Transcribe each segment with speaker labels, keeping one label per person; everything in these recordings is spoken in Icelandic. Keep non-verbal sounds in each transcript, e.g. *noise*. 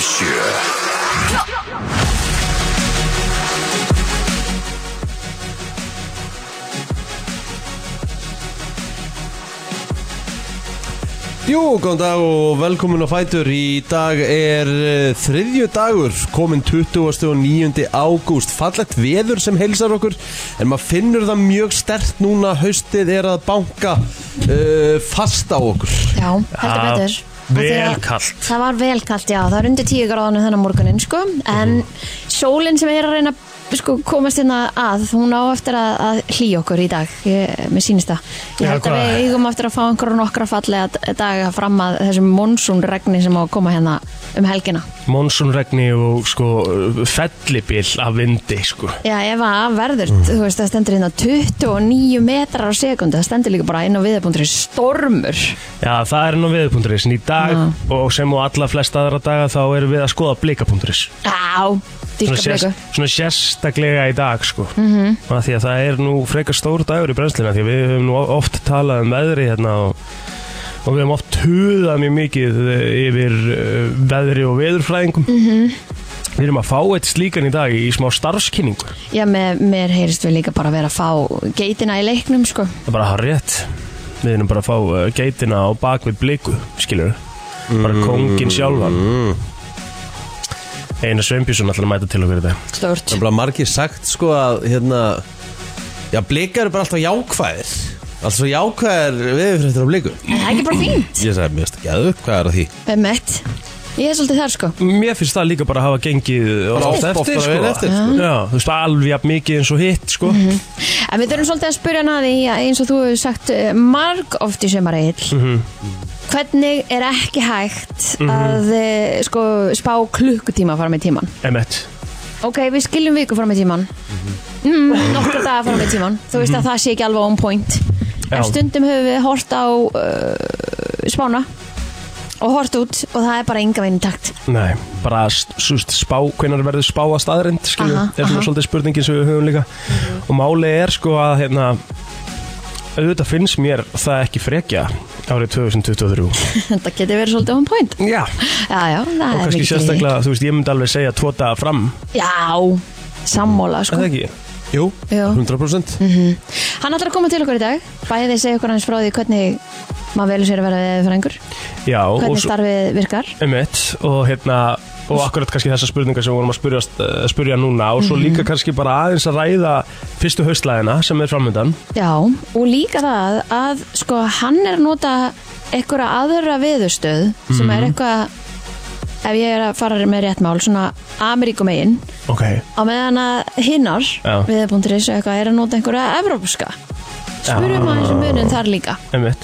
Speaker 1: sjö
Speaker 2: Jú, góðan dag og velkomin á Fætur Í dag er eh, þriðju dagur komin 20. og 9. ágúst Fallegt veður sem heilsar okkur En maður finnur það mjög stert núna Haustið er að banka uh, fast á okkur
Speaker 3: Já, heldur
Speaker 4: Já,
Speaker 3: betur Af því
Speaker 4: Ah, vel
Speaker 3: að
Speaker 4: kalt.
Speaker 3: Það var vel kalt, já, það var undir tíu gráðanum þennan morgunin, sko En
Speaker 4: Mhm.
Speaker 3: sólinn sem er að reyna sko, komast hérna að, hún á eftir að, að hlýja okkur í dag, ég, mér sýnist það Ég
Speaker 4: Já,
Speaker 3: held að
Speaker 4: hvað?
Speaker 3: við eigum eftir að fá einhverju nokkra fallega d- daga fram að þessum monsunregni sem á að koma hérna um helgina
Speaker 4: Monsunregni og sko fellibil af vindi sko
Speaker 3: Já, ef að verður,
Speaker 4: Mm.
Speaker 3: þú veist, það stendur hérna 29 metrar á sekundu, það stendur líka bara inn á viðabundri stormur
Speaker 4: Já, það er nú viðpunturis en í dag
Speaker 3: Já.
Speaker 4: og sem og alla flest aðra daga þá erum við að skoða blikapunturis
Speaker 3: Á, dýrka blegu
Speaker 4: svona sérstaklega í dag sko mm -hmm. því að það er nú frekar stór dagur í brennslina því að við höfum nú oft talað um veðri hérna og, og við höfum oft huðað mjög mikið eh, yfir eh, veðri og veðurfræðingum -hmm. Við erum að fá eitt slíkan í dag í smá starfskynningu
Speaker 3: Já, með, mér heyrist við líka bara að vera að fá geitina í leiknum, sko.
Speaker 4: Það er bara að hafa rétt Við erum bara að fá uh, geitina á bakvið bliku Skilur Bara kóngin sjálfan Einar Sveinbjörnsson ætlar að mæta til okkur í dag
Speaker 3: Stort.
Speaker 2: Það er margir sagt sko að hérna, Já, blikar eru bara alltaf jákvæðir Alltaf svo jákvæðir veðurfréttir á blikum
Speaker 3: Það er ekki bara fínt.
Speaker 2: Ég sagði, mér veist ekki að upp, hvað er að því?
Speaker 3: Með mitt. Ég er svolítið þar, sko.
Speaker 4: Mér finnst það líka bara að hafa gengið Oft
Speaker 2: Oft-
Speaker 4: eftir,
Speaker 2: oftar
Speaker 4: sko.
Speaker 2: vel eftir, sko.
Speaker 4: Já, Þú veist alveg jafn mikið eins og hitt sko.
Speaker 3: Mhm. En við þurfum svolítið að spyrja hana að því að eins og þú hefur sagt eh, marg oft í sömar eill. Hvernig er ekki hægt að eh, sko, spá klukkutíma fara með tíman?
Speaker 4: Emmett
Speaker 3: Ok, við skiljum viku fara með tíman. Mm, Nokkur dagar fara með tíman. Þú veist að það sé ekki alveg on point. En
Speaker 4: Mhm. Já.
Speaker 3: stundum höfum við hort á uh, spána og hort út og það er bara enga veginn í takt.
Speaker 4: Nei, bara st- þú veist, spá, hvenar verður spá að staðrind skilur,
Speaker 3: Aha,
Speaker 4: er svona
Speaker 3: aha.
Speaker 4: svolítið spurningin sem við höfum líka og máli er sko að hérna, auðvitað finnst mér það ekki frekja árið 2023
Speaker 3: *laughs* Þetta getur verið svolítið on point
Speaker 4: Já,
Speaker 3: Já, já, það
Speaker 4: og
Speaker 3: er
Speaker 4: kannski
Speaker 3: mikið
Speaker 4: sérstaklega, þú veist, ég myndi alveg segja tvo daga fram,
Speaker 3: Já, sammála
Speaker 4: er
Speaker 3: sko
Speaker 4: það ekki?
Speaker 2: Jú,
Speaker 3: Já.
Speaker 2: 100%
Speaker 3: Hann ætlar að koma til okkur í dag Bæði segja okkur hans frá því hvernig maður velur sér að vera veðurfræðingur
Speaker 4: Já, og
Speaker 3: Hvernig
Speaker 4: svo,
Speaker 3: starfið virkar
Speaker 4: emitt, og hérna, og akkurat kannski þessar spurningar sem við vorum að spyrja, eh, spyrja núna og svo
Speaker 3: Mhm.
Speaker 4: líka kannski bara aðeins að ræða fyrstu haustlæðina sem er framöndan.
Speaker 3: Já, og líka það að sko hann er að nota einhverja aðra veðurstöð sem er
Speaker 4: Mhm.
Speaker 3: eitthvað ef ég er að fara með rétt mál svona Ameríkumegin
Speaker 4: Ok.
Speaker 3: á meðan að hinnar
Speaker 4: Já.
Speaker 3: viðbúnduris eitthvað er að nota einhverja evrópska Spurum
Speaker 4: Já.
Speaker 3: að þessu munum þar líka
Speaker 4: Einmitt.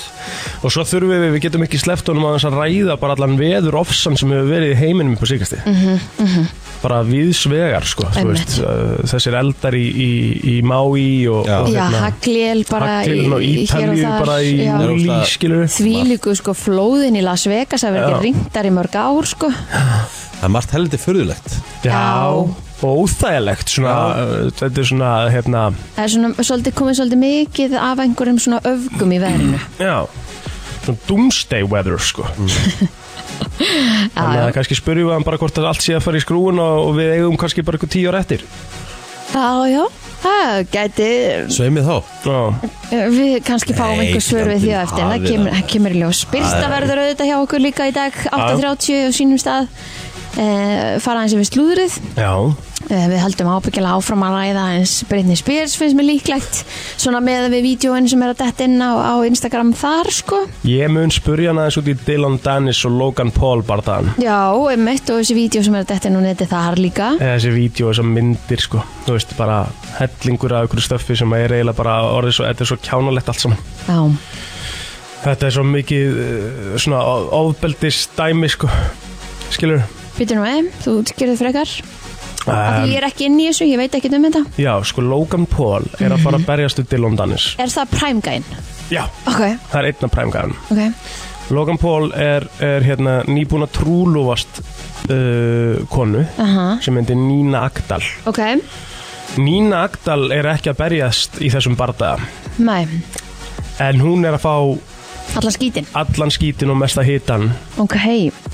Speaker 4: Og svo þurfum við, við getum ekki sleppt honum aðeins að ræða bara allan veður ofsan sem hefur verið í heiminum upp á síkasti. Mm -hmm, Bara viðsvegar, sko, þú
Speaker 3: Mhm, Einmitt.
Speaker 4: veist, uh, þessir eldar í, í, í Mái og,
Speaker 2: Já.
Speaker 4: og hérna
Speaker 3: Já, Hagliel bara
Speaker 4: Haglin og hérna Ítalíu bara í
Speaker 3: já.
Speaker 2: Rússlandi.
Speaker 4: júli, skilur við.
Speaker 3: Þvílíku sko flóðin í Las Vegas að vera
Speaker 4: Já.
Speaker 3: ekki ringdar í mörg ár sko
Speaker 2: Það er margt heldur furðulegt
Speaker 4: Já, og óþægilegt svona, uh, þetta er svona hérna,
Speaker 3: Það er svona, svolítið, komið svolítið mikið af einhverjum svona öfgum í verinu
Speaker 4: já svona doomsday weather sko þannig að
Speaker 3: Já, já.
Speaker 4: kannski spurjum við hann bara hvort að allt sé að fara í skrúun og, og við eigum kannski bara eitthvað tíu ára eftir
Speaker 3: já, já, það gæti eh,
Speaker 2: Sveimið þá
Speaker 4: Já,
Speaker 3: við kannski fáum
Speaker 2: Nei,
Speaker 3: einhver svör við því á
Speaker 2: fjandinn
Speaker 3: eftir en það
Speaker 2: hafi
Speaker 3: kemur,
Speaker 2: það.
Speaker 3: það kemur í ljós Birsta verður auðvitað hjá okkur líka í dag 8.30 á sínum stað eh, fara eins við slúðrið
Speaker 4: já,
Speaker 3: Eh, Við haldum ábyggilega áfram að ræða eins Britney Spears finnst mér líklegt svona með við vídjóin sem er að detta inn á, á Instagram þar sko
Speaker 4: ég mun spurja hann aðeins út í Dylan Dennis og Logan Paul barðan
Speaker 3: Já, einmitt og þessi vídjó sem er að detta inn á neti þar líka
Speaker 4: þessi vídeo, þessar myndir sko þú veist, bara hellingur af einhverju stöffi sem er eiginlega bara orðið svo, þetta er svo kjánalegt allt saman
Speaker 3: Já,
Speaker 4: þetta er svo mikið eh, svona ofbeldist dæmi sko skilur
Speaker 3: býtur nú með, þú gerðu frekar Af
Speaker 4: um,
Speaker 3: því ég er ekki inn í þessu, ég veit ekki um þetta
Speaker 4: Já, sko Logan Paul er að fara að berjast upp Dylan Dennis
Speaker 3: Er það præmgæn?
Speaker 4: Já
Speaker 3: Ok,
Speaker 4: Það er einna præmgæðan
Speaker 3: ok
Speaker 4: Logan Paul er, er hérna nýbúin að trúlúfast uh, konu
Speaker 3: Aha,
Speaker 4: sem heitir Nína Agdal
Speaker 3: ok,
Speaker 4: Nína Agdal er ekki að berjast í þessum bardaða
Speaker 3: mæ,
Speaker 4: en hún er að fá
Speaker 3: allan skítin
Speaker 4: allan skítin og mesta hitan
Speaker 3: Ok,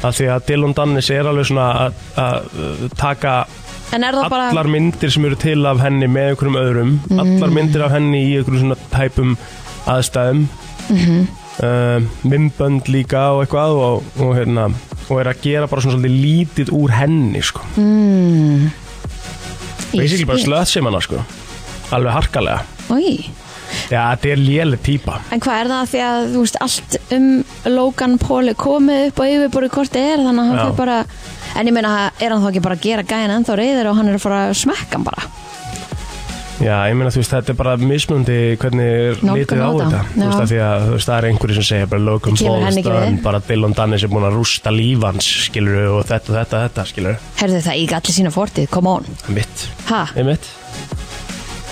Speaker 4: af því að Dylan Dennis er alveg svona að- að uh, taka
Speaker 3: En er það bara Mhm.
Speaker 4: allar myndir sem eru til af henni með einhverjum öðrum allar myndir af henni í einhverjum svona tæpum aðstæðum
Speaker 3: Mhm.
Speaker 4: mm minnbönd líka og eitthvað og, og, hérna, og er að gera bara svona svolítið lítið úr henni sko.
Speaker 3: Mm.
Speaker 4: basically bara slöðsum hana sko. alveg harkalega
Speaker 3: Í.
Speaker 4: Já, þetta er léleg típa
Speaker 3: En hvað er það því að þú veist allt um Logan Paul er komið upp og yfirborðið hvort er þannig að hann
Speaker 4: Já.
Speaker 3: fyrir bara En ég meina er hann þá ekki bara að gera gæðin ennþá reyðir og hann er að fara að smekka hann bara
Speaker 4: Já, ég meina þú veist, þetta er bara mismundi hvernig er
Speaker 3: Nálgun á
Speaker 4: litið á
Speaker 3: þetta.
Speaker 4: þetta Þú veist,
Speaker 3: Já.
Speaker 4: af því að þú veist, það er einhverju sem segja bara Logan
Speaker 3: Kemur
Speaker 4: Paul,
Speaker 3: henni ekki
Speaker 4: stöðan,
Speaker 3: við.
Speaker 4: bara Dylan Dennis er búin að rústa lífans skilur og þetta, þetta, þetta, skilur
Speaker 3: Herðu það eiga allir sína fortið, come on
Speaker 4: mitt,
Speaker 3: Ha?
Speaker 4: einmitt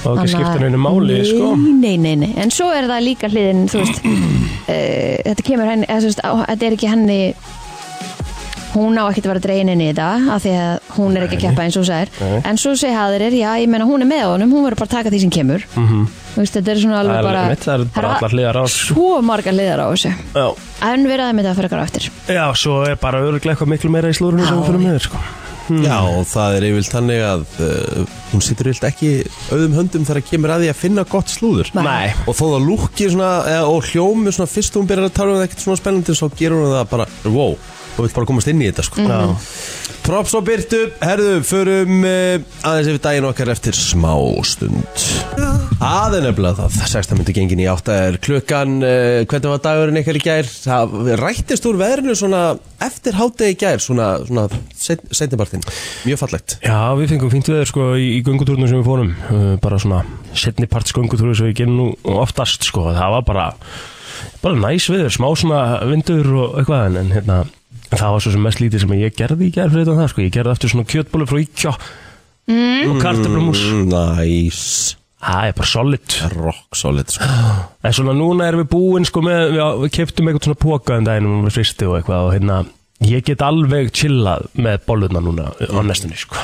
Speaker 4: og
Speaker 3: Þannig
Speaker 4: ekki
Speaker 3: að-
Speaker 4: skipta henni máli
Speaker 3: nei,
Speaker 4: sko.
Speaker 3: nei, nei, nei, en svo er það líka hliðin þú veist *clears throat* uh, þetta kemur henni, eða, þú veist, á, þetta er ekki henni hún á ekkert að vera dregin inn í þetta af því að hún er ekki að keppa eins og sær
Speaker 4: Nei.
Speaker 3: en svo segja aðrir, já, ég meina hún er með honum hún verður bara að taka því sem kemur
Speaker 4: Mhm.
Speaker 3: Þú veist, þetta er svona alveg
Speaker 4: það er
Speaker 3: bara
Speaker 4: einmitt, það er bara allar hliðar á sko.
Speaker 3: svo margar hliðar á þessu
Speaker 4: já.
Speaker 3: en við erum þetta fyrir ykkur á eftir
Speaker 4: já, svo er bara öruglega eitthvað miklu meira í slúrunum sem
Speaker 3: Já.
Speaker 4: við fyrir með sko.
Speaker 2: Já, og það er yfirvilt þannig að uh, hún situr yfirvilt ekki auðum höndum þegar kemur að því að finna gott slúður
Speaker 3: Nei.
Speaker 4: nei,
Speaker 2: Og þó það lúkir svona, eða, og hljómi svona fyrst hún byrjar að tala um það ekkert svona spennandi svo gerur hún það bara, wow, hún vil bara komast inn í þetta sko
Speaker 4: já
Speaker 2: Props og byrtu, herðu, förum uh, aðeins yfir daginn okkar eftir smá stund Það er nefnilega það, 16 myndi gengin í 8 er klukkan, uh, hvernig var dagurinn ykkar í gær? Það rættist úr veðrinu svona eftir hátegi í gær, svona, svona setnibartinn, mjög fallegt
Speaker 4: Já, við fengum fínt veður sko í, í göngutúrunum sem við fórum uh, bara svona setni parts göngutúru sem við gerum nú oftast sko það var bara, bara næs veður smá svona vindur og eitthvað en, en hérna, það var svo sem mest lítið sem ég gerði í gerð fyrir þetta það sko, ég gerði eftir svona kjötbólu frá Íkja mm. og kartöflumús
Speaker 2: Mm, Nice
Speaker 4: það er bara solid
Speaker 2: Rock solid sko.
Speaker 4: en svona núna erum við búin sko með, við, við keftum eitthvað svona póka um daginn og við fristi og eitthvað og hérna ég get alveg chillað með bolluna núna á næstunni sko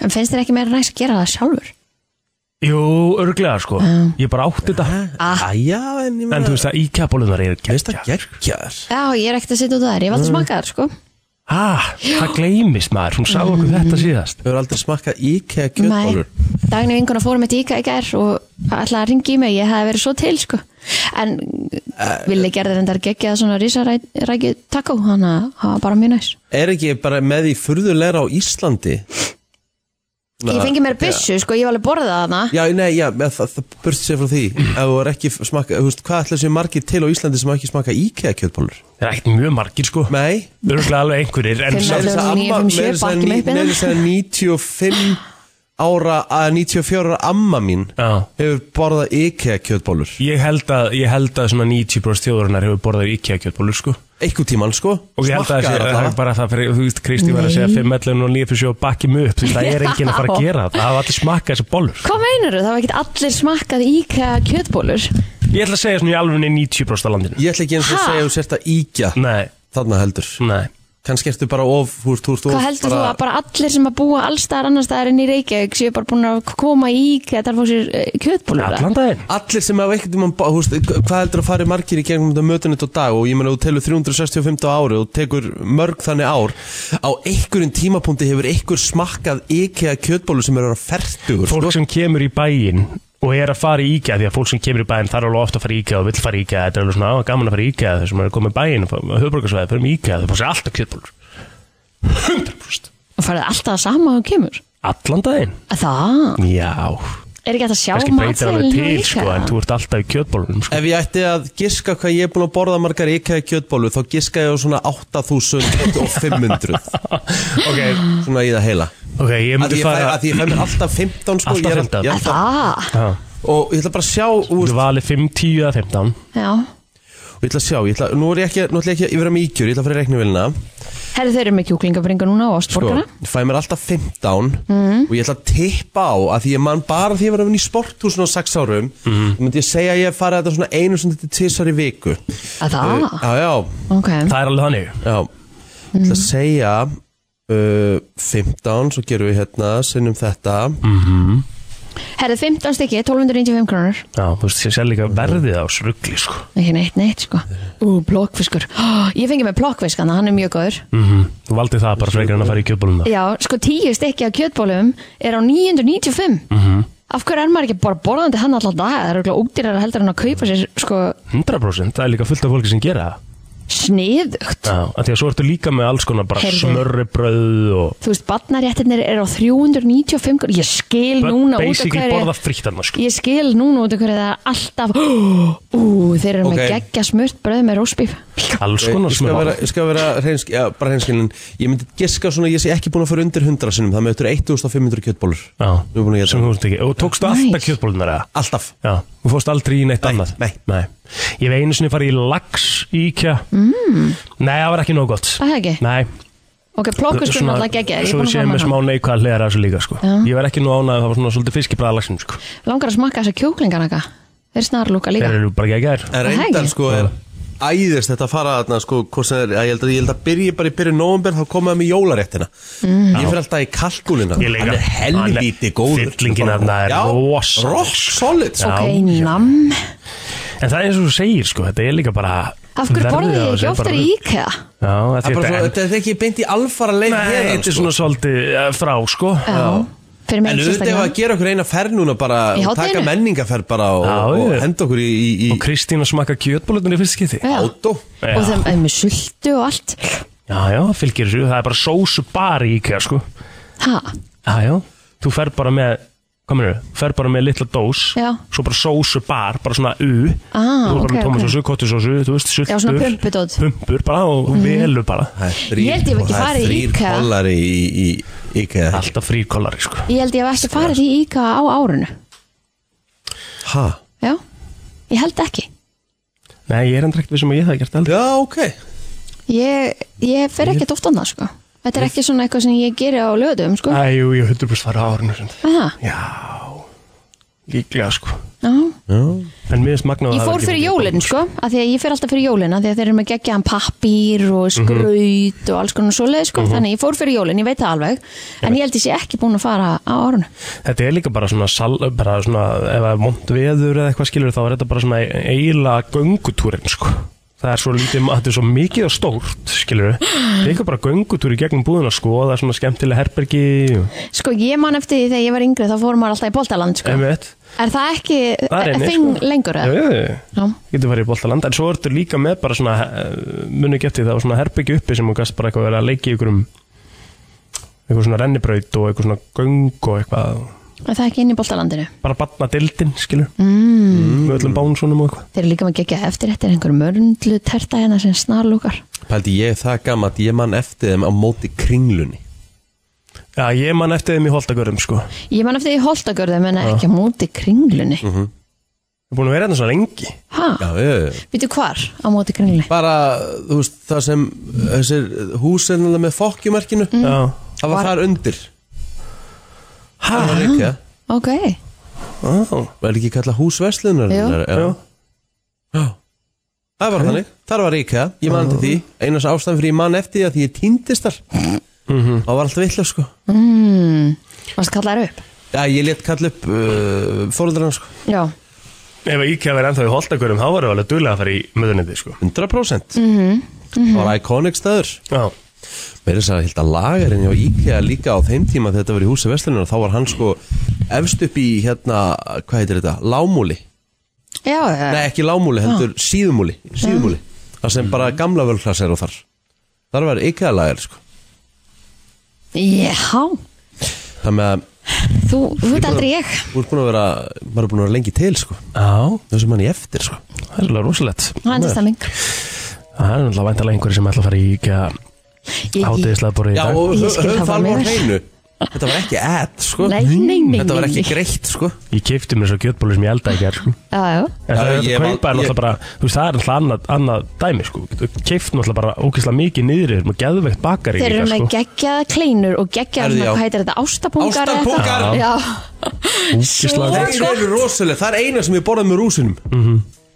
Speaker 3: en finnst þér ekki meira næst að gera það sjálfur
Speaker 4: Jú, örglega sko Ég bara átti þetta
Speaker 3: ah.
Speaker 2: Æja, en ég
Speaker 4: En
Speaker 2: meina
Speaker 4: þú veist að IKEA bólunar eru
Speaker 2: Veist
Speaker 4: geggja
Speaker 2: það geggjar
Speaker 3: já, ég er ekkert að sitja út af þær, ég valdi
Speaker 4: Mm.
Speaker 3: smakaðar sko
Speaker 4: ah, Það gleymist maður, hún sá okkur þetta síðast
Speaker 2: Þú hefur aldrei smakkað IKEA kjötbólur
Speaker 3: Nei, daginu vinkuna fórum eitt íka í gær og ætlaði að ringi í mig, ég hef verið svo til sko. en
Speaker 4: Eh,
Speaker 3: uh, villi gerði reyndar geggjað svona risarækju taco, hann að það var bara mjög næs
Speaker 2: Er ekki bara með því furðulegra á Íslandi?
Speaker 3: Ég fengi mér byssu, sko, ég var alveg borðað hana
Speaker 2: Já, nei, já, með það, það burst sér frá því Ef þú er ekki smakka, þú veist, hvað ætla sér margir til á Íslandi sem hafa ekki smakka IKEA kjötbólur?
Speaker 4: Það er ekkert mjög margir sko
Speaker 2: Nei
Speaker 4: Örglega alveg einhverjir En
Speaker 3: Fimm
Speaker 4: samt
Speaker 3: ellefu.
Speaker 2: meira að segja ní-
Speaker 3: 957, bakki mig upp
Speaker 2: meira að segja 95 ára að 94 ára amma mín
Speaker 4: Já.
Speaker 2: hefur borðað IKEA kjötbólur
Speaker 4: ég held að, ég held að svona 90% þjóðurinnar hefur borðað IKEA kjötbólur sko
Speaker 2: Einhvern tímann, sko
Speaker 4: Og ég held að
Speaker 2: Smakkaðar
Speaker 4: það
Speaker 2: allavega.
Speaker 4: er bara það fyrir, þú veist, Kristi var að segja 5, 11 og 9 fyrir sjó bakki mig upp, þú veist, það er enginn að fara að gera það, það hafa allir smakkað þessar bólur.
Speaker 3: Hvað meinar það var ekkert allir smakkað íka kjötbólur
Speaker 4: Ég ætla að segja svona í alvunni 90% af landinu.
Speaker 2: Ég ætla ekki eins og
Speaker 3: Ha?
Speaker 2: segja að þú sért að íkja
Speaker 4: Nei,
Speaker 2: Þarna heldur
Speaker 4: nei.
Speaker 2: Kannski ertu bara of húr, túr, túr,
Speaker 3: Hvað heldur þú að bara allir sem að búa allstaðar annarstaðar enn í Reykjavík séu bara búin að koma í íka þar fá sér eh, kjötbólur eða?
Speaker 4: Allan daginn.
Speaker 2: Allir sem hafa ekkert um húst, Hvað heldur að fari margir í gegnum þetta mötunit og dag Og ég meina þú telur 365 á ári Og tekur mörg þannig ár Á einhverjum tímapunkti hefur einhver smakkað IKEA kjötbólu sem eru að fertugur sko.
Speaker 4: fólk sem kemur í bæinn og er að fara í IKEA því að fólk sem kemur í bæinn þarf alveg ofta að fara í IKEA og vill fara í IKEA þetta er alveg svona á, gaman að fara í IKEA þau sem eru komið í bæinn og höfbrukarsvæði fyrir mig IKEA þau fá sér alltaf kjötbólur 100%
Speaker 3: Og farið alltaf að sama og kemur
Speaker 4: allan daginn
Speaker 3: Það,
Speaker 4: já
Speaker 3: er ekki hægt að sjá
Speaker 4: kannski breytir hann
Speaker 3: matseðilinn hjá
Speaker 4: til sko
Speaker 3: IKEA?
Speaker 4: en þú ert alltaf í kjötbólunum sko.
Speaker 2: Ef ég ætti að giska hvað ég er búin að borða margar IKEA kjötbólu Þá giska ég á svona 8500
Speaker 4: ok,
Speaker 2: Svona í það heila
Speaker 4: ok, ég
Speaker 2: Að
Speaker 4: myndi
Speaker 2: ég fæ,
Speaker 4: fara
Speaker 2: að ég fæ mér alltaf 15 sko
Speaker 4: Alltaf
Speaker 2: ég er- ég
Speaker 4: 15.
Speaker 2: er alltaf-
Speaker 3: Það,
Speaker 4: Já,
Speaker 2: Og ég ætla bara að sjá úr
Speaker 4: þú valið 5, 10 eða 15
Speaker 3: já
Speaker 2: Og ég ætla að sjá, ég ætla, nú er ég ekki, nú ætla ég ekki, ég verða með íkjur, ég ætla að fara í reiknivélina
Speaker 3: Herri, þeir eru með kjúklingabringa núna og
Speaker 2: Sko,
Speaker 3: ástborgara.
Speaker 2: ég fæ mér alltaf 15 og ég ætla að tippa á að því ég man bara því ég var að vinna í sporthúsinu á 6 árum þá myndi ég segja að ég fara þetta svona einu sem þetta tísar í viku
Speaker 3: Að það?
Speaker 2: uh, Já, já,
Speaker 3: ok.
Speaker 4: það er alveg þannig
Speaker 2: já Ég ætla að segja
Speaker 4: Mm,
Speaker 2: uh, 15, svo gerum við hérna, sinnum þetta
Speaker 3: Herðu 15 stykki, 1295 krónur
Speaker 4: Já, þú veist, ég sér líka verðið á srugli, sko.
Speaker 3: Ekki neitt, neitt sko Ú, blokkfiskur *gasps* Ó, Ég fengi með blokkfisk hann, hann er mjög góður
Speaker 4: Mm Þú valdi það bara frekar en að fara í kjöpbóluna.
Speaker 3: Já, sko 10 stykki af kjötbólum er á 995
Speaker 4: Mhm.
Speaker 3: Af hverju er maður ekki bara borðandi hann alltaf dag Það eru ekki ódýrar heldur en að kaupa sér sko
Speaker 4: 100% það er líka fullt af fólki sem gera það.
Speaker 3: sniðugt
Speaker 4: Já, af því að svo ertu líka með alls konar bara
Speaker 3: Heyrðu.
Speaker 4: smörribröð og...
Speaker 3: Þú veist, barnaréttinir er á 395 krónur Ég skil núna út af
Speaker 4: Basically
Speaker 3: hverju
Speaker 4: borða frítt þarna, sko.
Speaker 3: Ég skil núna út af hverju það er alltaf *gasps* Ú, þeir eru
Speaker 2: Ok.
Speaker 3: með geggja smurt bröð með rósbíf
Speaker 4: Alls
Speaker 2: Ég
Speaker 4: konar
Speaker 2: skal vera,
Speaker 4: smörribröð.
Speaker 2: ég skal vera reynsk, já, bara hreinskilin Ég myndi giska svona, ég sé ekki búin að fara undir 100 sinnum Það möttur 1500 kjötbólur
Speaker 4: Já,
Speaker 2: Við erum búin að gera
Speaker 4: sem þú veist ekki. Og tókstu
Speaker 3: Nice.
Speaker 4: alltaf kjötbólunar eða?
Speaker 2: Alltaf
Speaker 4: Já, þú fórst aldrei í neitt
Speaker 2: Nei,
Speaker 4: annað
Speaker 2: nei.
Speaker 4: Ég hef einu sinni farið í lax í IKEA mm. Nei, það var ekki nóg gott
Speaker 3: Það er ekki?
Speaker 4: Nei,
Speaker 3: Ok, plokkfiskur er alltaf geggja Ég er
Speaker 4: svo
Speaker 3: búin að
Speaker 4: sé
Speaker 3: fá
Speaker 4: ég með
Speaker 3: með
Speaker 4: smá
Speaker 3: hann
Speaker 4: neikvæða hliðar af þessu líka sko.
Speaker 3: Já.
Speaker 4: Ég var ekki nú ánað það var svona svolítið fiskibræðalagsinn sko.
Speaker 3: Langar að smakka þessa kjúklingarnaka Þeir snarlúka líka
Speaker 4: Þeir eru bara ekki að gæra
Speaker 2: En
Speaker 3: Það
Speaker 2: reyndar
Speaker 3: ekki.
Speaker 2: sko er æðist þetta að fara þarna sko hvort sem er, að ég held að, ég held að byrja bara í byrju nóvumber þá komaði með jólaréttina
Speaker 3: Mhm.
Speaker 2: ég fyrir alltaf í kalkúlina
Speaker 4: Ég líka.
Speaker 2: hann er helvíti
Speaker 4: Hann er-
Speaker 2: góður
Speaker 4: fyllingin þarna er
Speaker 2: Já,
Speaker 4: rosaleg.
Speaker 2: rock solid sko.
Speaker 3: Ok,
Speaker 4: Já,
Speaker 3: nam
Speaker 4: En það er eins og þú segir sko, þetta er líka bara
Speaker 3: Af hverju
Speaker 4: verðið
Speaker 3: borðið
Speaker 4: á
Speaker 3: ég
Speaker 4: þessu
Speaker 3: ekki
Speaker 4: er bara
Speaker 3: oftar í
Speaker 4: rugl.
Speaker 3: IKEA?
Speaker 4: Já, af
Speaker 2: Það
Speaker 4: því
Speaker 2: er bara svo,
Speaker 4: þetta er
Speaker 2: þetta er sko. ekki beint í alfara leið
Speaker 4: Nei,
Speaker 2: héðan,
Speaker 4: þetta er svona svolítið eh, frá sko.
Speaker 3: Já, fyrir mig
Speaker 2: En auðvitað ef að
Speaker 3: sérstaklega
Speaker 2: gera okkur eina ferð núna bara
Speaker 3: Í
Speaker 2: og taka
Speaker 3: hádeginu?
Speaker 2: menningaferð bara og,
Speaker 4: Já,
Speaker 2: og
Speaker 4: ég.
Speaker 2: henda okkur í, í, í
Speaker 4: Og Kristína smakka kjötbólutnir í fyrst skipti
Speaker 3: Já.
Speaker 2: átó
Speaker 4: Já.
Speaker 3: Og þeim eh, með sultu og allt
Speaker 4: Já, já, fylgir þessu, það er bara sósu bara í IKEA sko.
Speaker 3: Ha,
Speaker 4: Já, já, þú fer bara með Hvað mennur, fer bara með litla dós
Speaker 3: Já.
Speaker 4: Svo bara sósu bar, bara svona U
Speaker 3: Ah,
Speaker 4: Þú er bara
Speaker 3: ok,
Speaker 4: með
Speaker 3: ok.
Speaker 4: tómasósu, kottusósu, þú veist, sultur
Speaker 3: já svona pumpudót
Speaker 4: Pumpur bara og mm velu bara
Speaker 2: Það er þrír-
Speaker 3: Ég held ég hef ekki
Speaker 2: það er
Speaker 3: farið í
Speaker 2: þrír
Speaker 3: IKEA.
Speaker 2: kollari í, í, í IKEA
Speaker 4: Alltaf fríkollari sko
Speaker 3: Ég held ég hef ekki farið í IKEA á árunu
Speaker 2: Ha?
Speaker 3: Já, ég held ekki
Speaker 4: Nei, ég er endur ekkert við sem að ég það gert heldur
Speaker 2: Já, ok
Speaker 3: Ég, ég fer ekkert oft annað sko Þetta er ekki svona eitthvað sem ég geri á löðum sko
Speaker 4: Æ, jú, ég hundur búst fara á árinu sem
Speaker 3: Er Það,
Speaker 4: Já, líklega sko
Speaker 3: já
Speaker 4: En mér finnst magnað að
Speaker 3: Ég
Speaker 4: hafa
Speaker 3: fór
Speaker 4: ekki
Speaker 3: fyrir
Speaker 4: verið í
Speaker 3: jólinn sko af því að ég fer alltaf fyrir jólinn af því að þeir eru með geggjaðan pappír og
Speaker 4: Mhm.
Speaker 3: skraut og alls konar svoleið sko þannig að ég fór fyrir jólinn, ég veit það alveg en ég held ég sé ekki búin að fara á árunu
Speaker 4: Þetta er líka bara svona, sal, bara svona ef það er mont veður eða eitthvað skilur þá er þetta bara svona eila göngutúrin sko. Það er svo lítið, þetta er svo mikið og stórt, skilur við. Það er ekki bara göngutúr í gegnum búðuna, sko, það er svona skemmtilega herbergi,
Speaker 3: Sko ég man eftir því þegar ég var yngri þá fór maður alltaf í boltaland sko
Speaker 4: einmitt.
Speaker 3: Er það ekki
Speaker 4: Það er einnig,
Speaker 3: þing
Speaker 4: sko.
Speaker 3: lengur eða?
Speaker 4: Jú, jú, jú.
Speaker 3: Já.
Speaker 4: Getur farið í boltaland, en svo ertu líka með bara svona, munu ekki eftir því, það var svona herbergi uppi sem þú gast bara eitthvað verið að leiki ykkur um eitthvað svona rennibraut og eitthvað svona göng og eitthvað,
Speaker 3: Er það ekki inn í boltalandinu?
Speaker 4: bara batna dildin, skilur. Mm. Með öllum bánsunum og eitthvað.
Speaker 3: Þeir eru líka með geggja eftir þetta er einhver mörndlu terta hérna sem snarlúkar
Speaker 2: Pældi ég það gammalt, ég man eftir þeim á móti kringlunni
Speaker 4: Já, ég man eftir þeim í holdagörðum sko Ég
Speaker 3: Ég man eftir því holtagörðum en ekki á móti kringlunni
Speaker 2: Mhm.
Speaker 4: er búin að vera hérna svo lengi
Speaker 3: Ha,
Speaker 2: Já, já, já
Speaker 3: býtu hvar á móti kringlunni?
Speaker 2: Bara, þú veist, það sem þessir húsinn þarna með fokkjumarkinu
Speaker 4: Já
Speaker 2: Það var
Speaker 3: Var-
Speaker 2: þar undir
Speaker 4: Hæ?
Speaker 2: Það var ekki,
Speaker 3: Ok,
Speaker 4: Já
Speaker 2: var ekki kallað húsverslunar
Speaker 4: Já.
Speaker 2: Það var þannig, þar var Ríka, ég man til því Einars ástæðan fyrir ég man eftir því að því ég týndist þar Það var alltaf vitlega sko
Speaker 3: varstu kallaður upp?
Speaker 2: Já, ég let kalla upp uh, fóröldrarna sko
Speaker 3: Já,
Speaker 4: Ef að IKEA verið ennþá í holdagörðum þá varum við alveg duðlega að fara í möðunniði sko
Speaker 2: 100% Það var iconic staður
Speaker 4: Já
Speaker 2: Mér er þess að held að lagarinn hjá IKEA líka á þeim tíma þegar þetta var í húsi vestlunar þá var hann sko efst upp í hérna, hvað heitir þetta, lámúli
Speaker 3: já, já.
Speaker 2: Nei, ekki lámúli, heldur síðumúli síðumúli, það sem bara gamla völklass er á þar þar var IKEA lagar sko
Speaker 3: Já,
Speaker 2: þannig að
Speaker 3: þú, þú veit aldrei ég
Speaker 2: þú ert búin að vera, maður er búin að vera lengi til sko
Speaker 4: Já,
Speaker 2: þessum manni eftir sko
Speaker 4: það er alveg rosalegt
Speaker 3: Það er tilstæming
Speaker 4: Það er alveg væntalega einhverju sem ætla að fara í IKEA
Speaker 3: Ég-
Speaker 4: hátíðislega borið í
Speaker 2: Já,
Speaker 4: dag
Speaker 2: og
Speaker 3: Ég
Speaker 2: höfum
Speaker 3: skil það
Speaker 2: það
Speaker 3: bara
Speaker 2: alveg á
Speaker 3: mjög vel.
Speaker 2: hreinu Þetta var ekki ad sko
Speaker 3: Nei, nei, nei,
Speaker 2: Þetta var
Speaker 3: nei,
Speaker 2: ekki
Speaker 3: nei.
Speaker 2: greitt sko
Speaker 4: Ég keipti mér svo kjötbólu sem ég elda ekki er sko
Speaker 3: Já, já,
Speaker 2: Já,
Speaker 4: En það er þetta
Speaker 2: ég var-
Speaker 4: kaupa
Speaker 2: ég-
Speaker 4: er náttúrulega bara Þú veist, það er náttúrulega annað, annað dæmi sko Þú keift náttúrulega bara ógeðslega mikið niður Þú erum að geðveikt bakari
Speaker 3: þeir eru með
Speaker 4: líka sko
Speaker 3: geggjaða kleinur og geggjaða,
Speaker 2: Herðu,
Speaker 3: svona,
Speaker 2: já.
Speaker 3: hvað heitir þetta, ástapungar eða eitthvað?
Speaker 2: Ástapungar.
Speaker 3: Já, Svo-
Speaker 4: Ógeðslega gott.
Speaker 2: Þeir eru rosalega, það er eina sem ég borðið með rúsinum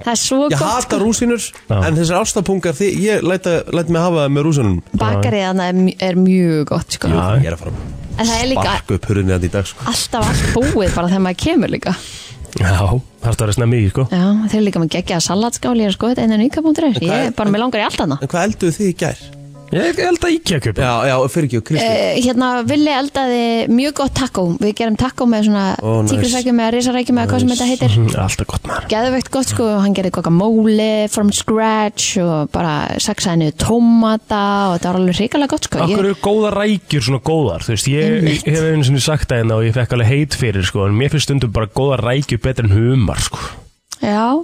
Speaker 3: það er svo
Speaker 2: Ég
Speaker 3: gott sko.
Speaker 2: hata rúsinur
Speaker 4: Já.
Speaker 2: En þessar ástapungar, þið, ég læt, að- læt mig hafa það með rúsinum
Speaker 3: Bakarið hann er mjög gott sko.
Speaker 2: Ég er að fara
Speaker 3: En það er líka-
Speaker 2: Spark upp hurðinni hann í dag sko.
Speaker 3: alltaf allt búið bara þegar maður kemur líka
Speaker 4: Já, þarf það að vera snemmi í, sko
Speaker 3: Já, þeir eru líka með geggjaða salatskáli ég er sko þetta einan ykkar.is
Speaker 2: En
Speaker 3: ég
Speaker 2: hvað er-
Speaker 3: er bara með langar í allt hana
Speaker 2: En hvað elduðu þið í gær?
Speaker 4: Ég held að íkja að kaupa
Speaker 2: Já, já, fyrir ekki og Kristi
Speaker 3: uh, hérna Vili eldaði mjög gott taco við gerum taco með svona
Speaker 2: Ó,
Speaker 3: oh,
Speaker 2: nice.
Speaker 3: nice. tíkrisrækjum eða risarækjum eða hvað sem þetta heitir
Speaker 4: Mhm, Alltaf gott maður
Speaker 3: geðveikt gott sko, hann gerði guacamole from scratch og bara saksaði niður tómata og þetta var alveg hrikalega gott sko
Speaker 4: Akkur eru góða rækjur svona góðar Þú veist, ég
Speaker 3: Einmitt.
Speaker 4: hef einu sinni sagt það hérna og ég fekk alveg heit fyrir sko En mér finnst stundum bara góða rækjur betur en humar sko
Speaker 3: Já,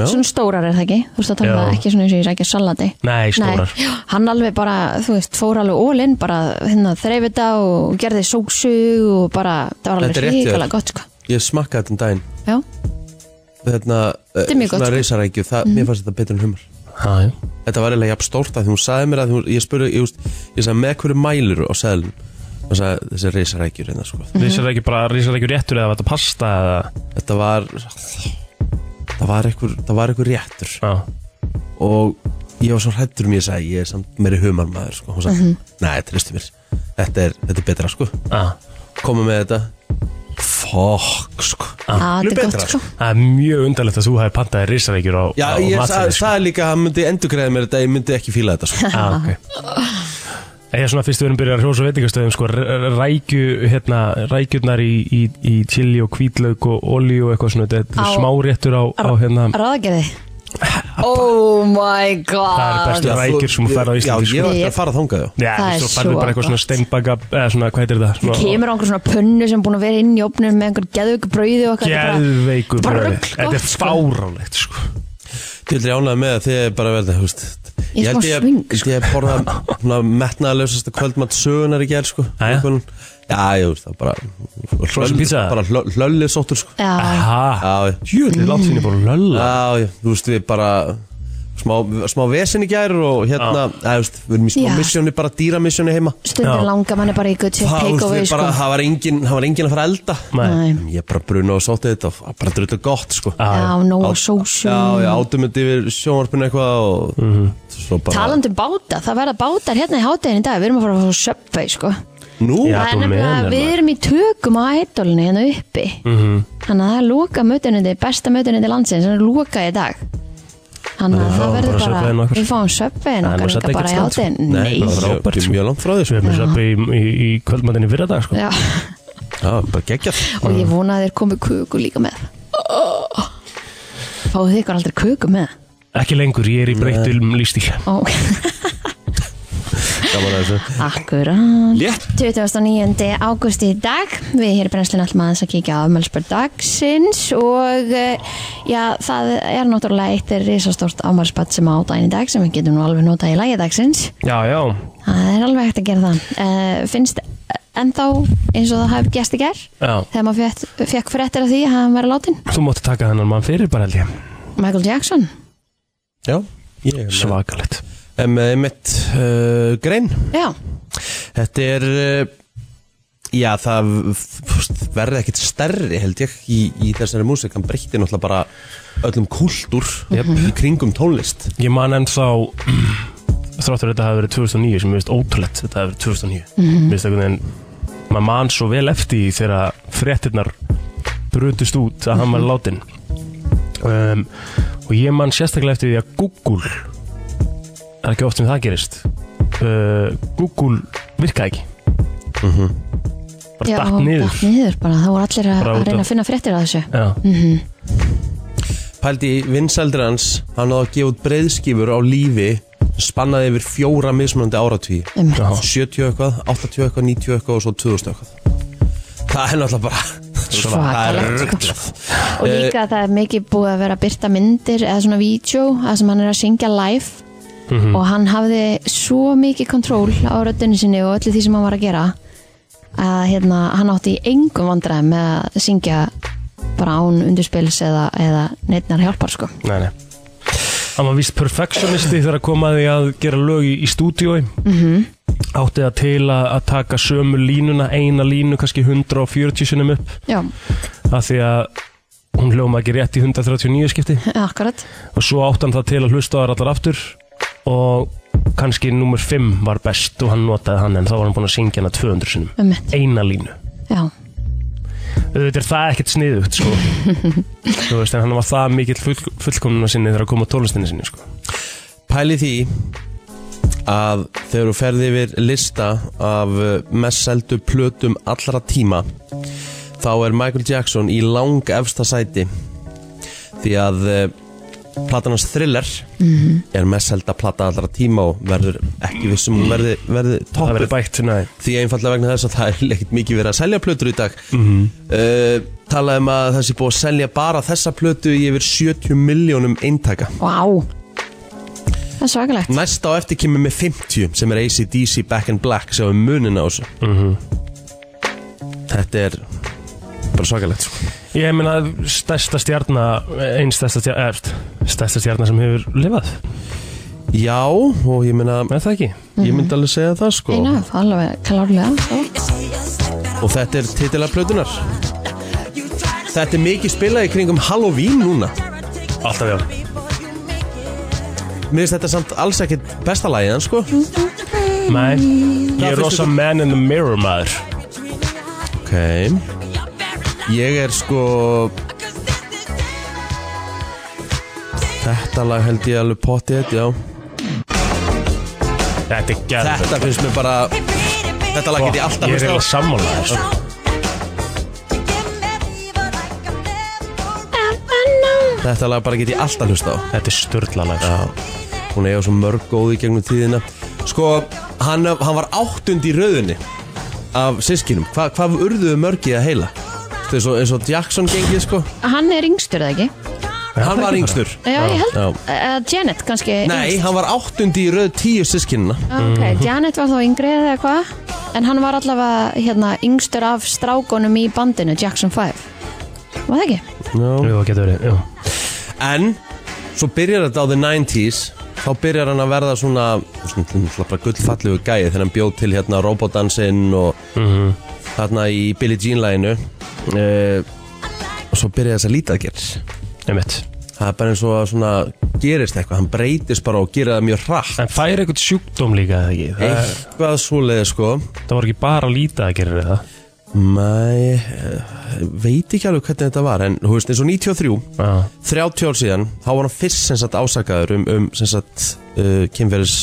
Speaker 2: Já.
Speaker 3: svona stórar er það ekki þú veist að tala
Speaker 4: Já.
Speaker 3: um það, ekki svona eins og ég rækja salati
Speaker 4: Nei, stórar
Speaker 3: Nei, hann alveg bara, þú veist, fór alveg ólinn bara hérna þreif þetta og gerði sósu og bara, það var
Speaker 2: Þetta er rétt
Speaker 3: alveg
Speaker 2: hjá þér.
Speaker 3: hrikalega gott sko
Speaker 2: Ég smakkaði þetta um daginn Hérna,
Speaker 3: Já,
Speaker 2: Þetta
Speaker 3: er mjög gott, sko.
Speaker 2: reisarækju það- Mér fannst þetta betur en humar
Speaker 4: Já, já
Speaker 2: Þetta var eiginlega jafn stórt að því hún sagði mér að því hún, ég spurði, ég, veist, ég sagði með hverju mælur á seðlum og sagði þessi reisarækjur hérna sko.
Speaker 3: Mm. Mhm.
Speaker 4: Rísar ekki bara, rísar ekki réttur eða var þetta pasta eða
Speaker 2: Þetta var, það var einhver, það var einhver réttur
Speaker 4: Já,
Speaker 2: og ég var svo hrættur um ég sagði ég er samt meiri humarmaður sko. Hún sagði,
Speaker 3: Mhm.
Speaker 2: nei, tristu mér, þetta er, þetta er betra sko.
Speaker 4: já
Speaker 2: Komum með þetta, fokk sko.
Speaker 3: að þetta er
Speaker 2: betra,
Speaker 3: gott sko
Speaker 4: Það er mjög undarlegt að þú hafi pantaði rísarækjur á,
Speaker 2: Já,
Speaker 4: á
Speaker 2: ég sagði,
Speaker 4: matseðil, sko.
Speaker 2: sagði líka að hann myndi endurgræði mér þetta, ég myndi ekki fíla þetta
Speaker 3: *laughs*
Speaker 2: sko.
Speaker 4: Já, ok Ah, Ég er svona fyrst við erum byrjað að hrjósa veitingastöðum sko, r- r- rækju, hérna, rækjurnar í, í, í chili og hvítlaug og olíu og eitthvað svona, þetta er
Speaker 3: Á-
Speaker 4: smáréttur á, á hérna,
Speaker 3: Ráðagerði Oh my god
Speaker 4: það er bestu
Speaker 2: Já, þú-
Speaker 4: rækjur sem þú færð á Íslandi
Speaker 2: Já, ég
Speaker 4: sko.
Speaker 2: var ekki að fara þangað já.
Speaker 4: Já,
Speaker 3: Það er
Speaker 4: þú færðu
Speaker 3: svo
Speaker 4: bara eitthvað svona
Speaker 3: gott.
Speaker 4: steinbaka, eða svona, hvað heitir það? Svona-
Speaker 3: Kemur á einhver svona pönnu sem er búin að vera inn í opnum með einhver geðveiku brauði og eitthvað þetta er bara-
Speaker 4: Geðveiku
Speaker 3: bara
Speaker 4: brauði.
Speaker 3: rugl
Speaker 4: Þetta er
Speaker 3: gott, sko.
Speaker 4: fáránlegt sko.
Speaker 2: Til þér ánægði með að þið er bara verða húst.
Speaker 3: Ég er smá sko.
Speaker 2: ég,
Speaker 3: sving,
Speaker 2: ég, ég borða metnaðalösasta kvöldmatt sögunar í gerð sko.
Speaker 4: Jæja.
Speaker 2: Einhvern- Já, ég veist það bara
Speaker 4: Frozen Ah, pizza?
Speaker 2: Bara hlöllið sóttur sko.
Speaker 4: Ah.
Speaker 3: Já,
Speaker 4: Aha,
Speaker 2: Já, já.
Speaker 4: jöðli, látt sinni búin að lölla
Speaker 2: já, já, þú veist við bara smá, smá vesen í gerð og hérna, já, þú veist, við erum í smá
Speaker 3: Já.
Speaker 2: missjóni bara dýramisjóni heima
Speaker 3: stundir
Speaker 4: Já.
Speaker 3: langa manni bara í gutt
Speaker 2: Það, þú veist,
Speaker 3: takeaway
Speaker 2: við
Speaker 3: sko
Speaker 2: bara, það var engin, það var engin að fara að elda
Speaker 4: Nei.
Speaker 3: Nei.
Speaker 2: Ég bara bruna og sótti þetta og bara drullu gott sko
Speaker 4: Já,
Speaker 3: Já, nóg
Speaker 2: Á-
Speaker 3: sósu
Speaker 2: Já, já, átum þetta yfir sjónvarpinu eitthvað og
Speaker 4: Mhm.
Speaker 2: svo bara
Speaker 3: Talandi um báta, það verða bátar hérna í hátegin í dag, við erum að fara að fá söpvei sko
Speaker 2: Nú,
Speaker 3: Það
Speaker 4: Já.
Speaker 3: er
Speaker 4: þú
Speaker 3: nefnilega,
Speaker 4: meinar
Speaker 3: við
Speaker 4: það.
Speaker 3: erum í tökum á ædolinu hérna uppi
Speaker 4: Mhm.
Speaker 3: Þannig að það er loka mötunundi, besta mötunundi landsins, það er loka í dag Þannig að
Speaker 4: Við
Speaker 3: það
Speaker 4: fáum
Speaker 3: verður
Speaker 4: bara
Speaker 3: bara,
Speaker 4: Subwayinn okkar.
Speaker 3: við fáum söpvegin
Speaker 4: Það er nú
Speaker 3: okkar líka
Speaker 4: samt ekkert
Speaker 3: bara í
Speaker 4: slæmt, sko.
Speaker 3: hátegin
Speaker 2: Nei,
Speaker 3: Nei,
Speaker 2: það var
Speaker 4: Frábært,
Speaker 2: frábært
Speaker 4: sko.
Speaker 2: Mjög langt frá þessu
Speaker 4: Við erum þess að byrja í, í kvöldmændinni fyrir dag sko.
Speaker 3: já, *laughs*
Speaker 2: Já, bara geggjað
Speaker 3: og
Speaker 4: Mm.
Speaker 3: ég vona að þeir komi kuku líka með Fáðu þið ykkur aldrei kuku með?
Speaker 4: Ekki lengur, ég er í breyttum lístíl
Speaker 3: Ó,
Speaker 2: Gaman að þessu
Speaker 3: akkurat
Speaker 2: Létt
Speaker 3: 29. águst í dag við hér í brennslinn alltaf aðeins að kíkja á afmælspörð dagsins og eh, já, það er náttúrulega eitt risastórt afmælspörð sem á daginn í dag sem við getum nú alveg notað í lagi dagsins
Speaker 4: Já, já,
Speaker 3: það er alveg hægt að gera það uh, finnst ennþá eins og það hafi gæst í ger
Speaker 4: já
Speaker 3: þegar maður fekk, fekk fréttir af því að hann verið látin
Speaker 4: Þú mátti taka þennan mann fyrir bara held ég
Speaker 3: Michael Jackson
Speaker 2: Já, ég er með-
Speaker 4: Svakalegt
Speaker 2: er með mitt uh, grein
Speaker 3: já,
Speaker 2: Þetta er uh, Já, það verði ekkit stærri held ég í, í þessari músík Hann breytti náttúrulega bara öllum kúltúr í kringum tónlist
Speaker 4: Ég man ennþá *clears throat* Þráttur þetta hafi verið 2009 sem ég veist ótrúlegt Þetta hafi verið 2009 mm
Speaker 3: Mhm.
Speaker 4: -hmm. Vist einhvern veginn Maður man svo vel eftir því þegar fréttirnar brutust út að hann var
Speaker 3: Mhm.
Speaker 4: látin um, Og ég man sérstaklega eftir því að Google Það er ekki oft sem það gerist uh, Google virkaði ekki Bara
Speaker 3: Mhm. já
Speaker 4: datt niður
Speaker 3: datt niður bara, þá voru allir að,
Speaker 4: Bara út
Speaker 3: að reyna
Speaker 4: af-
Speaker 3: að finna fréttir af þessu
Speaker 4: Já,
Speaker 2: Pældi í vinsældir hans Hann áði að gefa út breiðskifur á lífi Spannaði yfir fjóra mismunandi áratví
Speaker 3: um,
Speaker 4: já
Speaker 2: 70 eitthvað, 80 eitthvað, 90 eitthvað og svo 2000 eitthvað Það er náttúrulega bara Það er
Speaker 3: Svakalegt, sko.
Speaker 2: rugglað
Speaker 3: Og
Speaker 2: Eh,
Speaker 3: líka að það er mikið búið að vera að byrta myndir eða svona vídeo að sem hann er að syngja live
Speaker 2: Mhm.
Speaker 3: og hann hafði svo mikið kontról á röddunni sinni og öllu því sem hann var að gera að hérna, hann átti í engum vandræðum með að syngja bara án undurspils eða, eða neittnar hjálpar sko.
Speaker 4: Nei, nei Hann var vist perfectionisti þegar að koma að því að gera lög í, í stúdíói -hmm. Átti það til að, að taka sömu línuna, eina línu, kannski 140 sinnum upp
Speaker 3: Já,
Speaker 4: Af því að hún hljóma ekki rétt í 139 skipti
Speaker 3: akkurat
Speaker 4: Og svo átti hann það til að hlusta á þar allar aftur Og kannski nummer 5 var best og hann notaði hann en þá var hann búin að syngja hana 200 sinum
Speaker 3: Einmitt.
Speaker 4: eina línu
Speaker 3: já,
Speaker 4: auðvitað er það ekkert sniðugt sko. þú veist, en hann var það mikill full, fullkomnuna sinni þegar að koma á tónlistinni sinni sko.
Speaker 2: Pæli því að þegar þú ferði yfir lista af uh, mest seldu plötum allra tíma þá er Michael Jackson í lang efsta sæti því að uh, platan hans Thriller er mest selda plata allra tíma og verður ekki vissum hún verði, verði
Speaker 4: það verður
Speaker 2: toppuð
Speaker 4: bætt nei.
Speaker 2: því einfallega vegna þess að það er ekkert mikið verið að selja plötur í dag
Speaker 4: Mhm.
Speaker 2: uh, talað um að það sé búið að selja bara þessa plötu í yfir 70 miljónum eintaka
Speaker 3: wow það er svakalegt
Speaker 2: Næst á eftir kemur með 50 sem er ACDC Back in Black sem er munin á þessu Þetta er bara svakalegt sko.
Speaker 4: ég meina stærsta stjarnar einn stærsta stjarnar stærsta stjarnar sem hefur lifað
Speaker 2: Já og ég meina
Speaker 4: er það ekki?
Speaker 2: ég myndi alveg segja það sko
Speaker 3: Einaf, alveg klárlega já.
Speaker 2: og þetta er titilega plötunar Þetta er mikið spilað í kringum Halloween núna
Speaker 4: alltaf já
Speaker 2: Mér finnst þetta samt alls ekkit besta lagið hans sko
Speaker 4: nei. ég
Speaker 2: Það
Speaker 4: er
Speaker 2: finnst
Speaker 4: rosa
Speaker 2: ykkur-
Speaker 4: man in the mirror maður
Speaker 2: Ok Ég er sko Þetta lag held ég alveg pottið, já
Speaker 4: þetta er gerð
Speaker 2: Þetta finnst mér bara Þetta lag get ég alltaf
Speaker 4: ég
Speaker 2: hlustað á.
Speaker 4: er eiginlega sammála þér, sko.
Speaker 2: Þetta lag bara get ég alltaf hlusta á
Speaker 4: þetta er störtlalag sko.
Speaker 2: Hún eiga svo mörg góð í gegnum tíðina Sko, hann, hann var áttund í rauðinni Af sískinum Hva, Hvað urðuðu mörgið að heila? Þetta er svo, eins og Jackson gengið sko
Speaker 3: hann er yngstur eða ekki
Speaker 4: Er það
Speaker 2: Hann var
Speaker 4: ekki
Speaker 2: yngstur
Speaker 3: já, ég held,
Speaker 2: Já.
Speaker 3: uh, Janet kannski
Speaker 2: Nei, hann var áttund í rauð tíu sískinina
Speaker 3: okay.
Speaker 2: Mhm.
Speaker 3: Janet var þá yngri eða hvað en hann var allavega hérna, yngstur af strákonum í bandinu Jackson 5 var það ekki?
Speaker 4: bara? Jú, það getur verið, jú.
Speaker 2: En, svo byrjar þetta á the 90s Þá byrjar hann að verða svona Svona, svona bara gullfallegu gæi Þegar hann bjóð til hérna robotdansinn Og þarna í Billie Jean læginu uh, Og svo byrjar þess að líta að gerð
Speaker 4: einmitt
Speaker 2: Það er bara eins og að svona gerist eitthvað, hann breytist bara og gerir það mjög hratt.
Speaker 4: En fær eitthvað sjúkdóm líka eða ekki? Það, er,
Speaker 2: Eitthvað svoleiði sko,
Speaker 4: það var ekki bara lítið að gera það
Speaker 2: mæ, eh, veit ekki alveg hvernig þetta var, en þú veist eins og 93,
Speaker 4: Já,
Speaker 2: 30 ár síðan, þá var hann fyrst sem sagt ásakaður um, um sem sagt uh, kynferðis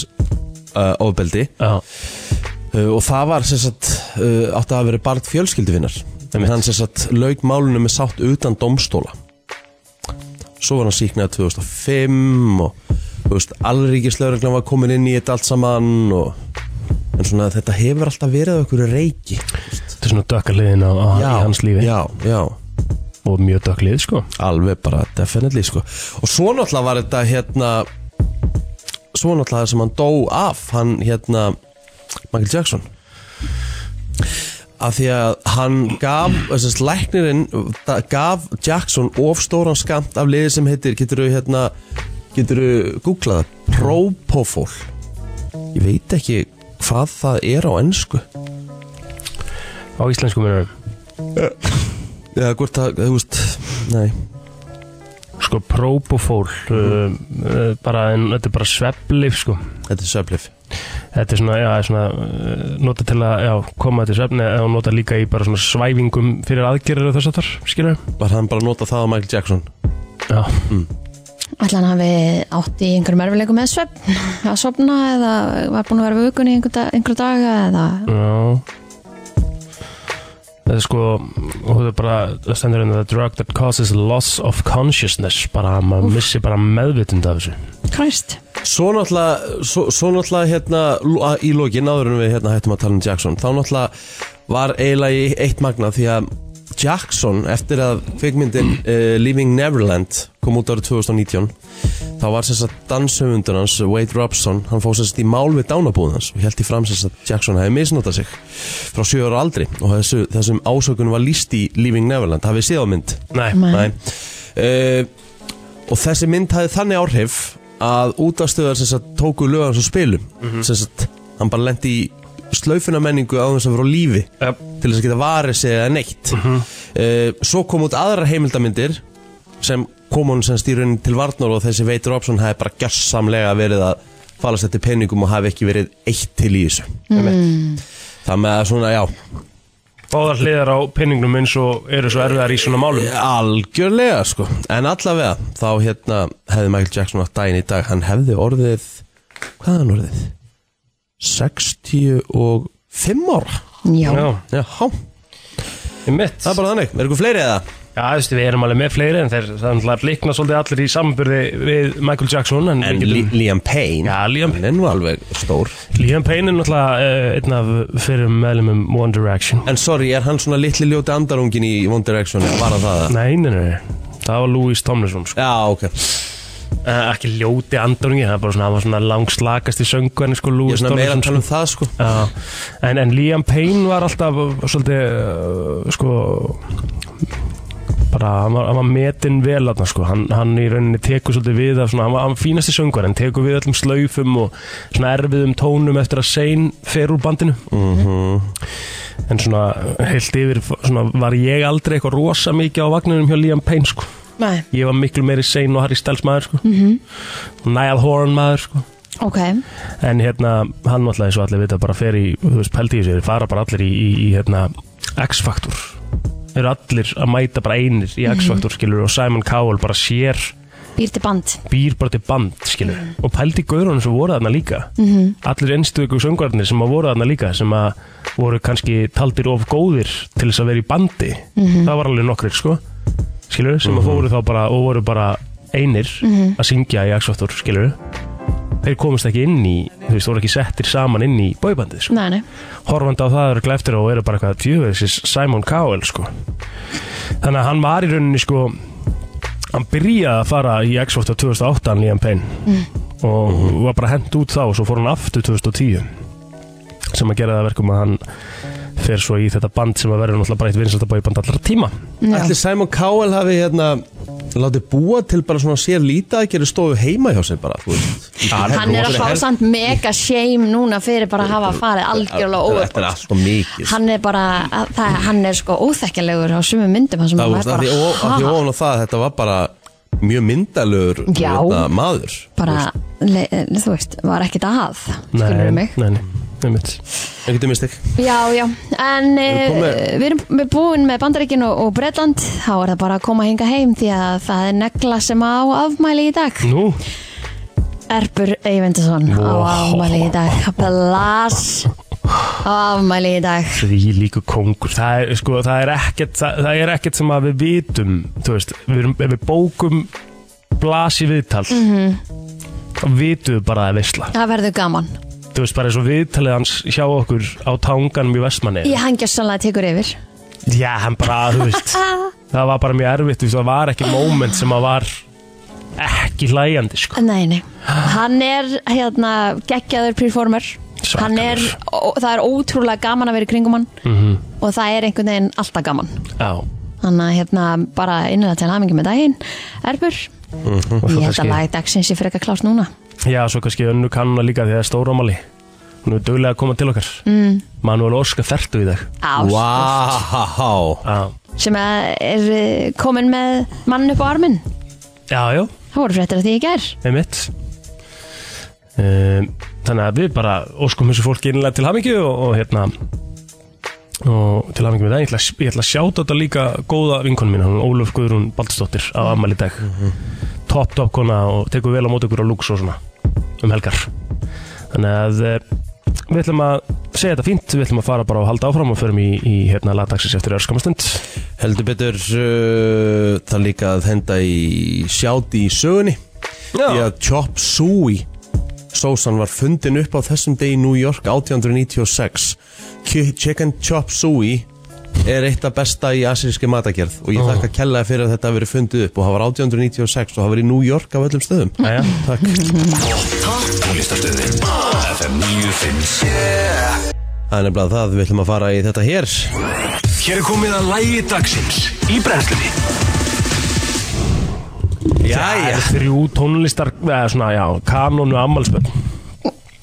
Speaker 2: uh, ofbeldi
Speaker 4: já,
Speaker 2: uh, og það var sem sagt, uh, átti að hafa verið barn fjölskylduvinnar. En
Speaker 4: Einmitt.
Speaker 2: hann sem sagt lauk málunum með sátt utan domstóla. Svo var hann síknað 2005 og þú veist, allríkislauruglan var komin inn í þetta allt saman og en svona þetta hefur alltaf verið okkur reiki
Speaker 4: þetta er svona dökkaliðin á, á í hans lífi
Speaker 2: já, já,
Speaker 4: og mjög dökklið sko
Speaker 2: alveg bara definitely sko og svo náttúrulega var þetta hérna svo náttúrulega það sem hann dó af hann hérna Michael Jackson af því að hann gaf þessast læknirinn da- gaf Jackson of stóran skamt af liði sem heitir, getur þú hérna getur þú googlað það? Propofol ég veit ekki hvað það er á ennsku
Speaker 4: á íslensku munum
Speaker 2: eða hvort það, þú veist, nei
Speaker 4: sko propofól
Speaker 2: Mhm.
Speaker 4: mm. uh, uh, bara, en, þetta er bara svepplif sko
Speaker 2: þetta er söflif
Speaker 4: þetta er svona, já, svona uh, nota til að já, koma til svefni og nota líka í bara svona svæfingum fyrir aðgerður og þess að þar, skilur
Speaker 2: var hann bara að nota það á Michael Jackson
Speaker 4: já,
Speaker 3: Ætla hann hafi átt í einhverjum erfileikum með svefn að sofna eða var búin að vera vökun í einhver, dag, einhver daga eða
Speaker 4: já þetta er sko og þetta er bara, það stendur hérna the drug that causes loss of consciousness bara að maður missi bara meðvitund af þessu
Speaker 3: kræst
Speaker 2: Svo náttúrulega, svo, svo náttúrulega hérna, lo- að- í lokin áður en við hérna, hættum að tala um Jackson þá náttúrulega var eiginlega í eitt magna því að Jackson eftir að kvikmyndin uh, Leaving Neverland kom út árið 2019 þá var sérst að danshöfundur hans Wade Robson, hann fóð sérst í mál við dánabúð hans og held í fram sérst að Jackson hefði misnotað sig frá 7 ára aldri og þessu, þessum ásökunum var líst í Leaving Neverland, hafið þið séð á mynd
Speaker 4: nei,
Speaker 2: Nei. Uh, og þessi mynd hafði þannig áhrif að útastöðar sem sagt tóku lög hans og spilum sem sagt hann bara lendi í slaufuna menningu á þess að vera á lífi
Speaker 4: Yep.
Speaker 2: til þess að geta varið sig eða neitt mm svo kom út aðrar heimildamindir sem kom hún sem stýrun til varnar og þessi veitur opsson hefði bara gjörsamlega verið að falast eftir peningum og hafi ekki verið eitt til í þessu Það með að svona, já,
Speaker 4: Báðar hliðar á penningnum eins og eru svo erfiðar í svona málum
Speaker 2: algjörlega sko En allavega, þá hérna hefði Michael Jackson átt daginn í dag Hann hefði orðið, hvað er hann orðið? 65 ára
Speaker 3: Já,
Speaker 4: Já,
Speaker 2: Já,
Speaker 4: í mitt
Speaker 2: það er bara þannig, er eitthvað fleiri eða?
Speaker 4: Já, þú veist, við erum alveg með fleiri en þeir þannig að líkna svolítið allir í samanburði við Michael Jackson En,
Speaker 2: En
Speaker 4: við
Speaker 2: Li
Speaker 4: getum,
Speaker 2: Liam Payne
Speaker 4: Já, Liam
Speaker 2: Hann er nú alveg stór
Speaker 4: Liam Payne er náttúrulega uh, einn af fyrir meðlumum One Direction
Speaker 2: En sorry, er hann svona litli ljóti andarungin í One Direction eða Var hann það? eða?
Speaker 4: Nei, nei, nei, það var Louis Tomlinson sko.
Speaker 2: Já, ok
Speaker 4: uh, Ekki ljóti andurungi, það var bara svona, hann var svona langslakast í söngu
Speaker 2: Ég
Speaker 4: sko,
Speaker 2: er
Speaker 4: Louis
Speaker 2: svona meira
Speaker 4: Tomlinson
Speaker 2: að tala um það sko
Speaker 4: Já, en, en Liam Payne var alltaf uh, svolítið uh, sko bara, hann var, hann var metinn vel þarna sko, hann, hann í rauninni tekur svolítið við af svona, hann var, hann var fínasti söngur en tekur við öllum slaufum og svona erfiðum tónum eftir að sein fer úr bandinu -hmm. en svona heilt yfir svona, var ég aldrei eitthvað rosa mikið á vagninum hjá Liam Payne sko,
Speaker 3: Nei.
Speaker 4: ég var miklu meiri sein og Harry Styles maður sko mm -hmm. Niall Horan maður sko
Speaker 3: ok
Speaker 4: en hérna hann náttúrulega eins og allir vita bara fer í, þú veist, pældi í þessu, þeir fara bara allir í, í, í hérna, X-faktur eru allir að mæta bara einir í X-faktur skilur og Simon Cowell bara sér
Speaker 3: Býr til band
Speaker 4: býr bara til band skilur og pældi gaurunum sem voru þarna líka allir einstöku söngvarnir sem að voru þarna líka sem að voru kannski taldir of góðir til þess að vera í bandi það var alveg nokkrir sko skilur, sem að fóru þá bara og voru bara einir að syngja í Axfaktor skilur þeir komist ekki inn í þú veist, voru ekki settir saman inn í bóibandið sko.
Speaker 3: Nei, nei
Speaker 4: horfandi á það eru gleftir og eru bara eitthvað djöfuð þessi Simon Cowell sko. þannig að hann var í rauninni sko, hann byrjaði að fara í X-Factor 2008 hann Liam Payne og var bara hent út þá og svo fór hann aftur 2010 sem að gera það að verkum að hann fer svo í þetta band sem að verður náttúrulega bara eitt vinsaldabæði band allra tíma
Speaker 2: Ætli Simon Cowell hafi hérna Látið búa til bara svona sér lítið að gera stofu heima hjá sér bara þú veist.
Speaker 3: Hann er að fá
Speaker 2: Hel-
Speaker 3: samt mega shame núna fyrir bara að hafa farið algjörlega
Speaker 2: Þetta er
Speaker 3: óvart
Speaker 2: allt og mikið
Speaker 3: Hann er bara, að- það, hann er sko óþekkjanlegur á sumum myndum hans
Speaker 2: Það veist, að því ó- að því ofan á það Þetta var bara mjög myndalur
Speaker 3: Já.
Speaker 2: maður
Speaker 3: bara, le, eh, þú veist, var ekkert að skilur
Speaker 4: nei,
Speaker 3: mig
Speaker 4: nei, nei, einmitt.
Speaker 2: Ekkert um mistik
Speaker 3: Já, já, en eh,
Speaker 2: komið-
Speaker 3: við erum með búin með Bandaríkin og, og Bretland þá er það bara að koma hinga heim því að það er negla sem á afmæli í dag
Speaker 4: nú,
Speaker 3: Erpur Eyvindason á afmæli í dag Blas á afmæli í dag
Speaker 4: því líku kongur það er, sko, það er, ekkert, það, það er ekkert sem að við vitum þú veist, við erum, ef við bókum blasi viðtal þá vitum við bara að það er veisla
Speaker 3: Það verður gaman
Speaker 4: þú veist, bara eins og viðtalið hans hjá okkur á tanganum í Vestmanni
Speaker 3: Ég hangja sannlega tekur yfir
Speaker 4: já, hann bara, þú veist *laughs* það var bara mjög erfitt, þú veist, það var ekki moment sem að var ekki hlæjandi sko.
Speaker 3: Nei, nei Hann er hérna geggjaður performer Hann er, ó, það er ótrúlega gaman að vera í kringum hann -hmm. og það er einhvern veginn alltaf gaman
Speaker 4: já,
Speaker 3: Þannig að hérna bara innlega til hamingi með daginn Erbur,
Speaker 4: Mhm. og
Speaker 3: ég
Speaker 4: svo
Speaker 3: held að
Speaker 4: kannski
Speaker 3: lagi dagsins ég fyrir ekki að klást núna
Speaker 4: já, svo kannski önnu kannuna líka því að það er stóramali hún er duglega að koma til okkar mm. Manuel Óska ferdu í dag
Speaker 3: Á,
Speaker 2: Wow
Speaker 4: já,
Speaker 3: sem að er eh, komin með mann upp á arminn
Speaker 4: já, já
Speaker 3: Það voru fréttir að því ég ger
Speaker 4: einmitt um, þannig að við bara óskum þessu fólki innlega til hamingju og, og hérna og til hamingju með það, ég ætla, ég ætla að sjáta þetta líka góða vinkonum mína, hún Ólöf Guðrún Baldsdóttir á Amal í dag top top kona og tekur vel á móti ykkur á lúks og svona um helgar þannig að eh, við ætlum að segja þetta fínt, við ætlum að fara bara og halda áfram og förum í, í hérna lagdagsins eftir örskamastund
Speaker 2: Heldur betur uh, það líka að henda í sjáti í sögunni Því að Chop Suey Sósan var fundin upp á þessum degi í New York 1896 Ki- Chicken Chop Suey er eitt af besta í asiríski matagerð og ég
Speaker 4: Ó.
Speaker 2: þakka kellaði fyrir að þetta hafi verið fundið upp og það var 1896 og það var í New York af öllum stöðum
Speaker 4: Jæja, takk
Speaker 1: Tónlistarstöðin FM 957
Speaker 2: Það er nefnilega það, við ætlum að fara í þetta hér
Speaker 1: Hér er komið að lægi dagsins Í brennslunni
Speaker 4: Það er þrjú tónlistar, eða svona, já, kanonu ammálspöld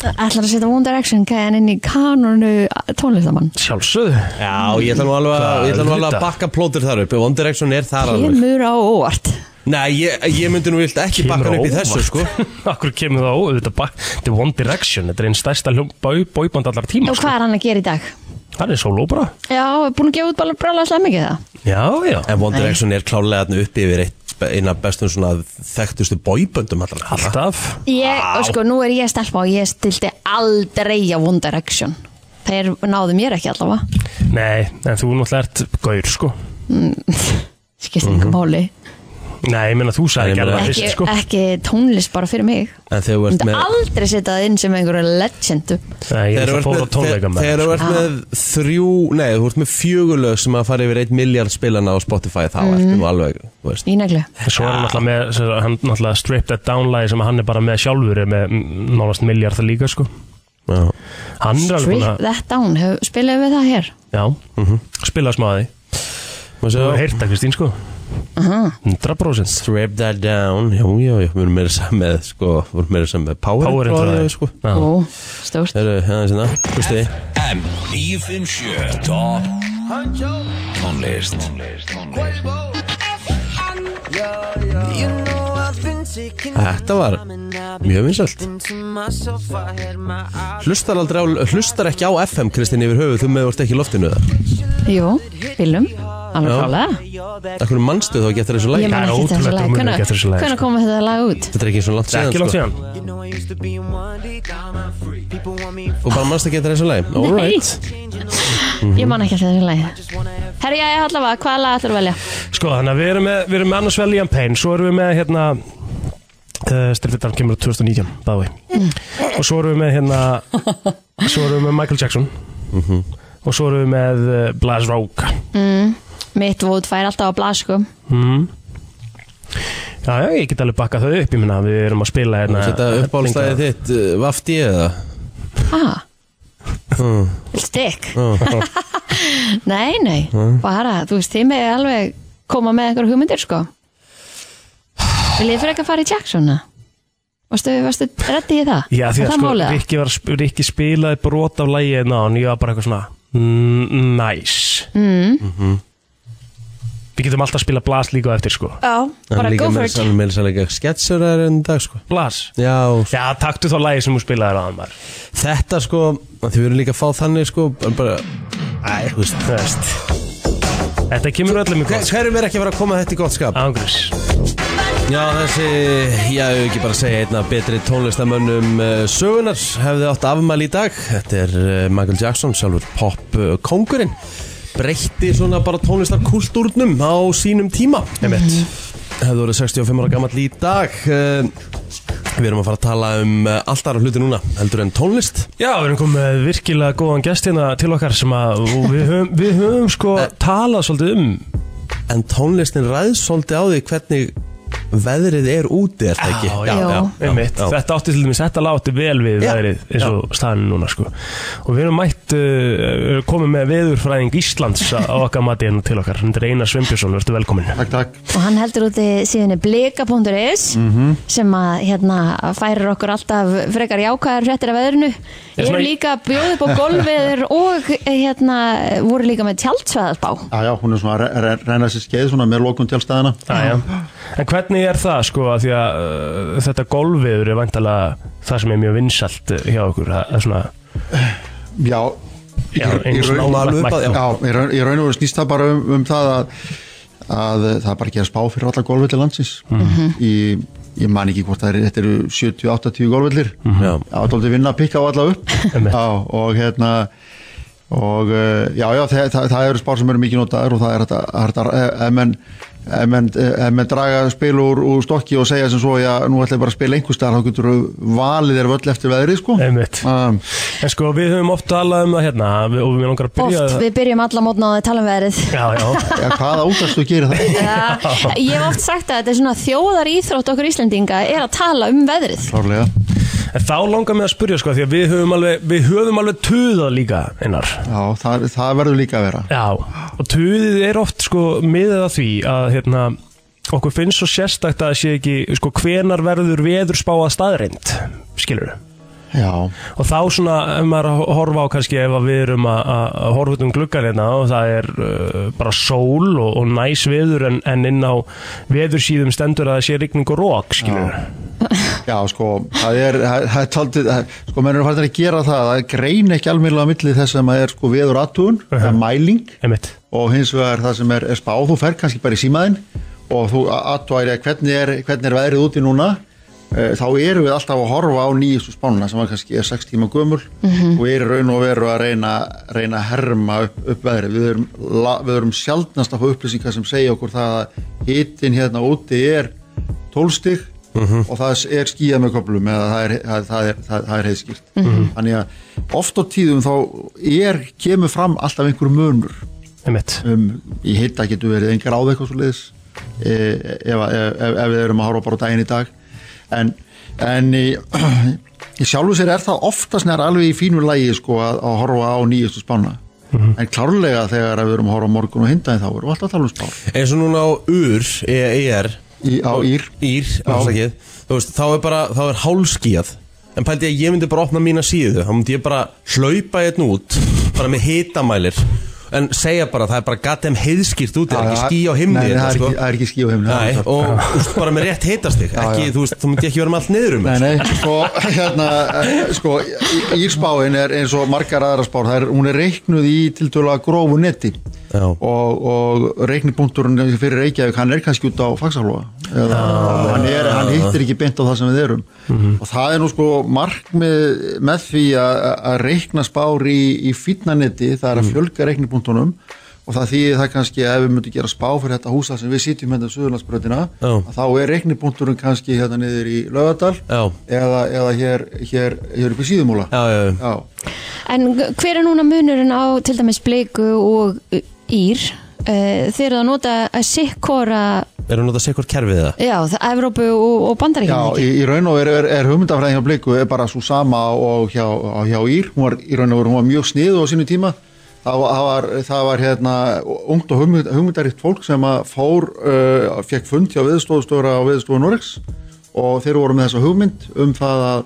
Speaker 3: Ætlar að setja One Direction gæðan inn í kanonu tónlistamann
Speaker 4: Sjálfsögðu
Speaker 2: Já, ég ætla nú alveg, að- ég ætla nú alveg að
Speaker 4: Auðvitað.
Speaker 2: bakka plótur þar upp One Direction er þar alveg
Speaker 3: Kemur á óvart
Speaker 2: Nei, ég, ég myndi nú vilt ekki
Speaker 4: Kemur
Speaker 2: bakka hann upp í
Speaker 4: á
Speaker 2: þessu
Speaker 4: óvart. *laughs*
Speaker 2: sko
Speaker 4: Akkur kemur það á, þetta er bara Þetta er One Direction, þetta er einn stærsta bóiband allar tíma
Speaker 3: Og hvað er hann að gera í dag?
Speaker 4: Það er sóló bara
Speaker 3: Já, er búin að gefa út bara brála slæm ekki það
Speaker 4: Já, já
Speaker 2: En One Direction er klálega þarna uppi yfir eitt eina bestum svona þekktustu bóiböndum allar
Speaker 4: Alltaf
Speaker 3: Ég, og sko, nú er ég stelpa og ég stilti aldrei á One Direction Þeir náðu mér ekki allavega
Speaker 4: Nei, en þú náttúrulega ert gaur sko
Speaker 3: Skipt mm -hmm. máli
Speaker 4: Nei, ég meina þú
Speaker 2: Nei, ég
Speaker 4: sagði ekki að
Speaker 2: meina-
Speaker 4: það
Speaker 3: ekki,
Speaker 4: Mhm. fyrst sko
Speaker 3: ekki tónlist bara fyrir mig
Speaker 2: En þegar þú ert
Speaker 3: Myndi
Speaker 2: með
Speaker 3: aldrei setja það inn sem einhverju legendu
Speaker 4: Nei, ég er
Speaker 2: Þegar
Speaker 4: það
Speaker 2: þú
Speaker 4: fór á
Speaker 2: ert með-
Speaker 4: tónleika með
Speaker 2: þegar þú ert með þrjú, nei, þú ert með fjögulög sem að fara yfir eitt miljard spilana á Spotify þá ertu nú alveg, þú veist
Speaker 3: Í neglu
Speaker 4: En Svo er hann náttúrulega með sem sagt, hann náttúrulega strip that down lagi sem hann er bara með sjálfur er með mm, nánast miljard líka sko
Speaker 2: Já.
Speaker 4: Hann er alveg
Speaker 3: Strip
Speaker 4: búin að
Speaker 3: that down, hef, spilaðu við það hér
Speaker 4: Já,
Speaker 2: Mhm.
Speaker 4: spila smá að því
Speaker 2: Má
Speaker 4: Þú hefur
Speaker 2: sjá.
Speaker 4: heyrt það Kristín sko 100%
Speaker 2: Strip that down, já, já, já, við erum meira saman með, sko, við erum meira saman með Power,
Speaker 4: Power introðið
Speaker 2: sko
Speaker 4: Já.
Speaker 3: Ó, stórt
Speaker 2: Þeir eru hérna sinna, hlusti
Speaker 1: M 957 Top Tónlist
Speaker 5: Þetta var mjög vinsalt
Speaker 2: Hlustar aldrei á, hlustar ekki á FM, Kristinn, yfir höfuð, þú meðvort ekki í loftinu það
Speaker 3: Jú, bílum, alveg
Speaker 2: Já.
Speaker 3: klálega
Speaker 2: Akkur mannstu þá getur þessu
Speaker 3: Ég
Speaker 2: læk
Speaker 3: man
Speaker 4: Það er
Speaker 3: ekki þessu
Speaker 4: ótrúlegt að
Speaker 3: lag
Speaker 4: þú munir ekki eftir þessu lagi,
Speaker 3: Hvernig
Speaker 4: sko.
Speaker 3: kom þetta lag út?
Speaker 2: Þetta er ekki svo langt
Speaker 4: Það er
Speaker 2: síðan, sko.
Speaker 4: ekki langt síðan
Speaker 2: Þú bara mannstu ekki eftir þessu læk
Speaker 4: Mhm.
Speaker 3: Nei, ég man ekki eftir þessu lagi Herri, ég er allavega, hvaða lag ætlar að velja?
Speaker 4: Sko þannig að við erum með, við erum með annars vel Liam Payne Svo erum við með hérna uh, Stilfitarn kemur á 2019 báði Og svo erum við með hérna Svo erum við með Michael Jackson Og svo erum við með uh, Blas Róka
Speaker 3: Mitt vót fær alltaf á blað, sko
Speaker 4: Já, já, ég get alveg bakkað þau upp Ég minna, við erum að spila hérna
Speaker 2: Þetta uppbálstæði þitt, uh, vafti ég það
Speaker 3: Ah
Speaker 4: Hmm.
Speaker 3: Viltu stikk? *laughs* Nei, nei, bara, þú veist, þið með alveg koma með einhverja hugmyndir, sko Viljið fyrir ekki að fara í Jacksona? Varstu, varstu, reddi ég það?
Speaker 4: Já,
Speaker 3: Er
Speaker 4: því að
Speaker 3: það
Speaker 4: sko,
Speaker 3: málið?
Speaker 4: Rikki, var, að sp- Rikki spilaði brot af lægi hérna og ég var bara eitthvað svona mm, Nice mm. Við getum alltaf að spila Blas líka á eftir sko
Speaker 3: Já,
Speaker 2: Hann
Speaker 3: bara
Speaker 2: er líka
Speaker 3: go for
Speaker 2: með
Speaker 3: it
Speaker 2: sann meilsa líka sketsur er enn dag sko
Speaker 4: Blas
Speaker 2: Já,
Speaker 4: Já, taktu þá lægi sem þú spilaði ráðan maður
Speaker 2: þetta sko, þið verður líka að fá þannig sko en bara, æ, þú veist
Speaker 4: Þú veist Þetta kemur öllum í
Speaker 2: Hver-
Speaker 4: gott sko.
Speaker 2: Hverjum er ekki að vera að koma þetta í gott skap?
Speaker 4: Ángriðs
Speaker 2: Já, þessi, já, ég hef ekki bara að segja einna betri tónlistamönnum uh, sögunar hefði átt afmæli í dag Þetta er uh, Michael Jackson, sjálfur pop-kongurinn Breytti svona bara tónlistarkúltúrnum á sínum tíma Einmitt
Speaker 4: Mhm.
Speaker 2: Hefði voruð 65 ára gamall í dag uh, Við erum að fara að tala um uh, allt aðra hluti núna heldur en tónlist
Speaker 4: Já, við erum komið með virkilega góðan gest hérna til okkar sem að og við höfum, við höfum sko talað svolítið um
Speaker 2: En tónlistin ræðs svolítið á því hvernig veðrið er úti, er það ekki?
Speaker 4: Já,
Speaker 3: já.
Speaker 4: einmitt, þetta átti til dæmis, þetta láti vel við
Speaker 2: Já,
Speaker 4: veðrið eins og staðinu núna sko. og við erum mætt uh, komið með veðurfræðing Íslands á
Speaker 3: *laughs*
Speaker 4: okkar mati hérna til okkar, þetta er Einar Sveinbjörnsson verður velkomin
Speaker 6: Takk, takk.
Speaker 3: Og hann heldur úti síðan blika.is
Speaker 4: Mhm.
Speaker 3: sem að hérna færir okkur alltaf frekar jákvæðar hrettir af veðrinu. Ég
Speaker 4: svona-
Speaker 3: er líka bjóð upp á
Speaker 4: *laughs*
Speaker 3: golfveður og hérna voru líka með tjaldsveðarbá.
Speaker 6: Já, já, hún er svona að re- re- reyna sér skeið svona með lokun tjálstæðina.
Speaker 4: Æja. en hvernig er það sko að því að uh, þetta golfveður er vantalega það sem er mjög vinsalt hjá okkur það það er svona,
Speaker 6: Já, í-
Speaker 4: Já,
Speaker 6: í- í
Speaker 4: eins og
Speaker 6: raun-
Speaker 2: náðu alveg upp að-
Speaker 6: já, í raun- í raun og veru snýst það bara um, um það að, að eh, það er bara að gera spá fyrir alla golfvelli landsins.
Speaker 4: Mhm.
Speaker 6: Í, ég man ekki hvort það er, þetta eru 70-80 golfvellir.
Speaker 4: Mhm.
Speaker 2: Já.
Speaker 6: Já, það er aldrei vinna að pikka á alla upp.
Speaker 4: Einmitt.
Speaker 6: já, og hérna, og uh, já, já, það, það, það eru spár sem eru mikið notaðar og það er þetta, það er þetta, eh, ef menn, ef menn, eh, ef menn draga spil úr, úr stokki og segja sem svo, já, nú ætla ég bara að spila einhvers staðar, þá getur þú valið þér völl eftir veðrið, sko.
Speaker 4: einmitt
Speaker 6: Um,
Speaker 4: en sko við höfum oft talað um það hérna við- og við langar að byrja
Speaker 3: Oft, við byrjum alla mótna á því tala um veðrið.
Speaker 4: já, já,
Speaker 6: Já, hvaða útastu gerir það?
Speaker 3: Já, Ég hef oft sagt að þetta er svona þjóðar íþrótt okkur Íslendinga er að tala um veðrið.
Speaker 6: Klárlega.
Speaker 4: en þá langar mig að spyrja sko því að við höfum alveg, við höfum alveg tuðað líka Einar
Speaker 6: Já, það, það verður líka að vera.
Speaker 4: Já, og tuðið er oft sko miðað að því að hérna, okkur finnst svo sérstakt að það sé ekki sko, hvenar verður veðurspáða staðreind skilur
Speaker 6: Já,
Speaker 4: og þá svona, ef maður er að horfa á kannski ef að við erum að, að að horfa út um gluggan hérna og það er uh, bara sól og, og næs veður en, en inn á veðursíðum stendur að það sé rigning og rók, skilur
Speaker 6: já, sko, það er, það það er taldið, það- sko, menn eru farin að gera það, það grein ekki almennilega á milli þess sem að er, sko, veður aðtun, það er mæling
Speaker 4: einmitt,
Speaker 6: og hins vegar það sem er, er spá, þú fer kannski bara í símaðinn og þú aðtværi að hvernig er, hvernig er veðrið úti núna eh, þá erum við alltaf að horfa á nýjustu spánuna sem er kannski er 6 tíma gömul og er í raun og veru að reyna, reyna að herma upp, upp veðrið við erum, la- við erum sjaldnast að fá upplýsingar sem segja okkur það að hitin hérna úti er 12 stig og það er skýjað með koplum eða það er, það, það er, það, það er heiðskýrt þannig að oft á tíðum þá er, kemur fram alltaf einhver munur
Speaker 4: einmitt
Speaker 6: um, í hitta getur verið engar áð eitthvað svo leiðis ef, að- ef, ef, ef við erum að horfa bara á daginn í dag en, en í, *clears throat* í sjálfu sér er það oftast nær alveg í fínu lægi sko, að, að horfa á nýjustu spána
Speaker 2: Mhm.
Speaker 6: en klárlega þegar að við erum að horfa á morgun og hindaði þá erum við alltaf að tala um spán
Speaker 2: eins og núna á UR, E ER
Speaker 6: í, á ír
Speaker 2: Ír, afsakið Þú veist, þá er bara, þá er hálskíð En pældi ég að ég myndi bara opna mína síðu Þá myndi ég bara hlaupa hérna út Bara með hitamælir En segja bara, það er bara gatem heiðskýrt út Það er ekki skí á himni
Speaker 6: Nei,
Speaker 2: hérna,
Speaker 6: það er
Speaker 2: sko.
Speaker 6: ekki- það er ekki skí á himni
Speaker 2: Nei,
Speaker 6: það er
Speaker 2: og úst, bara með rétt hitastig ekki, þú veist, þú myndi ekki vera með allt niður um
Speaker 6: Nei,
Speaker 2: mér.
Speaker 6: nei, sko, hérna, eh, sko, í- Írspáin er eins og margar aðra spár, það er, hún er reiknuð í tiltölu að grófu neti
Speaker 2: Já.
Speaker 6: og, og reiknipunkturinn fyrir Reykjavík, hann er kannski út á Faxaflóa, eða hann, er, hann hittir ekki beint á það sem við erum
Speaker 2: Mhm.
Speaker 6: og það er nú sko markmið með því að að reikna spár í, í fýtnaneti, það
Speaker 2: Mhm.
Speaker 6: er að fjölga reiknipunktunum og það þýðir það kannski að ef við myndum gera spá fyrir þetta húsa sem við sitjum hérna um Suðurlandsbröðina,
Speaker 2: Já.
Speaker 6: að þá er reiknipunkturinn kannski hérna niður í Laugardal
Speaker 2: Já.
Speaker 6: eða, eða hér, hér, hér upp í síðumúla
Speaker 2: Já, já, já.
Speaker 6: já.
Speaker 3: En hver er núna munurinn á til dæmis bleiku og uh, ír? Uh, þeir eru að nota að sikkora
Speaker 2: Er hún að nota sikur kerfið það?
Speaker 3: já, það Evrópu og, og
Speaker 6: já
Speaker 3: bandaríkjum
Speaker 6: í, í raun og veru er, er hugmyndafræðin hjá Bliku er bara svo sama og hjá, og hjá Ír hún var, í raun og veru, hún var mjög snið á sínu tíma það var, það var, það var hérna, ungt og hugmynd, hugmyndaritt fólk sem að fór, uh, fekk fund hjá viðstofustóra á viðstofu Noregs og þeir voru með þessa hugmynd um það að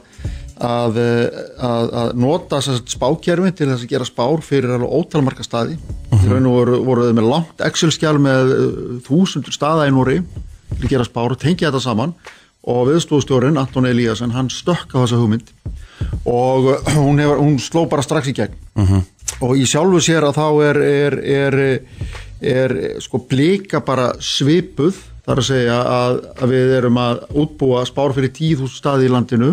Speaker 6: að, eh, að, að nota sem sagt spákerfi til þess að gera spár fyrir alveg ótalmarka staði í raun og voru, voru þau með langt Excel-skjál með eh, þúsundur staða í Nóri til að gera spár og tengja þetta saman og viðstofustjórin Anton Eliasson hann stökk á þessa hugmynd og eh, hún, hefur, hún sló bara strax í gegn og í sjálfu sér að þá er, er, er, er, sko blika bara svipuð þar að segja að, að við erum að útbúa spár fyrir 10.000 staði í landinu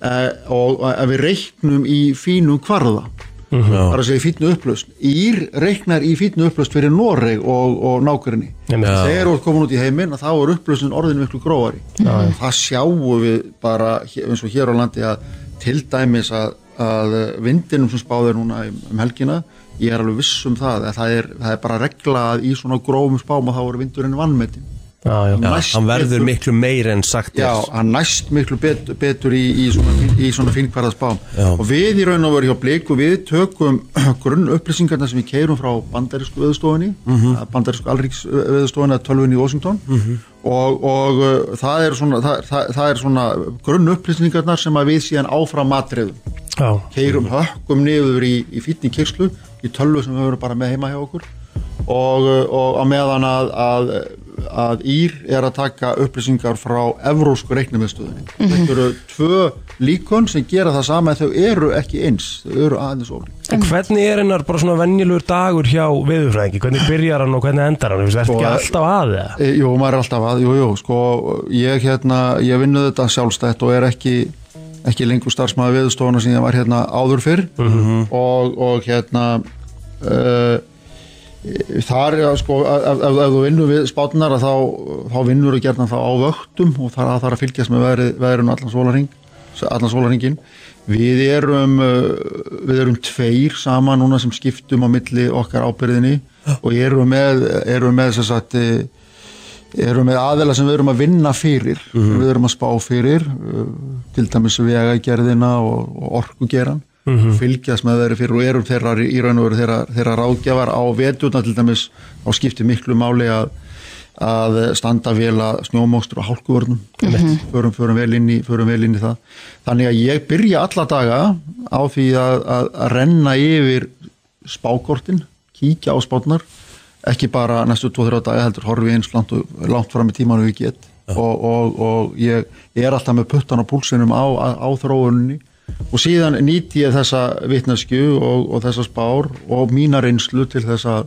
Speaker 6: eh, og að við reiknum í fínum kvarða þar að segja í fínnu upplöst Ír reiknar í fínnu upplöst fyrir Noreg og, og nákværinni
Speaker 4: Einmitt. Já.
Speaker 6: þegar þú ert komin út í heiminn að þá er upplöstin orðinu miklu gróari það sjáum við bara hér- eins og hér á landi að til dæmis að, að vindinum sem spáðir núna um um helgina ég er alveg viss um það að það er, það er bara regla að í svona grófum spám að þá er vindurinn vannmetin
Speaker 4: já, já.
Speaker 2: Já,
Speaker 6: Næst
Speaker 2: hann verður
Speaker 6: betur-
Speaker 2: miklu meir en sagt er.
Speaker 6: Já, hann næst miklu bet, betur í, í svona, í svona fínkvarðaspám
Speaker 2: Já.
Speaker 6: og við í raun og veru hjá Bliku við tökum *clears throat* grunn upplýsingarna sem við keirum frá bandarísku veðustofinni bandarísku alríks veðustofinni að tölvunni í Washington og, og uh, það er svona, það, það, það er svona grunn upplýsingarnar sem að við síðan áfram matriðum
Speaker 4: Já.
Speaker 6: keirum hökkum niður í, í fýtni kyrslu í tölvu sem við verum bara með heima hjá okkur og, uh, og að meðan að, að, að Ír er að taka upplýsingar frá evrósku reiknumistöðinni þetta eru tvö líkon sem gera það sama en þau eru ekki eins þau eru aðeins ólík
Speaker 4: En hvernig er hennar bara svona venjulegur dagur hjá viðurfræðingi? Hvernig byrjar hann og hvernig endar hann? Þú veist, ertu ekki
Speaker 6: Sko,
Speaker 4: alltaf að það?
Speaker 6: e, Jú, maður er alltaf að, jú, jú, sko ég hérna, ég vinnu þetta sjálfstætt og er ekki ekki lengur starfsmaður viðstofuna sem ég var hérna áður fyrr og, og hérna uh, þar ja, sko, ef, ef, ef þú vinnur við spátnar þá, þá vinnur þú gerðan þá á vöktum og þar það þarf að fylgjast með veðri, veðrun allan sólaring allan sólaringin við erum uh, við erum tveir saman núna sem skiptum á milli okkar ábyrðinni og erum með, erum með sem sagt eh, erum með aðeila sem við erum að vinna fyrir við erum að spá fyrir uh, til dæmis vegagerðina og, og orkugeran fylgjast með þeirri fyrir og erum þeirra í raun og veru þeirra, þeirra ráðgjafar á veturna til dæmis á skipti miklu máli að að eh, standa vel að snjómokstur og hálkuvörnum Mhm. förum, förum, vel inn í, förum vel inn í það þannig að ég byrja alla daga á því að, að, að renna yfir spákortin kíkja á spátnar ekki bara næstu 2-3 daga heldur horfi eins langt, og- langt fram í tímanum við get og, og, og ég er alltaf með puttan á púlsinum á, á, á þróuninni og síðan nýti ég þessa vitneskju og, og þessa spár og mína reynslu til þess að,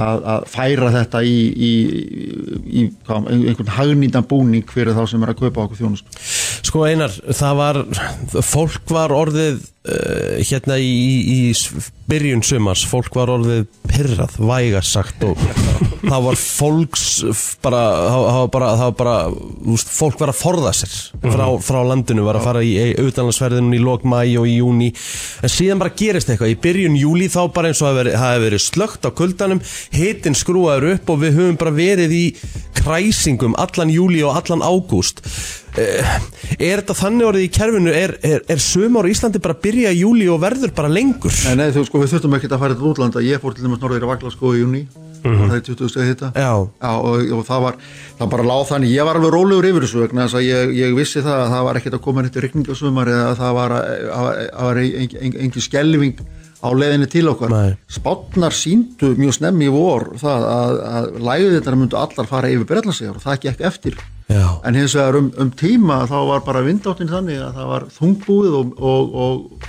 Speaker 6: að, að færa þetta í, í, í, í hvað, einhvern hagnýtan búning fyrir þá sem er að kaupa okkur þjónust
Speaker 2: Sko Einar, það var fólk var orðið uh, hérna í, í s- byrjun sumars, fólk var orðið pyrrað, vægasagt og það var fólks f- bara, það það var bara, það var bara úst, fólk var að forða sér frá, frá landinu, var að fara í, í utanlandsferðinum í lok mæ og í júni en síðan bara gerist eitthvað, í byrjun júli þá bara eins og hafi verið, hafi verið slögt á kuldanum hitin skrúaður upp og við höfum bara verið í kræsingum allan júli og allan ágúst Eh, er þetta þannig orðið í kerfinu er, er, er sumar í Íslandi bara að byrja í júli og verður bara lengur
Speaker 6: Nei, nei, þú, sko, við þurftum ekkert að fara til útlanda Ég fór til dæmis norður í Vaglaskó í júni Það er 20 steg hitta
Speaker 2: Mhm. Já.
Speaker 6: og, og það var, það bara láð þannig Ég var alveg rólegur yfir þessu vegna þess að ég, ég vissi það að það var ekkert að koma nýtt rigning á sumar eða að það var, að, að, að var ein, ein, ein, engin skelving á leiðinni til okkar
Speaker 2: Nei.
Speaker 6: Spátnar síndu mjög snemmi í vor það að, að læðirnar myndu allar fara yfir Bretlandsegjar og það gekk eftir
Speaker 2: Já.
Speaker 6: en hins vegar um, um tíma þá var bara vindáttin þannig að það var þungbúið og, og, og,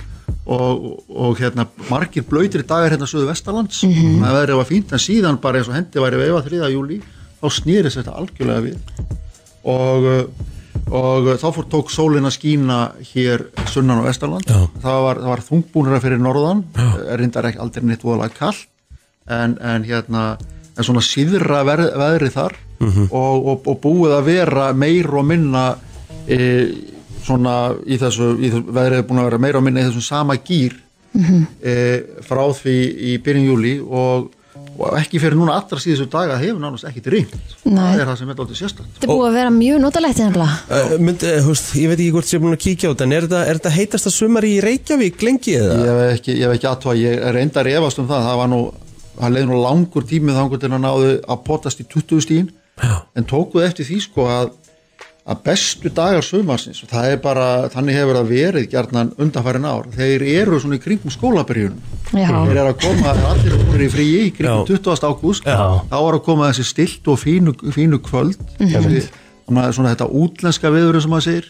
Speaker 6: og, og hérna margir blöytir dagar hérna söðu vestalands það verið var fínt en síðan bara eins og hendi væri veifa 3. júli þá snýrist þetta algjörlega við og, uh, og þá fór tók sólin að skína hér sunnan og vestaland
Speaker 2: Já.
Speaker 6: það var, það var þungbúnara fyrir norðan Já. reyndar ekki aldrei neitt voðalega kallt en, en hérna en svona síðra ver, veðri þar og, og, og búið að vera meir og minna e, svona í þessu, í þessu veðrið er búin að vera meir og minna í þessum sama gýr e, frá því í byrjun júli og, og ekki fyrir núna allra síðustu daga hefur nánast ekkit ringt
Speaker 3: Nei.
Speaker 6: það er það sem er aldrei sérstætt
Speaker 3: Þetta er búið að vera mjög notalegt hérna. nefnilega.
Speaker 2: Uh, mynd, uh, húst, ég veit ekki hvort sem ég er búin að kíkja á þetta en er þetta, er þetta heitasta sumar í Reykjavík lengi eða?
Speaker 6: Ég hef ekki, ég hef ekki aðtóa, ég reynda að refast um það, það var nú, það leiði nú langur tími þangur til að náðu að potast í 20 stíðin, en tókuð eftir því sko að, að bestu dagar sömarsins, það er bara, þannig hefur það verið gjarnan undanfærin ár, þeir eru svona í kringum skólabyrjunum, þeir
Speaker 3: Já,
Speaker 6: eru að koma, það er allir að koma í fríi í kringum
Speaker 2: Já.
Speaker 6: 20. ágúst,
Speaker 4: Já.
Speaker 6: þá er að koma þessi stilt og fínu, fínu kvöld, þessi, svona, svona þetta útlenska viður sem maður segir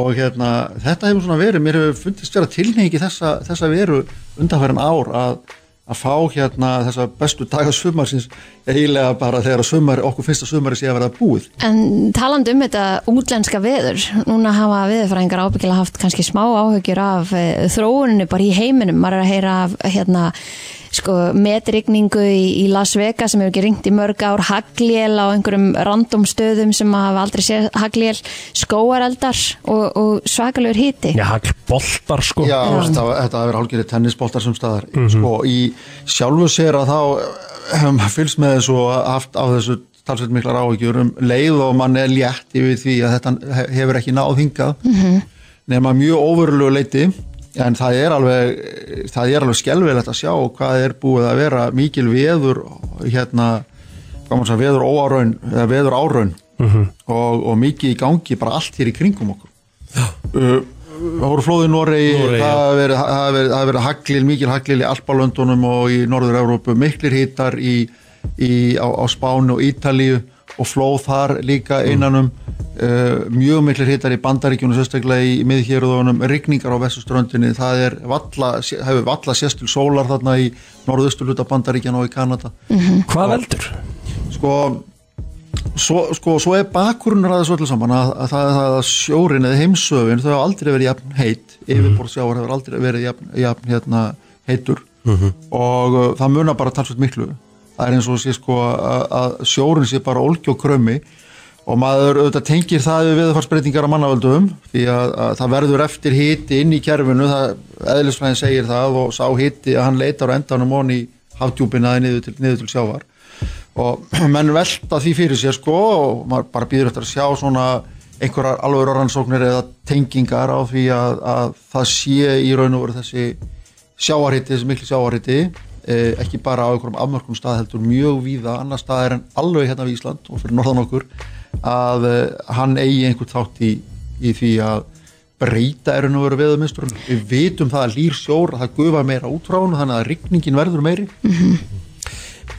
Speaker 6: og hérna, þetta hefur svona verið, mér hefur fundist vera tilneyingi þessa, þessa veru undanfærin ár að, að fá hérna þessa bestu daga sumarsins eiginlega bara þegar að sumar, okkur fyrsta sumari sé að vera búið.
Speaker 3: en taland um þetta útlenska veður, núna hafa veðurfræðingar ábyggilega haft kannski smá áhugjur af eh, þróuninu bara í heiminum, maður er að heyra af hérna, sko, metrigningu í, í Las Vegas sem hefur ekki ringt í mörg ár, haglél á einhverjum random stöðum sem maður hafa aldrei séð haglél, skóareldar og, og svakalur hiti.
Speaker 4: Já, hagboltar sko
Speaker 6: Já, þú veist, það, þetta hafa verið hálfgerið tennisboltar sem staðar. Sko, í sjálfu sér að þá um, fylgst með þessu og haft af þessu talsveit miklar áhyggjur um leið og mann er létt yfir því að þetta he- hefur ekki náð hingað nema mjög óverulegu leiti en það er alveg það er alveg skelvilegt að sjá hvað er búið að vera mikil veður hérna, hvað maður sagði, veður óáraun eða veður áraun og, og mikið í gangi bara allt hér í kringum okkur Uh, það voru flóði Noregi,
Speaker 2: Noregi,
Speaker 6: það
Speaker 2: já.
Speaker 6: hafa verið, það hafa verið, það hafa verið haglil, mikil haglil í Alpalöndunum og í Norður-Európu, miklir hýtar í, í, á, á Spánu og Ítalíu og flóð þar líka
Speaker 2: Mm.
Speaker 6: innanum, uh, mjög miklir hýtar í Bandaríkjunum, sérstaklega í miðhjörðunum, rigningar á vestuströndinni, það er valla, það hefur valla sérstil sólar þarna í norðusturluta Bandaríkjan og í Kanada
Speaker 4: Hvað veldur?
Speaker 6: sko svo, sko, svo er bakgrunnur að þessu öllu saman að, að það að sjórin eða heimsöfin þau hafa aldrei verið jafn heit yfirborðsjávar hefur aldrei verið jafn, jafn hérna, heitur og uh, það munar bara talsveit miklu það er eins og sé sko að, að sjórin sé bara olgi og krömmi og maður auðvitað tengir það við veðurfarsbreytingar á mannavöldum því að, að það verður eftir hiti inn í kerfinu það eðlisfræðin segir það og sá hiti að hann leitar á endanum honni í hafdjúpina eða niður til, niður til sjávar og *clears throat* menn velta því fyrir sér sko og maður bara býður eftir að sjá svona einhverjar alvegur rannsóknir eða tengingar á því að, að það sé í raun og veru þessi sjáarhiti, þessi miklu sjáarhiti eh, ekki bara á einhverjum afmörkum stað heldur mjög víða annar staðar en alveg hérna við Ísland og fyrir norðan okkur að eh, hann eigi einhvern þátt í, í því að breyta er nú verið veðuminstur við vitum það að lýr sjór að það gufa meira út frá hún þannig að rigningin verður meiri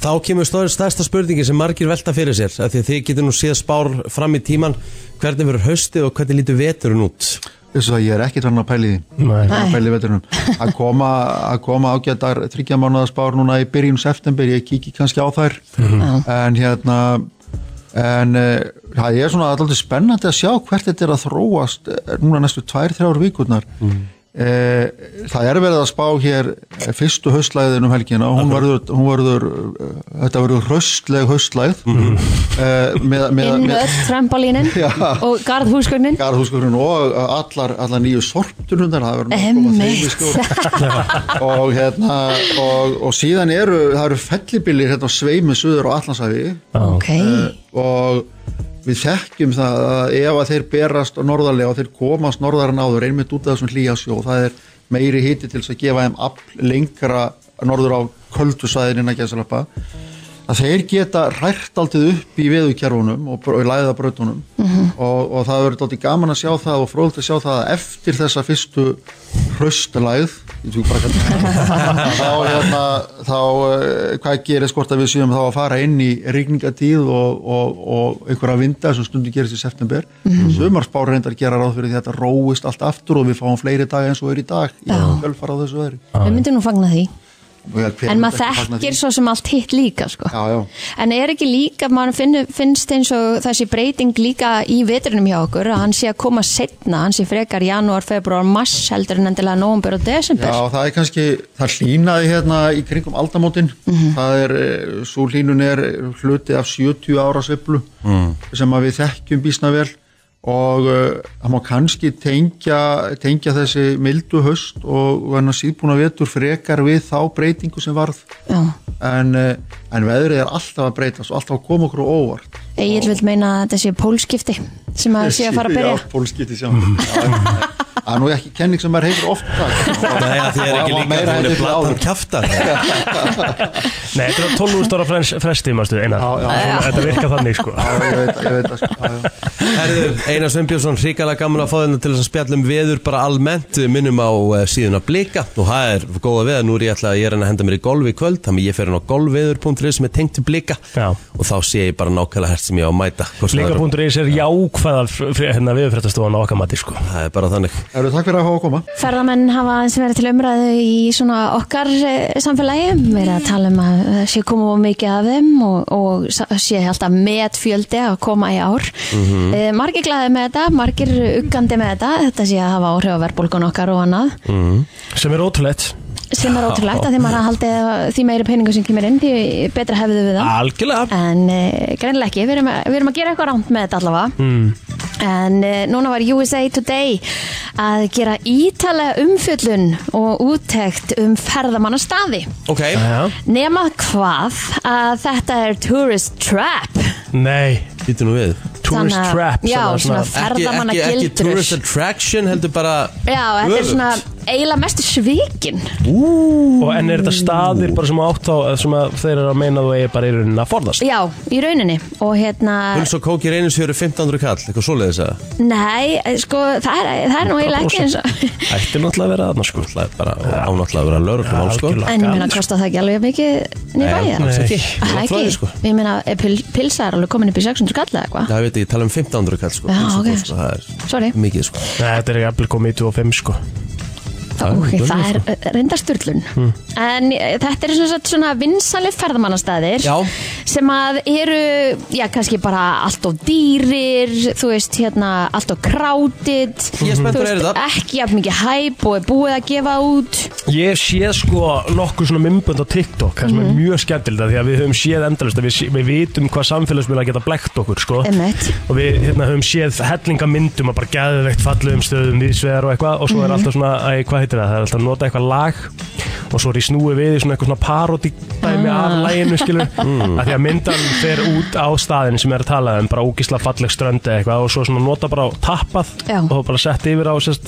Speaker 2: Þá kemur stóri stærsta spurningi sem margir velta fyrir sér af því að þið getur nú séð spár fram í tíman hvernig verður haustið og hvernig lítur veturinn út
Speaker 6: þess að ég er ekki þannig að pæli því
Speaker 4: Nei.
Speaker 6: Ekki að pæli veturinnum að koma, að koma ágættar þryggja mánuðaspár núna í byrjun september, ég kíki kannski á þær
Speaker 4: Mhm.
Speaker 6: en hérna en eh, það er svona alltaf spennandi að sjá hvert þetta er að þróast eh, núna næstu tvær, þrjár vikurnar
Speaker 4: Mhm.
Speaker 6: Eh, það er verið að spá hér eh, fyrstu haustlæðin um helgina hún verður, hún verður eh, þetta verður hraustleg haustlæð
Speaker 4: Mhm.
Speaker 6: mm með, með,
Speaker 3: inn
Speaker 6: með,
Speaker 3: öll trampolínin
Speaker 6: *laughs* Já.
Speaker 3: og garðhúskunnin
Speaker 6: Garðhúskurinn og uh, allar, allar nýju sorptunundar það verður nokkuð að þeim í
Speaker 3: Emmitt
Speaker 6: skjól og hérna og, og síðan eru, það eru fellibillir hérna á sveimu suður á Allansafi
Speaker 3: *laughs* Ok,
Speaker 6: og við þekkjum það að ef að þeir berast norðarlega og þeir komast norðar en áður einmitt út af þessum hlýjasjó það er meiri hiti til þess að gefa þeim afl lengra norður á köldusæðin að gæðsalappa að þeir geta rært alltaf upp í veðukjærfunum og, og læða brötunum
Speaker 3: Mhm.
Speaker 6: og, og það verður alltaf gaman að sjá það og fróðult að sjá það að eftir þessa fyrstu hraustlæð ég tók bara
Speaker 3: *laughs*
Speaker 6: að kalla það, þá, hérna, þá eh, hvað gerir skort að við séum þá að fara inn í rigningatíð og, og, og einhverja vinda sem stundu gerist í september mm
Speaker 3: Mhm.
Speaker 6: -hmm. sumarspár reyndar gera ráð fyrir því að þetta róist allt aftur og við fáum fleiri daga eins og er í dag í
Speaker 3: Já.
Speaker 6: kjölfar á þessu veðri
Speaker 3: við myndum nú fagna því
Speaker 6: Og ég- hver
Speaker 3: En
Speaker 6: myndi
Speaker 3: maður
Speaker 6: ekki fagna
Speaker 3: þekkir
Speaker 6: því?
Speaker 3: svo sem allt hitt líka sko.
Speaker 6: Já, já.
Speaker 3: En er ekki líka, maður finn, finnst eins og þessi breyting líka í vetrinum hjá okkur að hann sé að koma setna, hann sé frekar janúar, februar, mars heldur en endilega nóvumber og desember
Speaker 6: Já, það er kannski, það hlýnaði hérna í kringum aldamótin,
Speaker 3: Mhm.
Speaker 6: það er, eh, svo hlýnun er hluti af 70 ára sveiflu
Speaker 2: Mm.
Speaker 6: sem að við þekkjum býsna vel og eh, það má kannski tengja, tengja þessi mildu höst og hérna síðbúna vetur frekar við þá breytingu sem varð
Speaker 3: Já.
Speaker 6: en, eh, en veðrið er alltaf að breytast og alltaf að koma okkur á óvart.
Speaker 3: Egil vil meina að þetta sé pólskipti sem að sé að fara að byrja
Speaker 6: Já, pólskiti sjá. *laughs* Það er nú ekki kenning sem maður hefur oft það.
Speaker 2: Nei, að því er ekki líka að hún er blatan kjaftar
Speaker 4: Nei, þetta er á 12.000 ára frens, fresti, mástu, einar
Speaker 6: Já, já.
Speaker 4: Svona- Þetta virkar þannig, sko
Speaker 6: Já, ég veit, ég veit það sko. Já, já.
Speaker 2: Herðu, Einar Sveinbjörnsson, hrikalega gaman að fá þennan til þess að spjalla um veður bara almennt Við minnum á eh, síðuna blika og það er góða veða, nú er ég ætla að ég er enn að henda mér í golf í kvöld þannig ég fer hann á golfveður.is sem er tengt til blika
Speaker 4: Já.
Speaker 2: og þá sé ég bara nákvæmlega hvert sem ég á að mæta hvort sem það er-
Speaker 4: Líka.is er jákvæða fr- fr- hérna, viðurfréttastofan á okkar mati, sko
Speaker 2: Það er bara þannig
Speaker 6: Eru takk fyrir að hafa að koma.
Speaker 3: Ferðamenn hafa aðeins verið til umræðu í svona okkar eh, samfélagi, verið að tala um að það sé koma of mikið af þeim og, og sa- sé alltaf met fjöldi að koma í ár. Mm margir glæði með þetta, margir uggandi með þetta, þetta sé að hafa áhrif á verðbólgun okkar og annað,
Speaker 4: Sem er ótrúlegt
Speaker 3: sem er ótrúlegt að því maður haldi því meiri peningur sem kemur inn, því betra hefðu við það.
Speaker 2: Algjörlega
Speaker 3: En uh, greinlega ekki, við erum, að, við erum að gera eitthvað rámt með þetta allavega
Speaker 2: Hmm.
Speaker 3: En uh, núna var USA Today að gera ítalega umfjöllun og úttekt um ferðamannastaði
Speaker 2: Ok,
Speaker 4: Já.
Speaker 3: Nema hvað að þetta er tourist trap
Speaker 4: Nei,
Speaker 2: býtu nú við
Speaker 4: tourist
Speaker 3: Þannig að-
Speaker 4: trap
Speaker 3: já,
Speaker 4: svona-
Speaker 3: svona
Speaker 4: svona-
Speaker 2: Ekki, ekki, ekki
Speaker 3: Ferðamannagildrur.
Speaker 2: tourist attraction heldur bara
Speaker 3: Já, þetta er
Speaker 2: Öfugt.
Speaker 3: svona eiginlega mestu svikin
Speaker 4: Og en er þetta staðir bara sem átt á sem að þeir eru að meina að þú eigi bara í rauninni að forðast
Speaker 3: Já, í rauninni Og hérna,
Speaker 2: Huls og kókir einu sér 1500 kall, eitthvað svoleiðis að
Speaker 3: nei, eh, sko, það er, það er nú eiginlega ekki eins og
Speaker 4: Ætti náttúrulega að vera aðna, sko
Speaker 2: Það er bara ánáttúrulega að vera lögreglum sko
Speaker 4: algjörlega.
Speaker 3: En ég meina, kostar það ekki alveg mikið
Speaker 2: Nei,
Speaker 3: nýrbæðið?
Speaker 2: alls ekki.
Speaker 3: Það
Speaker 2: Þú
Speaker 3: ekki,
Speaker 2: væri, sko.
Speaker 3: ég meina, er pil, pilsa er alveg komin upp í 600 kall eða eitthvað
Speaker 2: Já, ég veit, ég tala um 1500 kall sko
Speaker 3: Já,
Speaker 2: Pulsa
Speaker 3: ok.
Speaker 2: Golf, sko, Það
Speaker 3: Sorry.
Speaker 2: er mikið sko
Speaker 4: Nei, þetta er jafnvel komið í 25 sko
Speaker 3: Það, okay, það
Speaker 2: sko.
Speaker 3: er eh, reyndar styrlun
Speaker 2: Mm.
Speaker 3: En eh, þetta eru svona, svona vinsali ferðamannastæðir
Speaker 2: Já.
Speaker 3: sem að eru, já, kannski bara allt of dýrir, þú veist, hérna, allt of crowded
Speaker 2: Ég er spenntur að
Speaker 3: þú
Speaker 2: heyra þetta.
Speaker 3: ekki jafn mikið hæp og er búið að gefa út
Speaker 4: Ég sé sko nokkuð svona mymbönd á TikTok það sem er mjög skemmtilegt að því að við höfum séð endalist að við, sé- við vitum hvað samfélagsmiðla geta blekt okkur sko
Speaker 3: Emmett
Speaker 4: og við hérna, höfum séð hellinga myndum að bara geðveikt fallegum stöðum viðsvegar og eitthvað og svo
Speaker 3: Mhm.
Speaker 4: er alltaf svona, æ, hvað heitir það, það er alltaf að nota eitthvað lag og svo er í snúi við í svona eitthvað svona parodídæmi af
Speaker 3: Ah.
Speaker 4: læginu
Speaker 3: *laughs*
Speaker 4: skilur mm. að því að myndan fer út á staðin sem er að tala um, bara ógisla falleg strönd eða eitthvað og svo svona nota bara á tappað
Speaker 3: Já. Mhm.
Speaker 4: og bara sett yfir á sérst,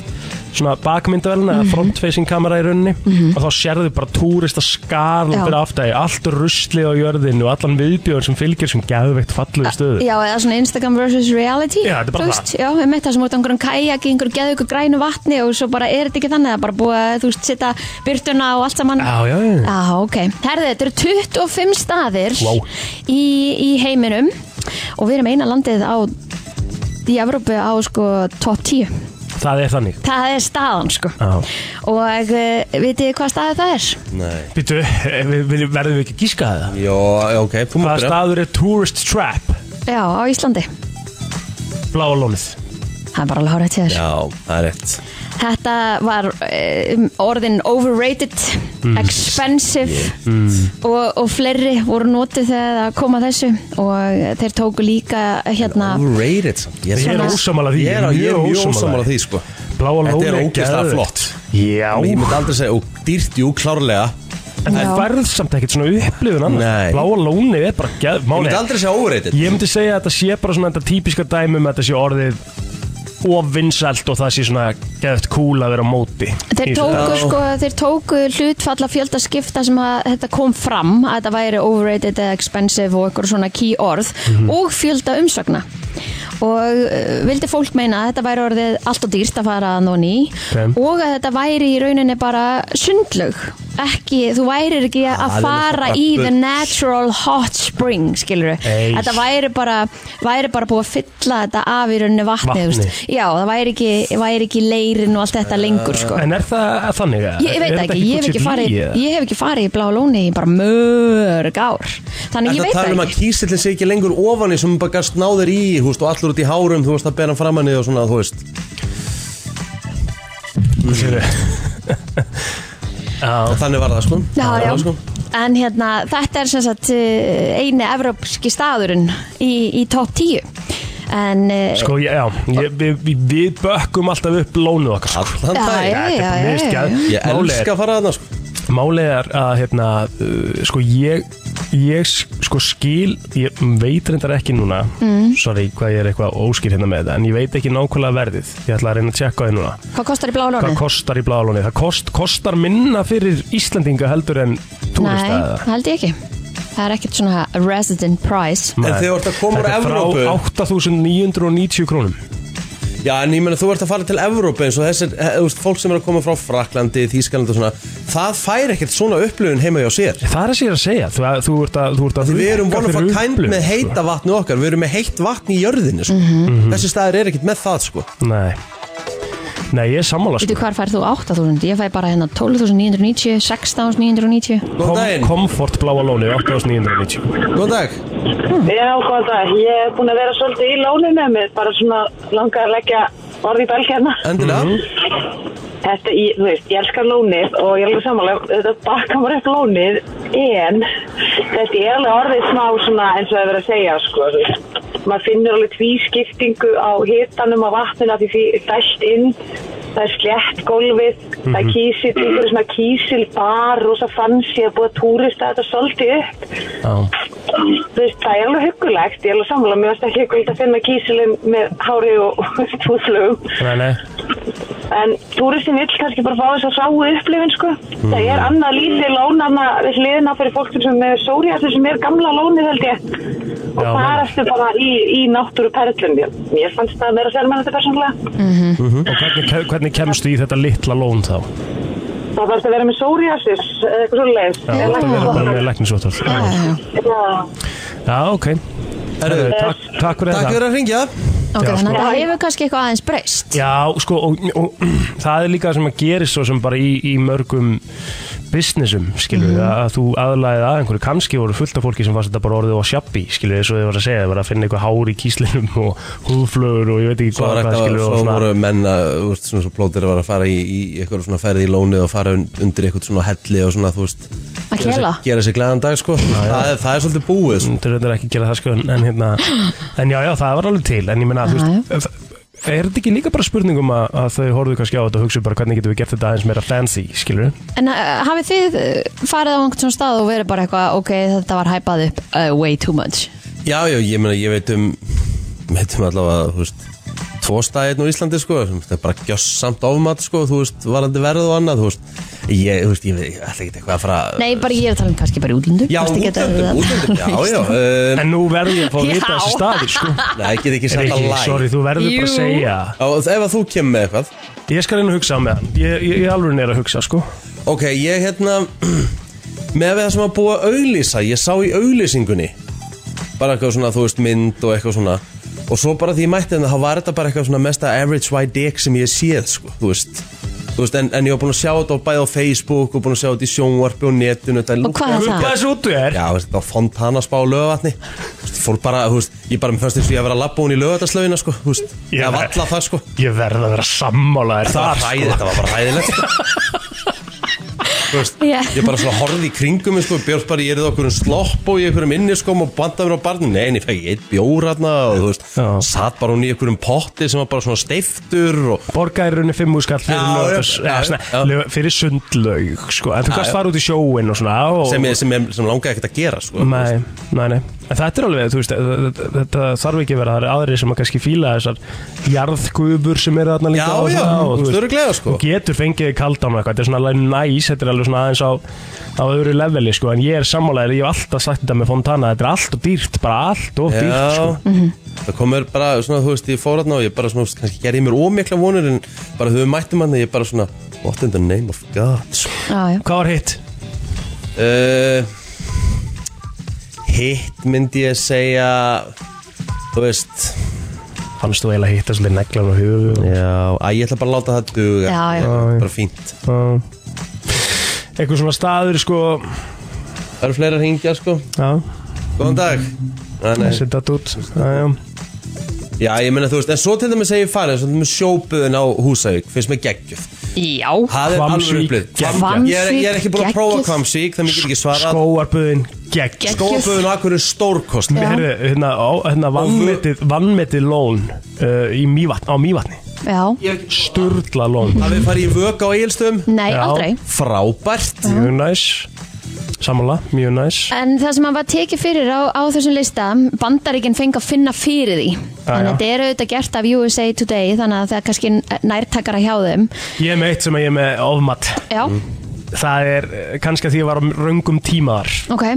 Speaker 4: svona bakmyndavelina eða front-facing kamera í rauninni og þá sérðu bara túrista skarl
Speaker 3: Já.
Speaker 4: fyrir aftægi, allt ruslið á jörðinu og allan viðbjörn sem fylgir sem geðveikt
Speaker 3: Ah,
Speaker 4: falluðu stöðu
Speaker 3: Já, eða svona Instagram vs. reality
Speaker 4: Já, þetta er bara
Speaker 3: þú
Speaker 4: það.
Speaker 3: veist, Já, einmitt það sem út á einhverjum kajak í einhverju geðu ykkur grænu vatni og svo bara er þetta ekki þannig það er bara búið að þú veist setja byrtuna og allt saman
Speaker 4: Já, já, já.
Speaker 3: Já, ok. Herði, þetta eru 25 staðir
Speaker 4: Vá.
Speaker 3: í, í heiminum og við erum eina landið á í Evrópu á sko top 10.
Speaker 4: Það er þannig
Speaker 3: Það er staðan sko.
Speaker 4: Já.
Speaker 3: Og uh, vitið þið hvað staðið það er?
Speaker 2: Nei
Speaker 4: Býtu, eh, við, við, verðum við ekki að gíska það?
Speaker 2: Jó, ok, þú
Speaker 4: Hvaða
Speaker 2: maður
Speaker 4: staður er Tourist Trap?
Speaker 3: Já, á Íslandi.
Speaker 4: Bláa lónið
Speaker 3: Það er bara alveg hárið til þér.
Speaker 2: Já, það er rétt
Speaker 3: Þetta var uh, orðin overrated, expensive og, og fleiri voru notið þegar það kom að þessu og eh, þeir tóku líka hérna
Speaker 2: Overrated samt. Ég
Speaker 4: Ég er
Speaker 2: svona-
Speaker 4: ósammála því,
Speaker 2: Ég er, ég er mjög ósammála því sko
Speaker 4: Bláa lónið
Speaker 2: Þetta er ógeðslega
Speaker 4: geðveikt.
Speaker 2: flott.
Speaker 4: Já
Speaker 2: Ég myndi aldrei segja, og dýrt, jú, klárlega
Speaker 4: En það
Speaker 3: Já.
Speaker 4: færð samt ekkert svona upplifun annars
Speaker 2: Nei.
Speaker 4: Bláa lónið er bara geð,
Speaker 2: Ég myndi
Speaker 4: málið
Speaker 2: aldrei segja overrated
Speaker 4: Ég myndi segja að þetta sé bara svona þetta típiska dæmi með þetta sé orðið ofinsælt og það sé svona geðt cool að vera á móti
Speaker 3: Þeir
Speaker 4: Í þessu.
Speaker 3: tóku,
Speaker 2: Já.
Speaker 3: sko, þeir tóku hlutfalla fjölda skipta sem að þetta kom fram að þetta væri overrated eða expensive og eitthvað svona key orð
Speaker 2: Mhm.
Speaker 3: og fjölda umsagna og uh, vildi fólk meina að þetta væri orðið allt og dýrt að fara að nóni
Speaker 4: Ok.
Speaker 3: og að þetta væri í rauninni bara sundlög ekki, þú værir ekki
Speaker 2: Ah, það
Speaker 3: að
Speaker 2: er
Speaker 3: fara
Speaker 2: náttúrulega
Speaker 3: í
Speaker 2: bara
Speaker 3: the
Speaker 2: bull.
Speaker 3: natural hot spring skilur
Speaker 4: Ei.
Speaker 3: þetta væri bara, væri bara búið að fylla þetta af í rauninni vatnið,
Speaker 4: Vatni.
Speaker 3: vatni. já, það væri ekki, væri ekki leirin og allt þetta lengur sko.
Speaker 4: En er það þannig? eða?
Speaker 3: Ég veit
Speaker 4: Er
Speaker 3: það
Speaker 4: þetta
Speaker 3: ekki, ég hef ekki,
Speaker 4: budget
Speaker 3: farið,
Speaker 4: í, eða?
Speaker 3: ég hef ekki farið í Bláa Lóni í bara mörg ár Þannig ég
Speaker 2: Þetta
Speaker 3: veit
Speaker 2: tala um
Speaker 3: það
Speaker 2: að
Speaker 3: ekki
Speaker 2: kísillin sé ekki lengur ofan í sem bara gast náður í, þú veist, og allur út í hárum, þú veist, að bera hann framan í þig og svona, þú veist
Speaker 4: Skilurðu? Já,
Speaker 2: Þannig var það, sko
Speaker 3: Já,
Speaker 2: Þannig
Speaker 3: já.
Speaker 2: var það, sko.
Speaker 3: En hérna, þetta er sem sagt eh, eini evrópski staðurinn í, í top 10 En eh,
Speaker 4: sko, já, ég, við, við, við bökkum alltaf upp lónuð okkar sko.
Speaker 2: Allan
Speaker 3: Já,
Speaker 2: daginn.
Speaker 3: já, já,
Speaker 4: Mér finnst
Speaker 3: já,
Speaker 4: geð-
Speaker 3: já.
Speaker 2: Ég
Speaker 4: Málið er-
Speaker 2: elska að fara að það, sko
Speaker 4: Málið er að hérna, uh, sko ég ég sko skil ég veit reyndar ekki núna
Speaker 3: Mm.
Speaker 4: sorry hvað ég er eitthvað óskil hérna með þetta en ég veit ekki nákvæmlega verðið ég ætla að reyna að tjekka það núna
Speaker 3: Hvað kostar í Bláa Lóni?
Speaker 4: hvað kostar í bláalóni það kost, kostar minna fyrir Íslandinga heldur en
Speaker 3: Nei,
Speaker 4: túristæða
Speaker 3: það held ég ekki Það er ekkert svona resident price
Speaker 2: En þegar þú ert að koma úr Evrópu-
Speaker 4: frá 8.990 krónum
Speaker 2: Já, en ég meina, þú ert að fara til Evrópu eins og þessir, eh, þú veist, fólk sem er að koma frá Fraklandi, Þískalandi og svona Það fær ekkert svona upplöfun heima hjá sér
Speaker 4: það er að sér að segja þú, þú ert að, þú ert að
Speaker 2: Því við erum
Speaker 4: rukka
Speaker 2: one of a
Speaker 4: fyrir
Speaker 2: kind
Speaker 4: upplifun,
Speaker 2: með
Speaker 4: sko.
Speaker 2: heita vatni okkar, við erum með heitt vatni í jörðinni, sko
Speaker 3: Mhm.
Speaker 4: Mhm.
Speaker 2: Þessi staðir er ekkert með það, sko
Speaker 4: nei nei ég er sammála
Speaker 3: Veitu
Speaker 4: sko.
Speaker 3: hvar færð þú 8.000? Ég fæ bara hérna 12.990, 16.990
Speaker 2: Góðan
Speaker 4: Kom-
Speaker 2: daginn,
Speaker 4: Comfort bláalóni 8.990
Speaker 2: góðan dag
Speaker 7: Já, góðan dag. Ég hef búin að vera svolítið í lóninu mér, bara svona langar að leggja orði í belgjana.
Speaker 2: Endilega
Speaker 4: Mhm.
Speaker 7: Þetta, ég, þú veist, ég elskar lónið og ég er alveg samanlega, þetta bakka maður upp lónið, en þetta er alveg orðið smá svona eins og það er verið að segja, sko, þú veist. Maður finnur alveg tvískiptingu á hitanum á vatninu af því því dælt inn, það er slétt gólfið, það er kísil, það er svona kísilbar, rosa fancy að búa túrista þetta svolítið upp.
Speaker 4: Já.
Speaker 7: Þú veist, það er alveg huggulegt, ég er alveg sammála, mér varst ekki huggulegt að finna kísilin með hári og *laughs* túslögum,
Speaker 4: Nei, nei.
Speaker 7: en túristin vill kannski bara fá þess að sáu upplifin, sko. Það
Speaker 4: Mhm.
Speaker 7: er annað lítið lón, annað við hliðina fyrir fólk sem er sóriðastur sem er gamla lónið, held ég, og
Speaker 4: Já,
Speaker 7: það
Speaker 4: meina.
Speaker 7: er eftir bara í, í náttúru perlum, ég, ég fannst það að vera sérmennandi persónulega.
Speaker 4: Og hvernig, hvernig kemstu í þetta litla lón þá?
Speaker 7: Það þarf að vera með sóriðastur, eitthvað svo leiðis.
Speaker 4: Já, þetta verður bara með læknisvottal.
Speaker 3: Ah,
Speaker 4: Já, ok. Herru, takk, takk fyrir
Speaker 2: Takk
Speaker 4: þetta.
Speaker 2: fyrir að ringja
Speaker 3: Ok,
Speaker 4: Já,
Speaker 3: þannig
Speaker 4: sko.
Speaker 3: að það hefur kannski eitthvað aðeins breyst
Speaker 4: Já, sko, og, og það er líka það sem að gerist svo sem bara í, í mörgum businessum, skilur
Speaker 2: Mhm.
Speaker 4: við, að þú aðlæðið að einhverju, kannski voru fullt af fólki sem fannst þetta bara orðið á sjabbi, skilur við, eins og þið var að segja, þið var að finna eitthvað hár í kíslinum og húðflögur og ég veit ekki
Speaker 2: Svo var
Speaker 4: hvað,
Speaker 2: ekki
Speaker 4: hvað
Speaker 2: að,
Speaker 4: skilur við,
Speaker 2: svo
Speaker 4: og svona,
Speaker 2: voru menn að, þú veist, svona svo plótir var að fara í, í eitthvað svona ferði í lónið og fara un- undir eitthvað svona helli og svona, þú veist
Speaker 3: Að
Speaker 2: gera
Speaker 3: kela
Speaker 2: sér- Gera sér glæðan dag, sko það, er, það er svolítið búið, sko
Speaker 4: þú reyndar ekki að gera það, sko, en, en hérna, en já, já, það var alveg til, en ég meina, þú veist, er þetta ekki líka bara spurningum að, að þau horfðu kannski á þetta og hugsu bara hvernig getum við gert þetta aðeins meira fancy, skilur
Speaker 3: En uh, hafið þið uh, farið á einhvern svona stað og verið bara eitthvað ok, þetta var hæpað upp uh, way too much
Speaker 2: Já, já, ég meina, ég veit um veit um allavega, þú veist tvo staðið nú í Íslandi sko það er bara gjössamt ofmat sko þú veist, varandi verð og annað þú veist, ég, þú veist, ég, ég ætla ekki eitthvað að fara
Speaker 3: Nei, bara ég er að tala um kannski bara í útlundu
Speaker 2: Já, útlöndum, útlöndum, já, já um,
Speaker 4: En nú verður ég að fá að vita
Speaker 3: Já.
Speaker 4: þessi staði, sko
Speaker 2: Nei, *laughs* ég get ekki sagt að
Speaker 4: Riki,
Speaker 2: læg
Speaker 4: sorry, þú verður bara að
Speaker 3: Jú.
Speaker 4: segja
Speaker 2: Ef að þú kemur með eitthvað
Speaker 4: Ég skal einu hugsa með hann Ég, ég, ég alveg er að hugsa, sko
Speaker 2: Ok, ég hérna *clears throat* með að við það sem að búa að auglýsa ég sá í auglýsingunni bara eitthvað svona, þú veist, mynd og eitthvað svona og svo bara því ég mætti hérna, þá var þetta bara eitthvað svona mesta average white dick sem ég hef séð, sko, þú veist Þú veist, en, en ég var búin að sjá þetta á bæði á Facebook og búin að sjá þetta í sjónvarpi og netinu þetta
Speaker 3: Og hvað er
Speaker 2: lúkkaði-
Speaker 3: það?
Speaker 4: Hvað er svo út þú er?
Speaker 2: Já, þú veist, þetta var fontana spá lögavatni Fólk bara, þú veist, ég bara mér fannst eins og ég að vera að labba hún í lögavatarslaugina, sko, þú veist
Speaker 4: Ég-
Speaker 2: Ég að valla það, sko
Speaker 4: Ég verð að vera sammálaðir
Speaker 2: Það var
Speaker 4: þar,
Speaker 2: hræðið,
Speaker 4: sko
Speaker 2: þetta var bara hræðilegt *laughs* sko. Þú veist,
Speaker 3: Já.
Speaker 2: Ég bara svona horfði í kringum mig, sko, Björn bara, ég erði okkur um slopp og í einhverjum inniskóm og bandaði mér á barnum Nei, en ég fæk eitt bjór hérna og þú veist
Speaker 4: Já.
Speaker 2: Satt bara hún í einhverjum potti sem var bara svona steiftur og
Speaker 4: Borgaði runni fimm úrskall fyrir,
Speaker 2: Já,
Speaker 4: Laugardals-
Speaker 2: já,
Speaker 4: eða
Speaker 2: já, já.
Speaker 4: svona, laug- fyrir sundlaug sko. En þú
Speaker 2: Já,
Speaker 4: kannst
Speaker 2: já.
Speaker 4: fara út í sjóin og svona og,
Speaker 2: sem, ég, sem, ég, sem langaði ekkert að gera sko, þú
Speaker 4: Nei,
Speaker 2: veist.
Speaker 4: nei, nei En þetta er alveg, þú veist, þetta, þetta þarf ekki að vera Það eru aðrir sem að kannski fíla þessar Jarðgubur sem eru þarna líka
Speaker 2: Já,
Speaker 4: og
Speaker 2: já,
Speaker 4: svona, og, þú veist,
Speaker 2: örugglega, sko.
Speaker 4: Þú getur fengið kaldan og eitthvað Þetta er svona alveg næs, þetta er alveg svona aðeins á Á öðru leveli, sko En ég er sammálaður, ég hef alltaf sagt þetta með Fontana Þetta er allt og dýrt, bara allt og dýrt,
Speaker 2: Já,
Speaker 4: sko
Speaker 2: það komur bara, svona, þú veist, ég fór hérna og ég bara svona, þú veist, kannski gerði ég mér ómikla vonur en bara þau mættum hann ég bara svona, what in the name of God, sko
Speaker 3: Já, já
Speaker 4: Hvað var hitt?
Speaker 2: Uh, hitt myndi ég segja Þú veist
Speaker 4: Fannst þú eiginlega hitt að svolítið neglan á höfu
Speaker 2: Já, að ég ætla bara að láta það duga
Speaker 3: Já, já.
Speaker 2: Bara fínt
Speaker 4: Eitthvað svona staður, sko
Speaker 2: Það eru fleiri að hringja sko
Speaker 4: Já,
Speaker 2: Góðan dag Nei, nei.
Speaker 4: setja þetta út Já, já
Speaker 2: Já, ég meina þú veist En svo til dæmis segir farið Svo til dæmis sjóbuðin á Húsavík Finnst mér geggjöf
Speaker 3: Já,
Speaker 2: Það er alveg
Speaker 4: Hvammsvík,
Speaker 2: upplið
Speaker 4: geggjað.
Speaker 2: Ég er- ég er ekki búin að prófa
Speaker 3: Hvammsvík,
Speaker 2: Kvamsvík Það mér get ekki svara
Speaker 4: Skóarbuðin, gegn
Speaker 3: Gegn.
Speaker 2: Skóbuðin á Akkur er stórkost
Speaker 3: Já.
Speaker 4: Herðu, hérna, á- hérna vannmetið, vannmetið lón uh, í Mývatn, á Mývatni
Speaker 3: já
Speaker 4: Sturla lón
Speaker 2: Það við farið í vöku á Egilstöðum
Speaker 3: Nei,
Speaker 4: Já.
Speaker 3: aldrei
Speaker 2: Frábært
Speaker 4: Mjög næs Sammála, mjög næs
Speaker 3: En það sem hann var tekið fyrir á, á þessum lista Bandaríkinn fengi að finna fyrir því En
Speaker 4: já.
Speaker 3: þetta er auðvitað gert af USA Today Þannig að það er kannski nærtakara hjá þeim
Speaker 4: Ég er með eitt sem ég er með ofmat
Speaker 3: Já,
Speaker 4: Það er eh, kannski að því ég var á röngum tímaðar
Speaker 3: ok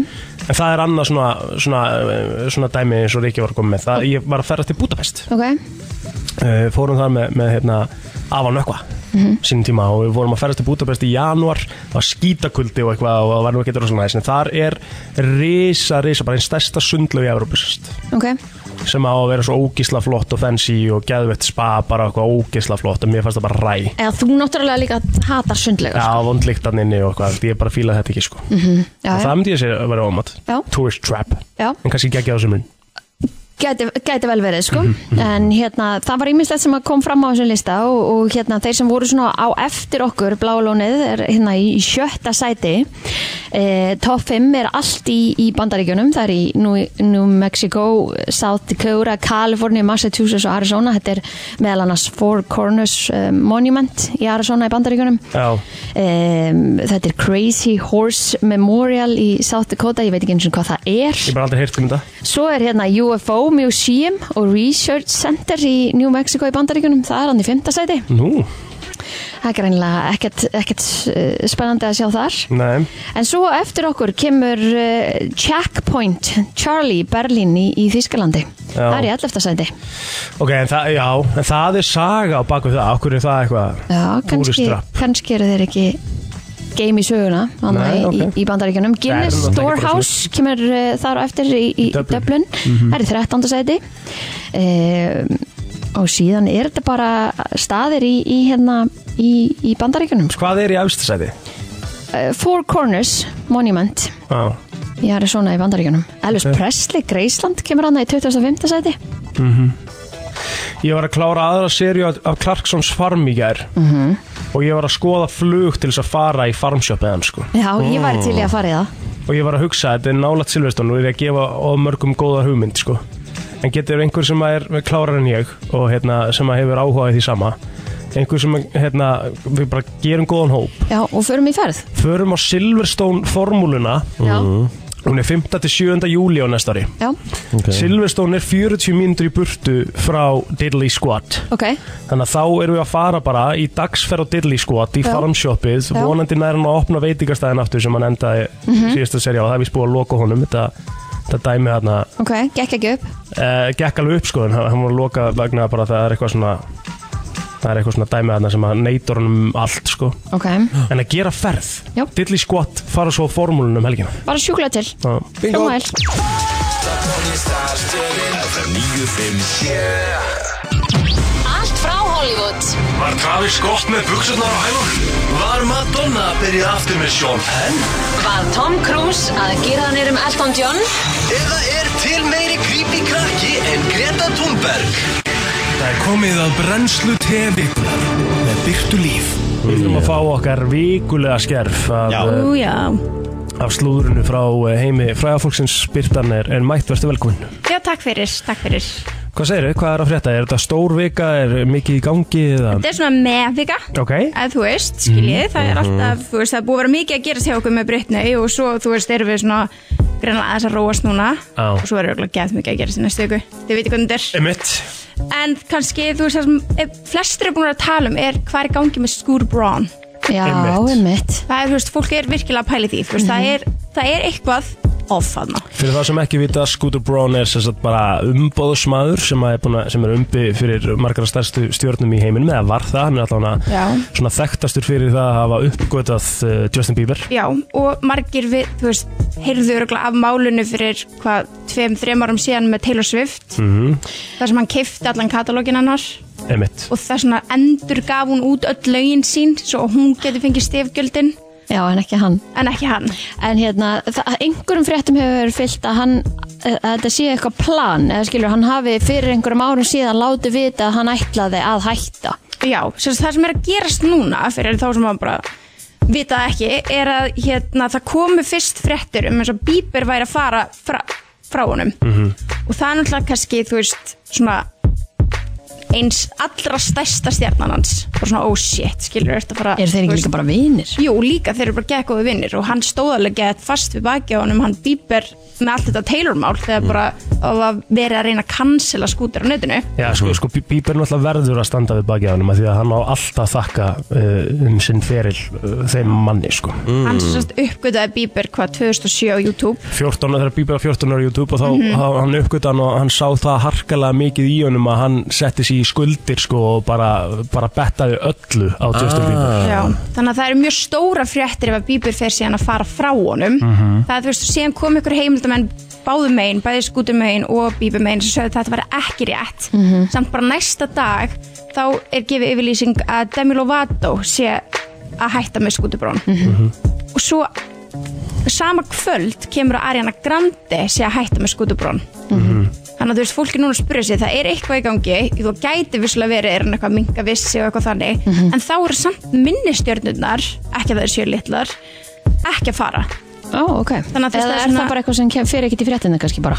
Speaker 4: En það er annað svona, svona, eh, svona dæmi eins og Ríkja var komið með það, Ég var að ferra til Budapest
Speaker 3: Ok,
Speaker 4: uh, fórum þar með, með hérna, Afa Nökkva
Speaker 3: Mhm.
Speaker 4: sínum tíma og við vorum að ferast til Budapest í janúar það var skítakuldi og eitthvað og það var nú ekki rosalega næst en þar er risa, risa, bara einn stærsta sundlaug í Európa
Speaker 3: ok
Speaker 4: sem á að vera svo ógisla flott og fancy og geðvett spa bara eitthvað ógisla flott og mér fannst það bara ræ
Speaker 3: Eða þú náttúrulega líka hatar sundlega
Speaker 4: Já, vondlíktan inni og eitthvað, ég bara fíla þetta ekki sko
Speaker 3: já,
Speaker 4: Það myndi ég segja að vera ómat
Speaker 3: Mhm. Já.
Speaker 4: Tourist trap,
Speaker 3: já.
Speaker 4: en kannski geggja á þessu mun
Speaker 3: Gæti, gæti vel verið sko en hérna það var ímislegt sem að kom fram á þessum lista og, og hérna þeir sem voru svona á eftir okkur blálónið er hérna í í sjötta sæti e, top 5 er allt í, í bandaríkjunum það er í New, New Mexico South Dakota, California, Massachusetts og Arizona, þetta er meðal annars Four Corners eh, Monument í Arizona í bandaríkjunum
Speaker 4: Já,
Speaker 3: Um, þetta er Crazy Horse Memorial í South Dakota, ég veit ekki eins og hvað það er
Speaker 4: ég bara aldrei heyrt um þetta
Speaker 3: Svo er hérna UFO Museum og Research Center í New Mexico í Bandaríkunum, það er hann í fymta sæti.
Speaker 4: Nú,
Speaker 3: Það er reynilega ekkert, ekkert eh, spennandi að sjá þar.
Speaker 4: nei,
Speaker 3: En svo eftir okkur kemur uh, Checkpoint, Charlie, Berlin í, í Þýskalandi. Það er í 11. sæti.
Speaker 4: ok, en það, já, en það er saga á bakvið það, okkur er það eitthvað
Speaker 3: Já, kannski,
Speaker 4: Tourist trap.
Speaker 3: kannski eru þeir ekki game í söguna annað
Speaker 4: Nei,
Speaker 3: í,
Speaker 4: ok.
Speaker 3: í bandaríkjunum Guinness
Speaker 4: Nei, það er náttúrulega ekki
Speaker 3: Storehouse kemur uh, þar á eftir í, í
Speaker 4: Dublin. Mhm.
Speaker 3: Dublin það er í 13. sæti um, og síðan er þetta bara staðir í, í, hérna, í, í bandaríkjunum sko.
Speaker 4: Hvað er í efstasæti?
Speaker 3: uh, Four Corners Monument
Speaker 4: Já,
Speaker 3: í Arizona í bandaríkjunum Elvis Presley, Graceland kemur hann í 25. sæti
Speaker 4: ég var að klára aðra serju af- af Clarksons Farm í gær -hmm.
Speaker 3: Mhm.
Speaker 4: og ég var að skoða flug til þess að fara í farmsjöpið hans sko
Speaker 3: Já, ég væri til í að fara í það
Speaker 4: og ég var að hugsa þetta er nálægt Silveston og ég er að gefa of mörgum góða hugmynd sko en getur einhver sem er klárar en ég og hérna, sem að hefur áhuga í því sama einhver sem að, hérna, við bara gerum góðan hóp
Speaker 3: Já, og förum í ferð
Speaker 4: förum á Silverstone formúluna
Speaker 3: Já,
Speaker 4: Hún er 5. til 7. júli á næsta ári
Speaker 3: Já,
Speaker 4: Silverstone er 40 mínútur í burtu frá Diddley Squad
Speaker 3: ok,
Speaker 4: Þannig að þá erum við að fara bara í dagsferð á Diddley Squad í
Speaker 3: Já.
Speaker 4: farmshoppið
Speaker 3: Já. Mhm.
Speaker 4: vonandi nær hann að opna veitingastæðin aftur sem hann endaði mm síðasta serið á það er við spúið að loka honum þetta, þetta dæmi hann að
Speaker 3: ok, gekk ekki upp
Speaker 4: gekk alveg upp sko en hann hann var að loka vegna bara það er eitthvað svona það er eitthvað svona dæmi hann sem að neytur hann um allt sko
Speaker 3: Ok,
Speaker 4: en að gera ferð
Speaker 3: Já.
Speaker 4: Diddley Squad fara svo á formúlunum um helgina
Speaker 3: bara sjúkla til
Speaker 4: Það-
Speaker 2: Bingo
Speaker 3: Hljóma vel
Speaker 8: Allt frá Hollywood
Speaker 1: Var Travis gott með buksurnar á hælunum? Var Madonna að byrja aftur með Sean Penn?
Speaker 8: Var Tom Cruise að gera hann erum Elton John
Speaker 1: Eða er til meiri creepy krakki en Greta Thunberg? Það er komið að brennslu tevikunar með byrtu líf.
Speaker 4: Við þurfum að fá okkar vikulega skerf af, eh,
Speaker 7: Ú, já.
Speaker 4: af slúðurinu frá eh, heimi fræðafólksins Byrtan er, er mætt verðstu velkomin
Speaker 7: já, takk fyrir, takk fyrir
Speaker 4: Hvað segirðu? Hvað er að frétta? Er þetta stór vika? Er mikið í gangi? Eða?
Speaker 7: Þetta er svona meðvika
Speaker 4: Ok
Speaker 7: að þú veist, skiljið, það er alltaf þú veist, það er búið að vera mikið að gerast hjá okkur með Brytni og svo, þú veist, erum við svona greinlega aðeins að róast núna
Speaker 4: Já.
Speaker 7: og svo verður okkur gæð mikið að gerast í næstu viku þið veitir hvernig þetta
Speaker 4: Emitt
Speaker 7: er en kannski, þú veist, það sem eh, flestir er búin að tala um er hvað er í gangi með Skúr Braun
Speaker 3: Já,
Speaker 4: Einmitt.
Speaker 3: einmitt
Speaker 7: það er, þú veist, fólk er virkilega að pæli því þú veist, það, er, það er eitthvað offaðna
Speaker 4: Fyrir það sem ekki vita, Scooter Braun er sem sagt bara umbóðsmaður sem, að er búinn að- sem er umbi fyrir margar af stærstu stjórnum í heiminum eða var það, hann er
Speaker 7: Já.
Speaker 4: alltaf svona þekktastur fyrir það að hafa uppgötað uh, Justin Bieber
Speaker 7: Já, og margir við, þú veist, heyrðu örgulega af málunu fyrir hvað, tveim, þreim árum síðan með Taylor Swift þar sem hann keifti allan katalógin hennar
Speaker 4: Emitt
Speaker 7: og það svona endur gaf hún út öll lögin sín svo að hún getur fengið stefgjöldin
Speaker 3: Já, en ekki hann
Speaker 7: en ekki hann.
Speaker 3: En hérna, það- einhverjum fréttum hefur verið fyllt að hann eh, að þetta sé eitthvað plan, eða skilur, hann hafi fyrir einhverjum árum síðan látið vita að hann ætlaði að hætta
Speaker 7: Já, sem sagt, það sem er að gerast núna fyrir þá sem hann bara vita það ekki er að hérna, það komu fyrst fréttur um eins og Bieber væri að fara fra, frá honum og það er náttúrulega kannski, þú veist, svona eins allra stærsta stjarnan hans og svona, oh shit, skilur þetta fara
Speaker 3: Er þeir
Speaker 7: þú
Speaker 3: ekki
Speaker 7: veist-
Speaker 3: líka bara vinir?
Speaker 7: Jú, líka þeir eru bara gekk og vinnir og hann stóðalega gett fast við baki á honum hann bíber með allt þetta Taylor-mál þegar bara það var verið að reyna að cancela skútur á netinu
Speaker 4: Já, sko, sko Bí- Bieber náttúrulega verður að standa við baki á hann því að hann á alltaf að þakka uh, um sinn feril uh, þeim manni, sko
Speaker 7: hann sem sagt uppgötaði bíber hvað 2007 á YouTube
Speaker 4: 14, þegar Bieber var 14 ára á YouTube og þá
Speaker 7: Mhm.
Speaker 4: mm hann uppgötta hann og hann sá það harkalega mikið í honum að hann setti sig í skuldir, sko, og bara, bara bettaði öllu á
Speaker 2: Ah.
Speaker 4: Justin Bieber
Speaker 7: Já. þannig að það eru mjög stóra fréttir ef að bíber fer síðan að fara frá honum það er þú veist, síðan kom ykkur heimildamenn báðum megin, bæði skútum megin og bíber megin sem sögðu að þetta var ekki rétt samt bara næsta dag þá er gefið yfirlýsing að Demi Lovato sé að hætta með skútubrón og svo sama kvöld kemur að Ariana Grande sé að hætta með skutubrón þannig að þú veist, fólk er núna að spyrja sig það er eitthvað í gangi, þú gæti visslega verið er hann eitthvað minga vissi og eitthvað þannig
Speaker 4: Mhm.
Speaker 7: en þá eru samt minnistjörnurnar ekki að það er séu litlar ekki að fara.
Speaker 3: Ó, ok
Speaker 7: Þannig að þú veist,
Speaker 3: Eða
Speaker 7: það er
Speaker 3: er
Speaker 7: svona-
Speaker 3: það bara eitthvað sem kem- fer ekkert í fréttina kannski bara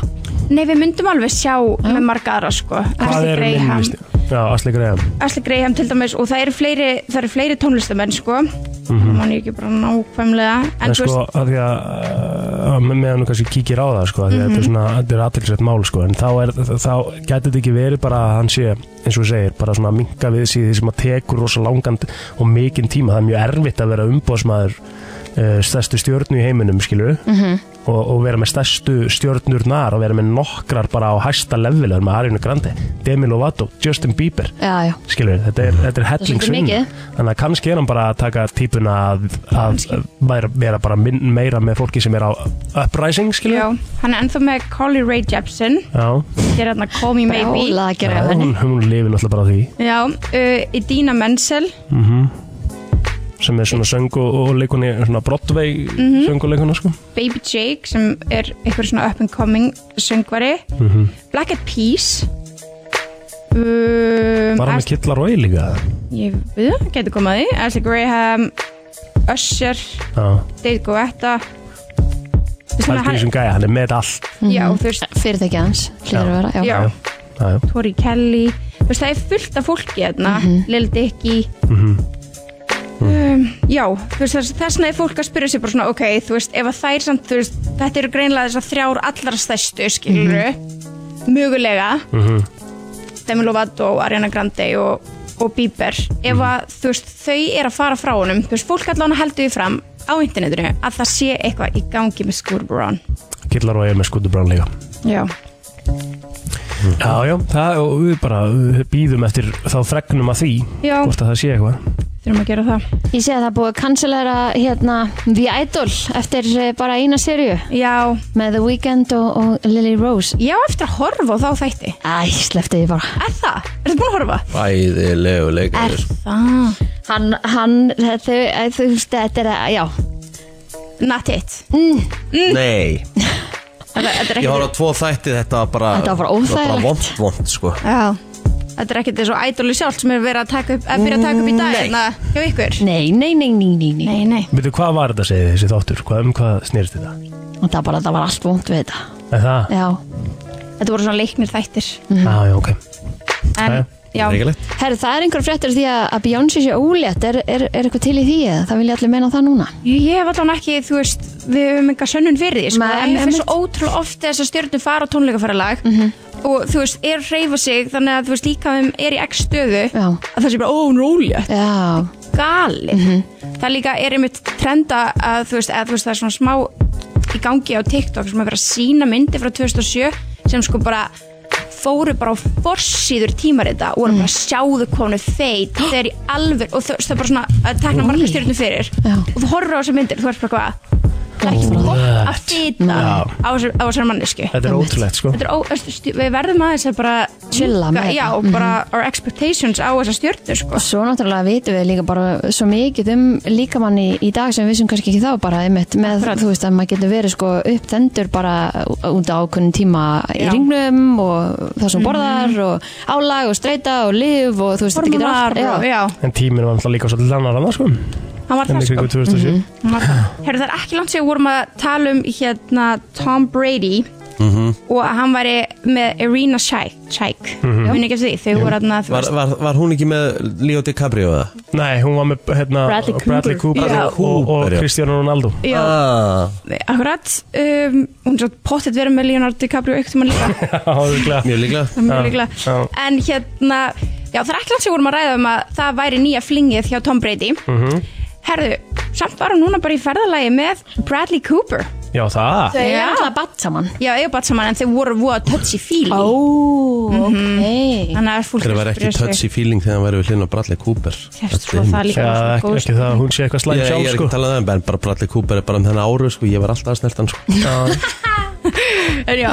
Speaker 7: Nei, við myndum alveg sjá með marga aðra sko.
Speaker 4: Hvað
Speaker 7: Ashley
Speaker 4: er
Speaker 7: Graham-
Speaker 4: minnist? Já, Asli Graham
Speaker 7: Ashley Graham til dæmis og það eru fleiri, það eru fleiri tónlistamenn sko. Mm -hmm. Man ég ekki bara nákvæmlega
Speaker 4: En
Speaker 7: en þú
Speaker 4: Mhm. sko,
Speaker 7: veist,
Speaker 4: að því að, að meðan þú kannski kíkir á það, sko, að því að þetta
Speaker 7: Mhm.
Speaker 4: er svona, þetta er aðtilsett mál, sko, en þá er, þá gæti þetta ekki verið bara að hann sé, eins og þú segir, bara svona að minka við sig í því sem að tekur rosa langan og mikinn tíma, það er mjög erfitt að vera umbóðsmaður uh, stærstu stjörnu í heiminum, skilur,
Speaker 7: Mhm.
Speaker 4: -hmm. og, og vera með stærstu stjörnurnar og vera með nokkrar bara á hæsta level, með Arjuna Grandi, Demi Lovato, Justin Bieber,
Speaker 3: Já, já,
Speaker 4: skilur, þetta er, þetta er hellingsvinn
Speaker 3: mikið.
Speaker 4: þannig að kannski er hann bara að taka típuna að, að vera, vera bara minn, meira með fólki sem er á uprising, skilur
Speaker 7: já, hann er ennþá með Carly Rae Jepsen,
Speaker 4: Já,
Speaker 7: hér er hann að Call Me Maybe
Speaker 3: brjálað að
Speaker 4: já
Speaker 3: gera hjá henni
Speaker 4: hún, hún lifir náttúrulega bara á því
Speaker 7: Já, uh, Idina Menzel
Speaker 4: sem er svona söng og, og leikunni svona Broadway mm -hmm. sönguleikuna sko
Speaker 7: Baby Jake sem er eitthvað svona up and coming söngvari Black Eyed Peas um,
Speaker 4: var hann
Speaker 7: As-
Speaker 4: með Kittla Rói líka
Speaker 7: ég við það getur komað því Ashley Graham Usher,
Speaker 4: Já,
Speaker 7: Dave Guetta Þú veist,
Speaker 4: pældi í
Speaker 7: hann-
Speaker 4: þessum gæja, hann er með allt
Speaker 7: Já, þú veist
Speaker 3: Fyrirtæki hans, hlýtur að vera Já,
Speaker 7: Já,
Speaker 4: Já, já.
Speaker 7: Tori Kelly Þú veist, það er fullt af fólki hérna Lil Dicky um, Já, þú veist, þess, þess vegna er fólk að spyrja sér bara svona ok, þú veist, ef að þær samt, þú veist, þetta eru greinlega þessar þrjár allra stærstu skilur mögulega
Speaker 4: Mhm.
Speaker 7: Demi Lovato, Ariana Grande og, og Bieber ef að þú veist þau er að fara frá honum þú veist fólk allan heldur því fram á internetinu að það sé eitthvað í gangi með Scooter Braun
Speaker 4: Gillar og ég er með Scooter Brown líka
Speaker 7: Já,
Speaker 4: Já, já, það, og við bara við býðum eftir þá fregnum að því
Speaker 3: Já.
Speaker 4: hvort að það sé eitthvað
Speaker 7: þurfum að gera það
Speaker 3: Ég sé að það er búið að cancelera hérna The Idol eftir eh, bara eina serju
Speaker 7: Já
Speaker 3: Með The Weeknd og, og Lily Rose
Speaker 7: Já, eftir að horfa á þá þætti
Speaker 3: Æ, sleppti því bara
Speaker 7: Er það? Er það búin að horfa?
Speaker 2: Æðilegu leikar
Speaker 7: Það
Speaker 3: Hann, hann, þetta, þú veist, þetta er, að- já
Speaker 7: Not it
Speaker 2: Nei,
Speaker 7: Þetta þetta er
Speaker 2: ég
Speaker 7: ekkert
Speaker 2: horfði á tvo þætti þetta var bara
Speaker 3: Þetta var bara óþægilegt.
Speaker 2: vond, vond sko
Speaker 7: Já Þetta er ekkert eins og ædoli sjálf sem er verið að, taka upp, að byrja að taka upp í
Speaker 2: Nei.
Speaker 7: dag hérna hjá ykkur
Speaker 3: Nei, nei, nei, nei, nei, nei.
Speaker 7: Nei, nei
Speaker 4: Veitu, hvað var þetta segið þessi þáttur? Hvað, um hvað snýrst þetta?
Speaker 3: Það, var bara, það var allt vond við þetta
Speaker 4: Er það?
Speaker 3: Já,
Speaker 7: Þetta voru svona leiknir þættir
Speaker 4: Já, ah, já, ok
Speaker 7: En,
Speaker 4: Jæja.
Speaker 7: já,
Speaker 2: Reykjalegt
Speaker 3: herru, það er einhver fréttur því að, að Beyoncé sé ólétt er, er, er eitthvað til í því eða það vilja allir meina það núna
Speaker 7: ég hef allan ekki, þú veist, við höfum enga sönnun fyrir því, sko,
Speaker 3: Nei,
Speaker 7: en mér
Speaker 3: einmitt.
Speaker 7: finnst svo ótrúlega oft þess að stjórnum fara á tónleikafæralag og, þú veist, er að hreyfa sig, þannig að, þú veist, líka er í x stöðu
Speaker 3: Já.
Speaker 7: að það sé bara, ó, hún er ólétt
Speaker 3: Já,
Speaker 7: galið
Speaker 3: Mhm.
Speaker 7: það líka er einmitt trenda að þú veist, að, þú veist það er svona smá í gangi á TikTok sem er verið að sína myndi frá 2007 sem sko bara fóru bara á forsýður tímarita og
Speaker 3: Mhm.
Speaker 7: voru bara sjáðu konu
Speaker 3: *gasps*
Speaker 7: feit þegar í alveg og þú veist það er bara svona að tekna marga stjórnum fyrir
Speaker 3: Já.
Speaker 7: og þú horfur á þessar myndir þú ert bara hvað það er ekki gott að fýta
Speaker 4: Já.
Speaker 7: á þessar- á þessar mannesku
Speaker 4: Þetta er ótrúlegt, sko
Speaker 7: Þetta er ó- stu- stu- við verðum aðeins að bara
Speaker 3: Chilla
Speaker 7: minnka-
Speaker 3: með þetta.
Speaker 7: já, bara our expectations á þessar stjórnur sko.
Speaker 3: Svo náttúrulega vitum við líka bara svo mikið um líkamanni í dag sem við sem kannski ekki þá bara einmitt með þú veist að maður getur verið sko uppþendur bara út á ákunnum tíma í
Speaker 7: Já.
Speaker 3: ringnum og það sem borðar og álag og streita og lif og þú veist þetta getur
Speaker 7: Hormonar og-
Speaker 3: allt
Speaker 7: já,
Speaker 4: En tíminn var alltaf líka svolítið annar annars, sko En
Speaker 7: hann var það
Speaker 4: í
Speaker 7: sko
Speaker 4: kringu 2007
Speaker 7: Hann var það. Herru, það er ekki langt sér vorum að tala um hérna Tom Brady
Speaker 2: Mhm.
Speaker 7: og að hann væri með Irina Shayk Shayk, mm -hmm. ekki eftir því þau voru aðna
Speaker 2: Mhm. var, var, var hún ekki með Leo DiCaprio eða?
Speaker 4: Nei, hún var með hérna,
Speaker 3: Bradley Cooper.
Speaker 4: Cooper
Speaker 7: Já.
Speaker 4: og, og
Speaker 2: Cooper, já.
Speaker 4: Cristiano Ronaldo
Speaker 7: Já,
Speaker 2: Ah,
Speaker 7: akkurat um, hún svo pottet verið með Leonardo DiCaprio eitt um hann
Speaker 2: *laughs*
Speaker 7: líka
Speaker 4: *laughs* Já, örugglega.
Speaker 2: mjög líklega
Speaker 7: Það er mjög
Speaker 4: Já,
Speaker 7: líklega.
Speaker 4: já.
Speaker 7: en hérna já, það er ekki langt sér vorum að ræða um að það væri nýja flingið hjá Tom Brady
Speaker 2: Mhm.
Speaker 7: herðu, samt var hann núna bara í ferðalagi með Bradley Cooper
Speaker 4: Já, það
Speaker 3: Þau
Speaker 7: eru
Speaker 3: eru
Speaker 7: náttúrulega
Speaker 3: alltaf batt saman
Speaker 7: já, eiga bara saman en þau voru voða touchy feely
Speaker 3: Ó, ok
Speaker 7: þannig að fólk
Speaker 2: Þeir var ekki
Speaker 7: spyrja sig-
Speaker 2: touchy feeling þegar hann væri við hlinn á Bradley Cooper
Speaker 7: Sérst
Speaker 2: Þetta
Speaker 7: sko
Speaker 2: er
Speaker 7: það er líka sko.
Speaker 4: Já,
Speaker 7: svona
Speaker 4: ekki,
Speaker 7: góð
Speaker 4: ekki það, að hún sé eitthvað slæm
Speaker 2: Ég, ég
Speaker 4: sjálf,
Speaker 2: er ekki
Speaker 4: sko
Speaker 2: að tala um það, en bara Bradley Cooper er bara um þennan áru, sko, ég var alltaf að snerta hann, sko.
Speaker 7: En já,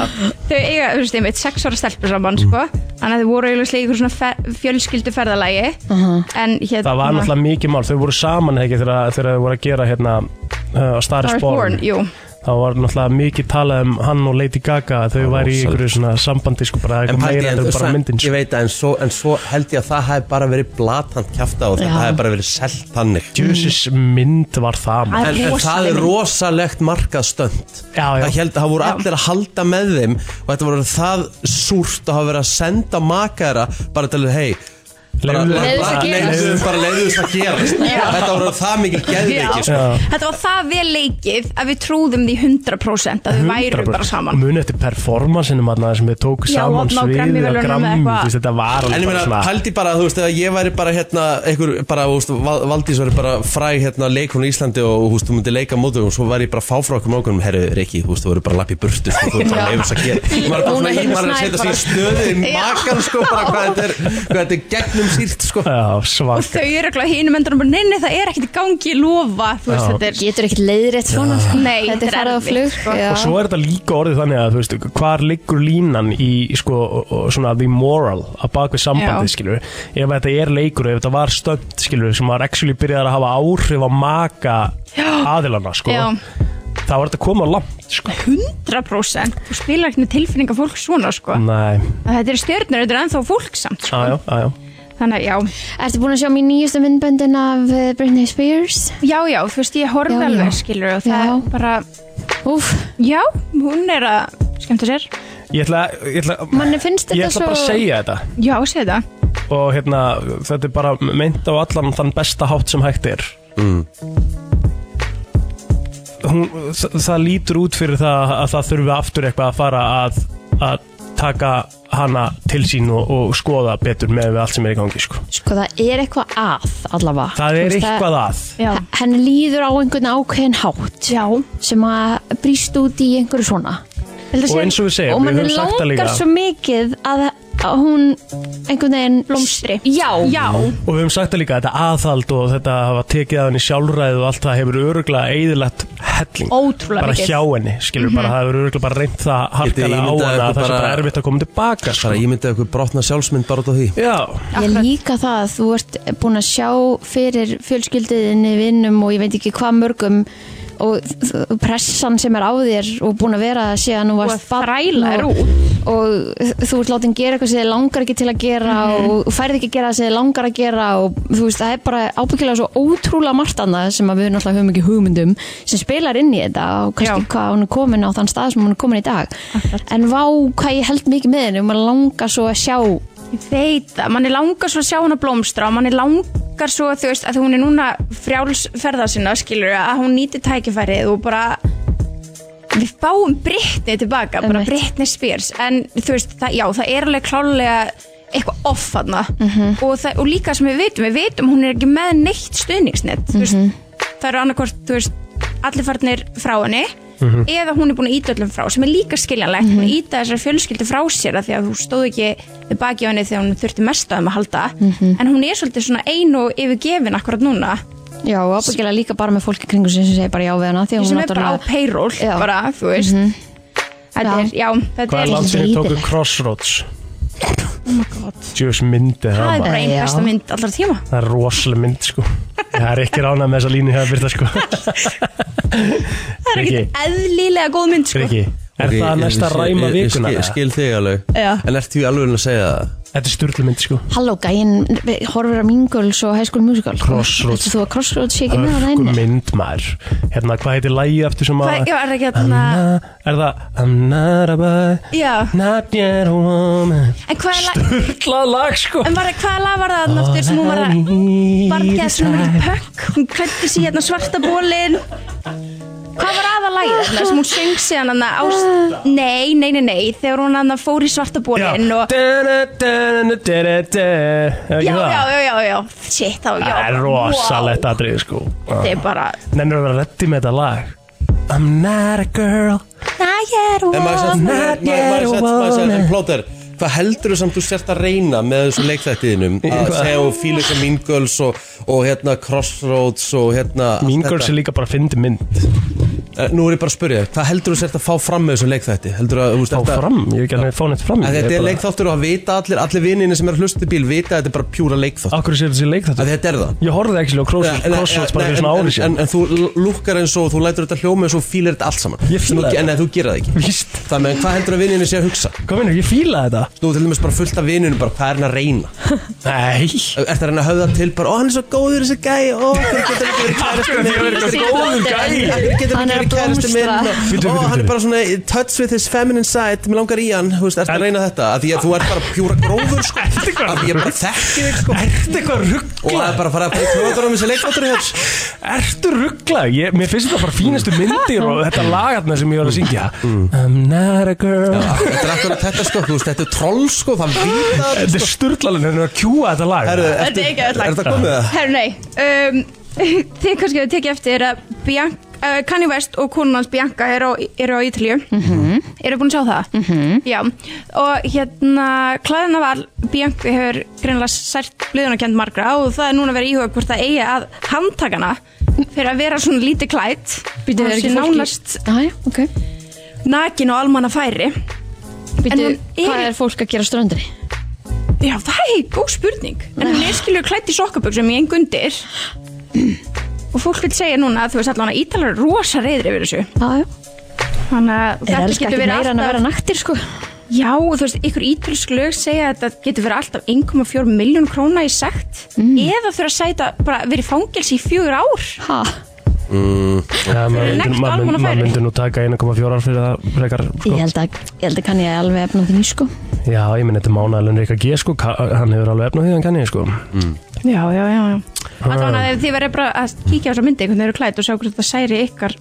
Speaker 7: þau eiga, þú veist, einmitt sex ára stelpur saman, sko
Speaker 4: Mm.
Speaker 7: Þannig að þau voru eiginlega í ykkur svona fer, fjölskyldu ferðalagi En hérna
Speaker 4: Það var náttúrulega mikið mál, þau voru saman ekki þegar, þegar þau voru að gera hérna uh, á Star is
Speaker 7: Star is
Speaker 4: Born
Speaker 7: Born, jú
Speaker 4: Það var náttúrulega mikið talað um hann og Lady Gaga að þau væri í
Speaker 2: Rosalegt.
Speaker 4: einhverju svona sambandi sko bara
Speaker 2: En
Speaker 4: eitthvað
Speaker 2: pældi,
Speaker 4: meira
Speaker 2: en
Speaker 4: en
Speaker 2: þú
Speaker 4: þau bara
Speaker 2: veist
Speaker 4: myndin
Speaker 2: það, ég
Speaker 4: sko.
Speaker 2: veit að, en svo, en svo held ég að það hef bara verið blatant kjafta og
Speaker 3: Já.
Speaker 2: þetta hef bara verið selt þannig.
Speaker 4: Jesus mynd var það maður.
Speaker 2: En, en það er rosalegt markað stönd.
Speaker 4: Já, já.
Speaker 2: Það held, það voru allir að halda með þeim og þetta voru það súrt að hafa verið að senda makaðara bara til að, hei, bara
Speaker 4: Leyfðu-
Speaker 2: bara-
Speaker 3: Leyfðu þess að
Speaker 2: bara-
Speaker 3: gerast.
Speaker 2: leyfðu- bara leiðu þess að gerast. Þetta voru það mikil geðveiki, sko.
Speaker 4: Já.
Speaker 7: Þetta var það vel leikið að við trúðum því 100% að þau væru
Speaker 4: 100%.
Speaker 7: bara saman
Speaker 4: Muni eftir performansinum aðna sem þau tóku
Speaker 7: Já,
Speaker 4: saman
Speaker 7: þarna á
Speaker 4: sviðið
Speaker 7: Grammy-verðlaunum
Speaker 4: á
Speaker 7: eða
Speaker 4: Grammy, þú
Speaker 7: eitthvað.
Speaker 4: veist, þetta var
Speaker 2: En
Speaker 4: alveg
Speaker 2: ég meina,
Speaker 4: bara svona
Speaker 2: haldi bara, þú veist, að ég væri bara hérna, einhver, bara, þú veist, Val- Valdís væri bara fræg hérna leikonu í Íslandi og, þú veist, þú myndi leika mótu og svo væri ég bara fáfrákum ákveðum, herru, Riki, þú veist, þú verður bara lapp í burtu, sko, þú veist, bara leifur þess að gera. Maður er bara
Speaker 3: Hún
Speaker 2: svona,
Speaker 3: er
Speaker 2: maður er að
Speaker 3: snær
Speaker 2: setja sig
Speaker 3: bara.
Speaker 2: í stöðu í makan, sko, bara hvað þetta er, hvað þetta er gegnum sírt, sko.
Speaker 4: Já, svak
Speaker 7: Og þau eru ekki hínum endanum bara, neini, það er ekkert í gangi, ég lofa Þú veist,
Speaker 4: Já.
Speaker 7: þetta er
Speaker 3: Getur ekkert leiðrétt svona
Speaker 7: Nei,
Speaker 3: Þetta er
Speaker 7: þetta er
Speaker 3: farið á
Speaker 7: erfitt,
Speaker 3: flug
Speaker 7: sko.
Speaker 3: já.
Speaker 4: Og svo er þetta líka orðið þannig að þú veist, hvar liggur línan í sko, svona the moral að bak við sambandið,
Speaker 7: Já.
Speaker 4: skilur ef þetta er leikur, ef þetta var stönd, skilur sem var actually byrjaðar að hafa áhrif á maka aðilana, sko
Speaker 7: Já.
Speaker 4: þá var þetta að koma langt, sko
Speaker 7: 100% Þú spilar ekkert með tilfinninga fólk svona, sko
Speaker 4: Nei,
Speaker 7: Þetta er stjörnur, þetta er ennþá fólk samt, sko
Speaker 4: aðjá, aðjá
Speaker 7: Þannig að, já,
Speaker 3: Ertu búin að sjá mér nýjustu myndböndin af eh, Britney Spears?
Speaker 7: Já, já, þú veist, ég horfði
Speaker 3: Já,
Speaker 7: alveg,
Speaker 3: já.
Speaker 7: skilur og það
Speaker 3: Já.
Speaker 7: er bara,
Speaker 3: Úf,
Speaker 7: já, hún er að skemmta sér.
Speaker 4: Ég ætla, ég ætla,
Speaker 3: manni finnst
Speaker 4: ég
Speaker 3: þetta
Speaker 4: ætla
Speaker 3: svo
Speaker 4: bara að segja þetta
Speaker 7: Já, segðu það.
Speaker 4: og hérna, þetta er bara
Speaker 2: Mm.
Speaker 4: meint á allan þann besta hátt sem hægt er hún, það, það lítur út fyrir það að það þurfi aftur eitthvað að fara að, að taka hana til sín og, og skoða betur með við allt sem er í gangi sko.
Speaker 3: Sko það er eitthvað að allavega
Speaker 4: Það er
Speaker 3: Þú veist,
Speaker 4: eitthvað að.
Speaker 7: Já.
Speaker 3: Henni líður á einhvern ákveðin hátt
Speaker 7: Já.
Speaker 3: sem að brýst út í einhverju svona Heldur
Speaker 4: Og
Speaker 3: sé-
Speaker 4: eins og við segjum,
Speaker 3: og
Speaker 4: við
Speaker 3: manni
Speaker 4: höfum sagt það líka.
Speaker 3: langar svo mikið að, að hún einhvern veginn
Speaker 7: Blómstri.
Speaker 3: Já,
Speaker 7: Já,
Speaker 4: Og við höfum sagt það líka að þetta aðhald og þetta að hafa tekið að henni sjálfræðu og allt það hefur öruglega eðilegt helling
Speaker 7: Ótrúlega
Speaker 4: bara
Speaker 7: mikið.
Speaker 4: hjá henni, skilur bara það hefur öruglega bara reynt það harkalega á
Speaker 2: ímyndað
Speaker 4: henni
Speaker 2: ykkur
Speaker 4: að það sé
Speaker 2: bara-
Speaker 4: bara erfitt að koma tilbaka sko.
Speaker 2: Bara ímyndið okkur brotna sjálfsmynd bara út af því
Speaker 4: Já,
Speaker 3: Ég líka það að þú ert búin að sjá fyrir fjölskyldiðinni vinnum og ég veit ekki hvað mörgum og þ- pressan sem er á þér og búin að vera það síðan og
Speaker 7: Og
Speaker 3: varst
Speaker 7: að
Speaker 3: barn
Speaker 7: þræla þér
Speaker 3: og, og þú ert látin gera eitthvað sem þið langar ekki til að gera
Speaker 7: Mhm.
Speaker 3: og færð ekki að gera það sem þið langar að gera og þú veist það er bara ábyggilega svo ótrúlega margt annað sem að við náttúrulega höfum ekki hugmyndum sem spilar inn í þetta og kannski
Speaker 7: Já.
Speaker 3: hvað hún er komin á þann stað sem hún er komin í dag en vá hvað ég held mikið með henni og maður langar svo að sjá
Speaker 7: ég veit það, manni langar svo að sjá hana blómstra og manni langar svo þú veist að hún er núna frjálsferða sinna skilur að hún nýti tækifærið og bara við fáum Brittany tilbaka, bara
Speaker 3: Einmitt.
Speaker 7: Brittany Spears en þú veist, það, já, það er alveg klálega eitthvað off hana og, það, og líka sem við vitum, við vitum hún er ekki með neitt stuðningsnett þú veist, það eru annarkvort, þú veist allir farnir frá henni
Speaker 3: Mhm.
Speaker 7: eða hún er búin að íta öllum frá, sem er líka skiljanlegt hún er að íta þessari fjölskyldu frá sér af því að hún stóð ekki við baki á henni þegar hún þurfti mest á þeim að halda
Speaker 3: Mhm.
Speaker 7: en hún er svolítið svona ein og yfirgefin akkurat núna,
Speaker 3: Já, og ábyggilega líka bara með fólki kringu sig sem segir bara já við hana því að
Speaker 7: sem
Speaker 3: hún
Speaker 7: er bara á
Speaker 3: náttúrulega
Speaker 7: payroll
Speaker 3: Já. Mhm.
Speaker 7: bara, þú veist þetta
Speaker 3: Já.
Speaker 7: er, já, þetta
Speaker 4: hvað
Speaker 7: er Oh
Speaker 4: er langt sinni tóku
Speaker 3: leiðilegt.
Speaker 4: Crossroads? Djöfis myndi
Speaker 7: það
Speaker 4: það
Speaker 7: er bara
Speaker 4: maður
Speaker 7: einn
Speaker 3: Já.
Speaker 7: besta mynd allra tíma
Speaker 4: Það er rosaleg mynd sko Það er ekki ránað með þessa línu hefða byrta
Speaker 7: *laughs*
Speaker 4: sko
Speaker 7: það er
Speaker 4: Riki,
Speaker 7: ekkert eðlilega góð mynd sko.
Speaker 4: Riki, er
Speaker 2: Ok,
Speaker 4: það
Speaker 2: ég-
Speaker 4: næsta
Speaker 2: ég-
Speaker 4: ræma
Speaker 2: ég- ég
Speaker 4: vikuna?
Speaker 2: skil- Skil þig alveg
Speaker 7: Já.
Speaker 2: En ert því alveg að segja það?
Speaker 4: Þetta er styrlu mynd sko
Speaker 3: Halló gæinn, við horfir á Mean Girls og High School Musical
Speaker 4: Crossroads.
Speaker 3: Þú að Crossroads sé ekki með það
Speaker 4: Hörku
Speaker 3: einni
Speaker 4: mynd maður Hérna, hvað heitir lægi aftur sem
Speaker 7: Hvað,
Speaker 4: að
Speaker 7: já, hérna- er ekki
Speaker 4: I'm
Speaker 7: þarna
Speaker 4: not- Er það I'm not a boy
Speaker 7: Já,
Speaker 4: Not yet a woman
Speaker 7: en hvað er lag
Speaker 4: Sturla lag sko
Speaker 7: En var það, hvaða lag var það þarna aftur sem hún var að Barngeða svona mikið pökk Hún klætti sig í hérna svarta bólin Hvað var aða lagið þarna sem hún söng síðan hann á Nei, nei, nei, nei Þegar hún hann fór í svarta bólin og... já, já, já, já, já Shit, þá, já
Speaker 4: Það er rosalegt aðrið sko
Speaker 7: Þetta er bara
Speaker 4: Nennir að vera reddi með þetta lag I'm not a girl
Speaker 7: Það er
Speaker 2: En maður sett,
Speaker 7: rosalegt
Speaker 2: maður, maður sett, maður sett, en plóter Hvað heldur þú samt þú sért að reyna með þessu leikþættiðinum að
Speaker 4: Hvað?
Speaker 2: segja og fíla eitthvað Mean Girls og, og hérna Crossroads og hérna allt
Speaker 4: Mean
Speaker 2: þetta?
Speaker 4: Girls er líka bara að fyndi mynd
Speaker 2: Eh, Nú er ég bara að spyrja, þig, hvað heldur þú sért að fá fram með þessu leikþætti? Heldur að, þú veist,
Speaker 4: Fá fram, ég hef ekki alveg fá neitt fram
Speaker 2: að
Speaker 4: Ég
Speaker 2: þetta er
Speaker 4: bara-
Speaker 2: leikþáttur og að vita allir, allir vininni sem er að hlusta í bíl vita að þetta er bara pjúra leikþátt
Speaker 4: Akkur sér þessi leik þetta
Speaker 2: að þetta er það Eh,
Speaker 4: Ég horfði ekki svolítið á Cross-
Speaker 2: En- en-
Speaker 4: Crossroads bara
Speaker 2: en-
Speaker 4: fyrir svona
Speaker 2: en-
Speaker 4: ári
Speaker 2: en,
Speaker 4: síðan
Speaker 2: en þú lukkar eins og þú lætur þetta hljóma eins og þú fílar þetta allt saman
Speaker 4: Ég
Speaker 2: Sem þú
Speaker 4: fíla
Speaker 2: ge- En
Speaker 4: þetta.
Speaker 2: þú gerir það ekki
Speaker 4: Víst,
Speaker 2: Þannig að hvað heldur að vininni sé að hugsa?
Speaker 4: hvað minnur, ég fíla þetta
Speaker 2: Nú til dæmis bara fullt af vininu bara hvað er hann að reyna?
Speaker 4: Nei
Speaker 2: Ertu að reyna að höfða til bara, ó hann er svo góður þessi gæi Ó, hann getur ekki verið kæristu
Speaker 4: Akkur því að vera eitthvað góður gæi
Speaker 2: Hann getur ekki
Speaker 3: Hann er að
Speaker 2: verið kæristu minn
Speaker 3: blómstra.
Speaker 2: og-
Speaker 4: Bíddu,
Speaker 2: Ó,
Speaker 4: bíddu,
Speaker 2: hann er
Speaker 4: bíddu.
Speaker 2: bara svona í touch with his feminine side Mér langar í hann, þú veist, ertu að reyna þetta Af Því að þú ert bara pjúra gróður sko
Speaker 4: Ertu eitthvað-
Speaker 2: Af Því ég bara þekki þig sko
Speaker 4: Ertu eitthvað
Speaker 2: Og það er
Speaker 4: ruggla?
Speaker 2: bara að fara að fara í klöður á þessi leikváttur hér
Speaker 4: Ertu ruggla? Ég, mér finnst þetta bara fínastu myndir og þetta lagarna sem ég var að syngja
Speaker 2: Mm.
Speaker 4: I'm not a girl
Speaker 2: Þetta er akkurat þetta sko, þú veist, þetta er troll sko Það vita það
Speaker 4: Þetta er styrlalinn, henni var að kjúa þetta lag
Speaker 2: Herru,
Speaker 7: Þetta er ekki öll lag.
Speaker 2: Er þetta komið það?
Speaker 7: Herru, nei um, *laughs* Þið kannski hefur tekið eftir að Bianca, uh, Kanye West og konun hans Bianca eru á, eru á Ítalíu Eru búin að sjá það? -hmm. Já, og hérna klæðina val Bianca hefur greinilega sært blöðunarkend margra og það er núna verið íhuga hvort það eigi að handtakana fyrir að vera svona lítið klætt
Speaker 3: Býtu,
Speaker 7: og
Speaker 3: er ekki
Speaker 7: sé
Speaker 3: fólki
Speaker 7: nánast
Speaker 3: Jæja, ok
Speaker 7: nakin og almanna færi En
Speaker 3: Býtu,
Speaker 7: hún er-
Speaker 3: hvað er fólk að gera á ströndinni?
Speaker 7: Já, það er góð spurning En hún er skilur klætt í sokkaböksum í engu undir Og fólk vil segja núna að þú veist allan að Ítalar er rosa reyðri yfir þessu
Speaker 3: Jájá,
Speaker 7: Þannig að
Speaker 3: er
Speaker 7: þetta
Speaker 3: elska
Speaker 7: getur
Speaker 3: ekki
Speaker 7: verið
Speaker 3: meira en að vera
Speaker 7: alltaf
Speaker 3: naktir sko
Speaker 7: Já, og þú veist, ykkur ítalsk lög segja að þetta getur verið alltaf 1,4 miljón króna í sekt
Speaker 3: Mm.
Speaker 7: Eða þurfa að sæta bara verið fangelsi í fjögur ár
Speaker 3: Ha,
Speaker 4: Ja, maður myndi-
Speaker 7: Next
Speaker 4: maður myndi-
Speaker 7: almannafæri.
Speaker 4: maður myndi nú taka 1,4 ár fyrir það frekar sko.
Speaker 3: ég held að, ég held að kann ég alveg efna því sko
Speaker 4: Já, ég minn þetta er mánaðalinn Rika G sko, ka- hann hefur alveg efn á því hann kann ég sko
Speaker 7: Já, já, já, já Allan að ef þið verið bara að kíkja á þessa myndi einhvern veginn eru klætt og sjá hvort þetta særi ykkar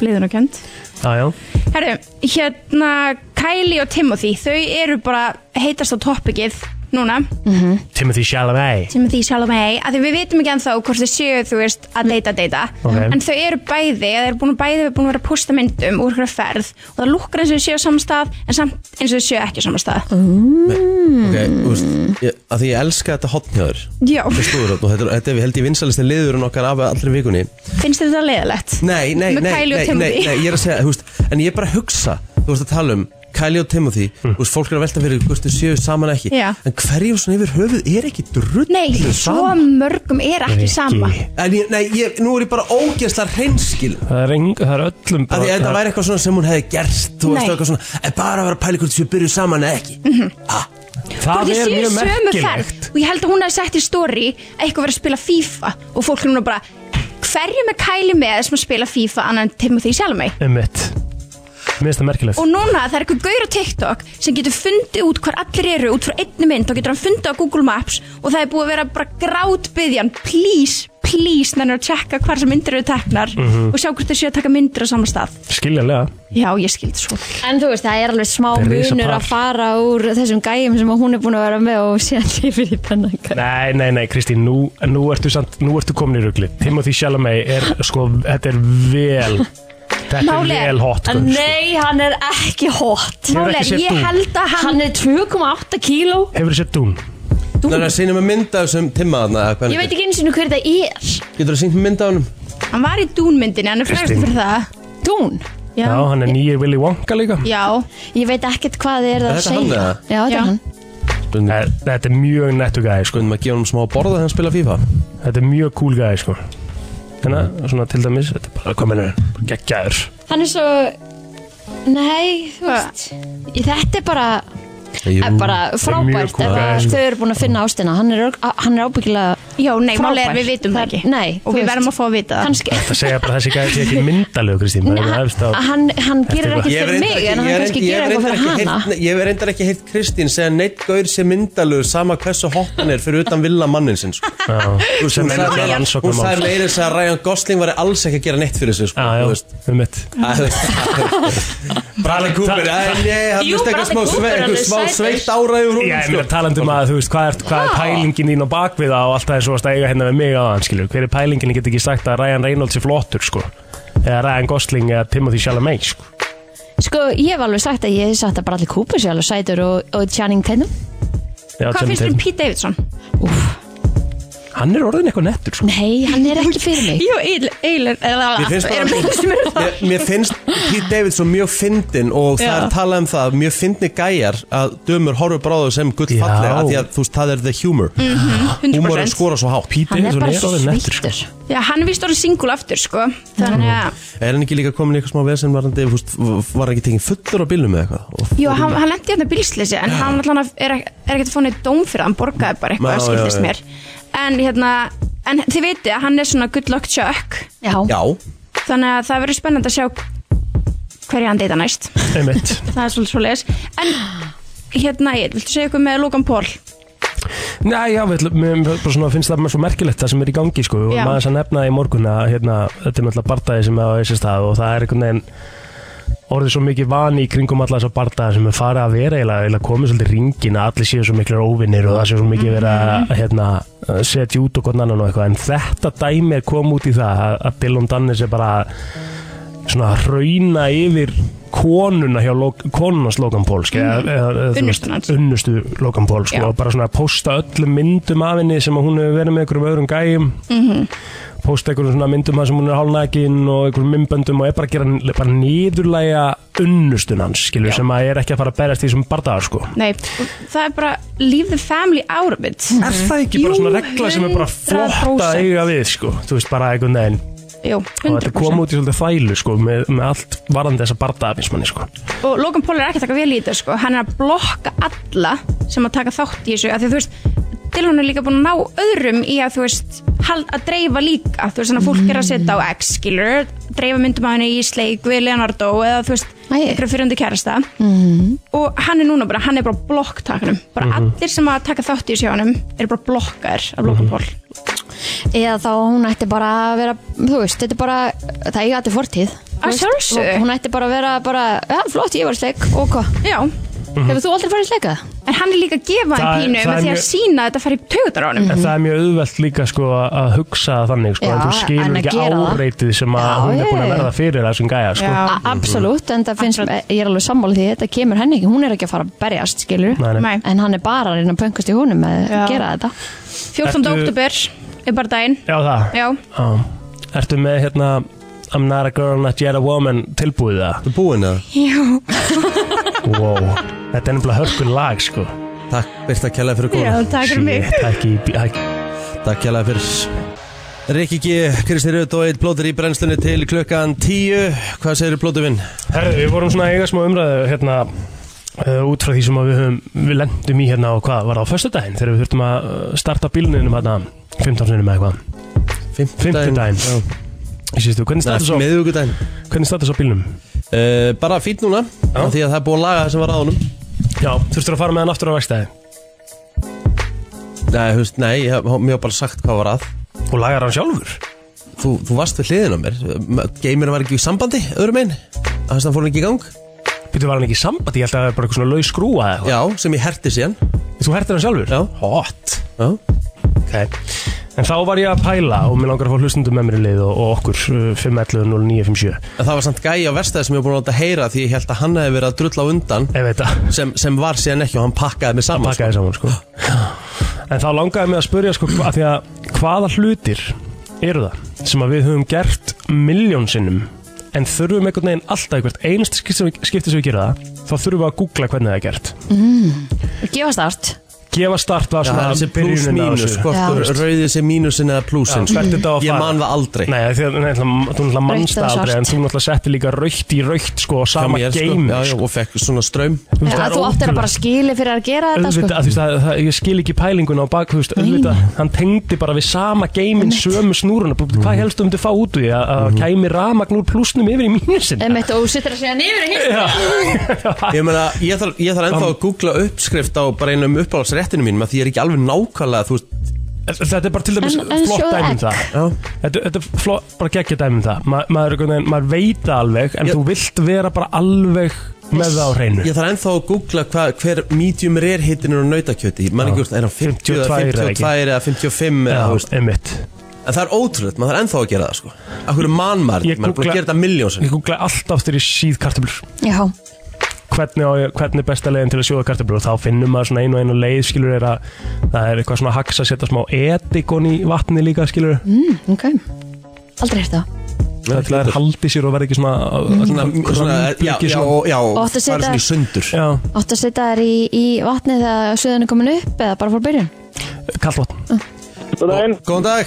Speaker 7: Bliðun og kjönd
Speaker 4: Já, já
Speaker 7: Herru, hérna Kylie og Timothy Þau eru bara heitast á toppikið núna
Speaker 4: Timothy Chalamet
Speaker 7: Timothy Chalamet Af því við vitum ekki ennþá hvort þau séu þú veist að deyta deyta
Speaker 4: Ok.
Speaker 7: En þau eru bæði Þau eru búin, bæði búin að vera að posta myndum úr hverju ferð Og það lukkar eins og þau séu á sama stað En samt eins og þau séu ekki á sama stað
Speaker 4: Mm.
Speaker 2: Ok, þú veist, ég, að því ég elska þetta hotnjáður
Speaker 7: Já,
Speaker 2: Þetta er slúðurótt og þetta er- þetta er, held ég, vinsalistin liðurinn okkar af allri vikunni
Speaker 7: finnst þér þetta leiðilegt?
Speaker 2: Nei, nei, nei,
Speaker 7: Með
Speaker 2: nei,
Speaker 7: Kylie og
Speaker 2: nei, nei,
Speaker 7: Timothy.
Speaker 2: ég er að segja, þú veist, en ég er bara að hugsa, þú veist að tala um Kylie og Timothy,
Speaker 4: Mm.
Speaker 2: þú veist, fólk er að velta fyrir hvort þau séu saman ekki,
Speaker 7: Já.
Speaker 2: en hverjum svona yfir höfuð er ekki drull
Speaker 7: Nei, svo
Speaker 2: saman?
Speaker 7: mörgum er ekki sama
Speaker 2: En ég, nei, ég, nú er ég bara ógeðslega hreinskil
Speaker 4: Það er, eng, það er öllum
Speaker 2: að því að þetta væri eitthvað svona sem hún hefði gert þú veist
Speaker 7: Nei. Mhm.
Speaker 2: eitthvað svona, en bara að vera að pæla hvort þau séu byrjuð saman eða ekki
Speaker 4: Það
Speaker 7: Hvort
Speaker 4: er
Speaker 7: þau séu
Speaker 4: mjög
Speaker 7: sömu
Speaker 4: merkilegt
Speaker 7: ferð. Og ég held að hún hafi sett í story að eitthvað verið að spila FIFA og fólk er núna bara hverju með Kylie með sem að spila FIFA annar en Timothy Chalamet
Speaker 4: Ummitt Mér finnst það merkilegt
Speaker 7: og núna það er eitthvað gaur á TikTok sem getur fundið út hvar allir eru út frá einni mynd og getur hann fundið á Google Maps og það er búið að vera bara grátbyðjan please, please, nennir að checka hvar sem myndir eru teknar
Speaker 4: Mhm.
Speaker 7: og sjá hvort þau séu að taka myndir á sama stað
Speaker 4: Skiljanlega
Speaker 7: Já, ég sko. skildi svo
Speaker 3: En þú veist, það er alveg smá
Speaker 4: Það er risapar.
Speaker 3: munur að fara úr þessum gæjum sem hún er búin að vera með og síðan lifir í þennan gæ.
Speaker 4: Nei, nei, nei, Kristín, nú, nú ertu, samt, nú ertu komin í ruggli Timothy Chalamet er, sko, þetta er vel Þetta er
Speaker 7: Málið er-
Speaker 4: vel hot
Speaker 3: En
Speaker 4: gaur, sko.
Speaker 3: Nei, hann er ekki hot
Speaker 4: Hefur
Speaker 7: Máli
Speaker 4: ekki
Speaker 7: er,
Speaker 4: séð
Speaker 7: ég
Speaker 4: Dune?
Speaker 7: held að hann,
Speaker 3: Hann er 2,8 kíló
Speaker 4: Hefur þú sett dún?
Speaker 2: Það er að sýna með mynda sem Timma þarna eða
Speaker 3: Ég
Speaker 2: hvernig
Speaker 3: veit ekki eins og hver það er
Speaker 2: þetta er. Getur þú að sýna með mynda á honum?
Speaker 7: hann var í dúnmyndinni, hann er frægast
Speaker 4: Kristín.
Speaker 7: fyrir það
Speaker 3: Dún
Speaker 4: Já, hann er nýjir Willy Wonka líka
Speaker 7: Já,
Speaker 3: Ég veit ekkert hvað þið er það
Speaker 2: Er
Speaker 3: að
Speaker 2: þetta hann
Speaker 3: segja
Speaker 2: eða?
Speaker 3: Já, þetta
Speaker 7: Já.
Speaker 3: er hann
Speaker 2: Stundum
Speaker 4: Þe- Þetta er mjög nettu gæði, sko
Speaker 2: Stundum að gefa honum smá að borða þegar hann spila FIFA
Speaker 4: Þetta er mjög cool gæði, sko Þannig að, svona til dæmis, þetta er bara komin Geggjaður
Speaker 3: Hann er svo Nei, þú veist Ég- Þetta er bara, er bara
Speaker 4: mjög
Speaker 3: frábært
Speaker 4: cool
Speaker 3: ef
Speaker 4: gæði,
Speaker 3: að
Speaker 4: sko.
Speaker 3: þau eru búin að finna ástina Hann er, örg- á- hann er ábyggilega
Speaker 7: já, nei,
Speaker 3: frábær
Speaker 7: máli er við vitum það ekki
Speaker 3: Nei,
Speaker 7: Og við verðum að fá að vita það
Speaker 3: Kannski
Speaker 4: Það segja bara að þessi gæði sé ekki myndalegu, Kristín Það er það efst á
Speaker 3: Hann, hann, hann gerir
Speaker 4: eitthvað.
Speaker 3: ekkert
Speaker 2: Ég hef
Speaker 3: fyrir
Speaker 2: reyndar
Speaker 3: mig
Speaker 2: ekki-
Speaker 3: En
Speaker 2: ég
Speaker 3: hann
Speaker 2: hef
Speaker 3: kannski
Speaker 2: reynd- ég hef
Speaker 3: gerir eitthvað
Speaker 2: reyndar
Speaker 3: fyrir
Speaker 2: ekki
Speaker 3: hana
Speaker 2: heyrt- Ég hef reyndar ekki heilt Kristín segja neitt gaur sé myndalur sama hversu hot hann er fyrir utan vilja mannin sinn sko.
Speaker 4: Já, sem
Speaker 2: sagði-
Speaker 4: er náttúrulega
Speaker 2: Hún sagði
Speaker 4: rannsóknum á
Speaker 2: meira þess að Ryan Gosling var alls ekki að gera neitt fyrir sig sko,
Speaker 4: Já, já,
Speaker 2: þú veist.
Speaker 4: um mitt
Speaker 2: Æ, þú
Speaker 4: *laughs*
Speaker 2: veist. Bradley Cooper æ,
Speaker 4: Það-
Speaker 2: Nei, hann
Speaker 3: Jú,
Speaker 2: veist eitthvað smá,
Speaker 3: Bradley Cooper,
Speaker 2: sve,
Speaker 3: hann
Speaker 2: eitthvað
Speaker 3: er
Speaker 2: smá
Speaker 3: sætur.
Speaker 2: sveitt ára yfir honum,
Speaker 4: Já, ég meina
Speaker 2: sko.
Speaker 4: talandum að þú veist, hvað er, hvað er pælingin þín á bakviða og allt það er svo að stæga hérna með mig á hann, skilur Hver er pælingin, ég get ekki sagt að Ryan Reynolds er flottur, sko Eða Ryan Gosling eða Timothy Chalamet, sko
Speaker 3: Sko, ég hef alveg sagt að ég hef sagt að Bradley Cooper sé alveg sætur og, og Channing Tatum
Speaker 4: Já,
Speaker 7: Hvað
Speaker 4: Channing
Speaker 7: finnst þér um
Speaker 4: Tatum.
Speaker 7: Pete Davidson?
Speaker 4: Hann er orðin eitthvað nettur, sko
Speaker 3: Nei, hann er ekki fyrir mig
Speaker 7: Jú, eilir
Speaker 2: Mér finnst bara- *laughs* Mér- Mér finnst Pete Davidson mjög fyndin og það
Speaker 7: Já.
Speaker 2: er talað um það mjög fyndni gæjar að dömur horfur bráðu sem gull fallega
Speaker 4: Já.
Speaker 2: að því að þú veist það er the humor
Speaker 3: Mm.
Speaker 2: humor er
Speaker 7: 100%
Speaker 2: skora svo hátt
Speaker 4: Pete
Speaker 3: Hann er
Speaker 4: Davidson
Speaker 3: bara
Speaker 4: er
Speaker 3: svo
Speaker 4: orðin nettur, sko
Speaker 3: sviltur
Speaker 7: Já, hann er vist orðið singul aftur, sko Þannig að,
Speaker 2: er hann ekki líka komin í eitthvað smá vesen var hann, þú veist, var hann ekki tekinn fullur á bílnum eða eitthvað Og-
Speaker 7: jú, hann, hann lendi hérna bílsleysi En hann allan að- er, ek- er ekkert að fá neitt dóm fyrir það, Hann borgaði bara
Speaker 2: Já,
Speaker 7: eitthvað,
Speaker 2: já,
Speaker 7: skildist
Speaker 2: já.
Speaker 7: mér En hérna, en þið veitu að hann er svona good luck chuck
Speaker 3: Já,
Speaker 2: já,
Speaker 7: Þannig að það verður spennandi að sjá hverja hann deyta næst
Speaker 4: Einmitt.
Speaker 7: það er svolítið svolítið en hérna, ég, viltu segja eitthvað með Logan Paul
Speaker 4: Nei, já, við, ætlum- mér mér bara svona, finnst það mér svo merkilegt það sem er í gangi, sko, og
Speaker 7: Já.
Speaker 4: maður þess að nefna það í morgun að hérna, þetta er náttúrulega bardaði sem er á þessi stað og það er einhvern veginn orðið svo mikið vani í kringum alla þessar bardaði sem er farið að vera eiginlega, eiginlega komið svolítið í ringin að allir séu svo miklir óvinnir og það séu svo mikið verið að hérna, setja út og hvern annan og eitthvað en þetta dæmi er komið út í það að, að Dylan Dannis er bara að svona rauna yfir konuna hjá log, konunans Logan Paul mm. eða, eða, þú veist,
Speaker 7: Unnustu hans.
Speaker 4: unnustu Logan Paul sko,
Speaker 7: Já.
Speaker 4: og bara svona að posta öllum myndum af henni sem að hún hefur verið með einhverjum öðrum gæjum Mhm. posta einhverjum svona myndum af sem hún er hálnakin og einhverjum myndböndum og er bara að gera bara nýðurlæga unnustun hans skilur, sem að er ekki að fara að berjast í þessum bardagar sko.
Speaker 7: nei, það er bara leave the family out of it
Speaker 4: er það ekki bara
Speaker 7: Jú,
Speaker 4: svona regla sem er bara flott að
Speaker 7: 100%.
Speaker 4: eiga við sko, þú veist bara einhvern veginn
Speaker 7: Jú,
Speaker 4: og þetta kom
Speaker 7: 100%
Speaker 4: út í svolítið þælu sko, með, með allt varðandi þessa bardaðafinsmanni sko.
Speaker 7: og Logan Paul er ekki að taka vel í þetta sko. hann er að blokka alla sem að taka þátt í þessu af því þú veist, Dylan er líka búin að ná öðrum í að þú veist, hald, að dreifa líka þú veist, þannig að fólk er að setja á X skilur, dreifa myndum að henni í sleik við Leonardo eða þú veist,
Speaker 3: Æi.
Speaker 7: einhverju fyrirhundi kærasta og hann er núna bara, hann er bara á blokktakunum bara allir sem að taka þátt í þessu hjá hann eru bara blokkaðir af Logan Paul
Speaker 3: eða þá hún ætti bara að vera Þú veist, þetta er bara Það eiga allir fortíð
Speaker 7: Að sjálfsögðu.
Speaker 3: Hún ætti bara að vera bara, já, flott, ég var í sleik og hvað?
Speaker 7: Já,
Speaker 4: Mhm.
Speaker 3: Hefur þú aldrei farið í sleika?
Speaker 7: en hann er líka að gefa
Speaker 4: Það-
Speaker 7: hann pínu
Speaker 4: það er
Speaker 7: með því að
Speaker 4: mjög-
Speaker 7: sína að þetta fari í taugutar á honum
Speaker 4: En það er mjög auðvelt líka sko að hugsa það þannig sko,
Speaker 3: Mhm. Já,
Speaker 4: en þú
Speaker 3: en
Speaker 4: skilur
Speaker 3: að
Speaker 4: ekki
Speaker 3: gera það.
Speaker 4: áreitið sem að
Speaker 3: Já,
Speaker 4: hún er búin að
Speaker 3: ég-
Speaker 4: verða fyrir þessum gæja sko.
Speaker 7: Já.
Speaker 3: A- Absolutt, en það finnst, ég er alveg sammála því þetta kemur henni ekki, hún er ekki að fara að berjast skilur,
Speaker 4: Nei, nei.
Speaker 7: Nei.
Speaker 3: en hann er bara að reyna að pöngast í húnum með
Speaker 7: Já.
Speaker 3: að gera þetta
Speaker 7: 14.
Speaker 4: Ertu-
Speaker 7: oktober er bara daginn
Speaker 4: Já, það
Speaker 7: Já,
Speaker 4: Já. Ertu með hérna I'm not a girl, not yet a woman tilbúið það?
Speaker 2: Þú búin að
Speaker 4: Wow, þetta er nefnilega hörkun lag sko
Speaker 2: Takk Birta kjærlega fyrir
Speaker 7: já
Speaker 2: komuna
Speaker 7: takk fyrir mig
Speaker 4: Shit, Hækki, í bí- hækki
Speaker 2: Takk kjærlega fyrir Rikki G, Kristi Röð og eitt plótur í brennslunni til klukkan 10 Hvað segir plótur minn?
Speaker 4: Herðu, við vorum svona að eiga smá umræðu hérna uh, út frá því sem að við, höfum, við lendum í hérna og hvað var það á föstudaginn þegar við þurftum að uh, starta bílninum hérna 15 sinni með eitthvað 50 daginn Sýstu, hvernig status á,
Speaker 2: Miðugudaginn
Speaker 4: hvernig status á bílnum?
Speaker 2: uh, Bara fýtt núna
Speaker 4: Já.
Speaker 2: af Því að það er búið að laga það sem var á honum
Speaker 4: Já, þurftur að fara með hann aftur á vegstæði
Speaker 2: Nei, hufst, nei ég, hef- mér var bara sagt hvað var að
Speaker 4: og lagar hann sjálfur
Speaker 2: Þú, þú varst við hliðin á mér Gamerinn var ekki í sambandi, öðrum einn Þannig að hann fór hann ekki í gang
Speaker 4: Býttu var hann ekki í sambandi, ég held að það er bara eitthvað svona laus skrúa eða
Speaker 2: Já, sem ég herti síðan
Speaker 4: eitthvað Þú hertir hann sjálfur?
Speaker 2: Já.
Speaker 4: Hot
Speaker 2: Já
Speaker 4: okay. En þá var ég að pæla og mér langar að fá hlustundum með mér í lið og, og okkur uh, 511 0957
Speaker 2: En það var samt gæi á verstaði sem ég var búin að láta heyra því ég held að hann hefði verið að drulla á undan
Speaker 4: Ef þetta
Speaker 2: sem, sem var síðan ekki og hann pakkaði mig saman
Speaker 4: pakkaði saman sko. En þá langaði mig að spyrja sko, að því að hvaða hlutir eru það sem að við höfum gert miljón sinnum en þurfum einhvern veginn alltaf einhvert einst skipti sem, við- skipti sem við gerum það þá þurfum við að googla hvernig það er gert
Speaker 3: gefa start
Speaker 4: gefa start var
Speaker 2: Já,
Speaker 4: svona
Speaker 2: það er þessi pluss
Speaker 4: byrjunin á
Speaker 2: mínus, sko.
Speaker 4: þessu.
Speaker 2: hvort
Speaker 3: Já.
Speaker 2: rauðið sé mínusin eða plussin
Speaker 4: Já, hvert þetta á að
Speaker 2: Ég
Speaker 4: fara.
Speaker 2: man það aldrei
Speaker 4: Nei, því að nei, ætla- þú náttúrulega
Speaker 3: Rautt
Speaker 4: mannst
Speaker 3: eða
Speaker 4: aldrei
Speaker 3: svart?
Speaker 4: en þú náttúrulega setti líka raukt í raukt sko og
Speaker 2: Hjá
Speaker 4: sama
Speaker 2: mér, sko.
Speaker 4: game
Speaker 2: já, já, og fekk svona straum
Speaker 3: En að þú áttir að bara skili fyrir að gera þetta
Speaker 4: Auðvitað,
Speaker 3: sko.
Speaker 4: að, þú veist, að, það, ég skil ekki pælinguna á bak, þú veist, auðvitað, hann tengdi bara við sama geimin sömu snúruna, bara, hvað helst þú myndi fá út úr því að að kæmi ramagn úr plussnum yfir í mínusin?
Speaker 3: Einmitt, og þú sittir að segja nýfur
Speaker 2: Ég meina, ég þarf, ég þarf ennþá að googla uppskrift á bara einum uppáhaldsréttinu mínum að því ég er ekki alveg nákvæmlega, þú veist
Speaker 4: Þetta er bara til dæmis
Speaker 3: En- en
Speaker 4: flott
Speaker 3: sjóða
Speaker 4: dæmum
Speaker 3: egg.
Speaker 4: það
Speaker 2: Já.
Speaker 4: Þetta, þetta er flott, bara geggja dæmum það Ma, maður, er einhvern veginn- maður veit það alveg en
Speaker 2: Ég-
Speaker 4: þú vilt vera bara alveg með það á hreinu
Speaker 2: Ég þarf ennþá að googla hva, hver medium rare hitin er á nautakjöti Ég man ekki, úr- er hann 50 eða
Speaker 4: 52 eða ekki?
Speaker 2: 52 eða 55 eða, þú veist.
Speaker 4: Já, einmitt
Speaker 2: En það er ótrúlegt, maður þarf ennþá að gera það sko Akkur er mannmært,
Speaker 4: Ég
Speaker 2: maður er búin
Speaker 4: googla-
Speaker 2: að gera þetta miljónsinn
Speaker 4: Ég googla alltaf þegar ég síð kartöflur
Speaker 3: Já,
Speaker 4: hvernig, á ég- hvernig er besta leiðin til að sjóða kartöflur og þá finnum maður svona einu og einu leið skilur er að það er eitthvað svona haks að setja smá etikon í vatni líka skilur
Speaker 3: mm, ok Aldrei hér það
Speaker 4: það er til að það haldi sér og verði ekki svona,
Speaker 2: Svona, svona, já,
Speaker 4: ekki
Speaker 2: já,
Speaker 4: svona
Speaker 2: og- já,
Speaker 3: Og átti að
Speaker 2: fara
Speaker 3: setja-
Speaker 2: svona í sundur
Speaker 4: já,
Speaker 3: Áttu að setja þær í, í vatni þegar suðan er komin upp eða bara fór byrjun
Speaker 4: kallt vatn
Speaker 9: Góðan,
Speaker 2: Góðan dag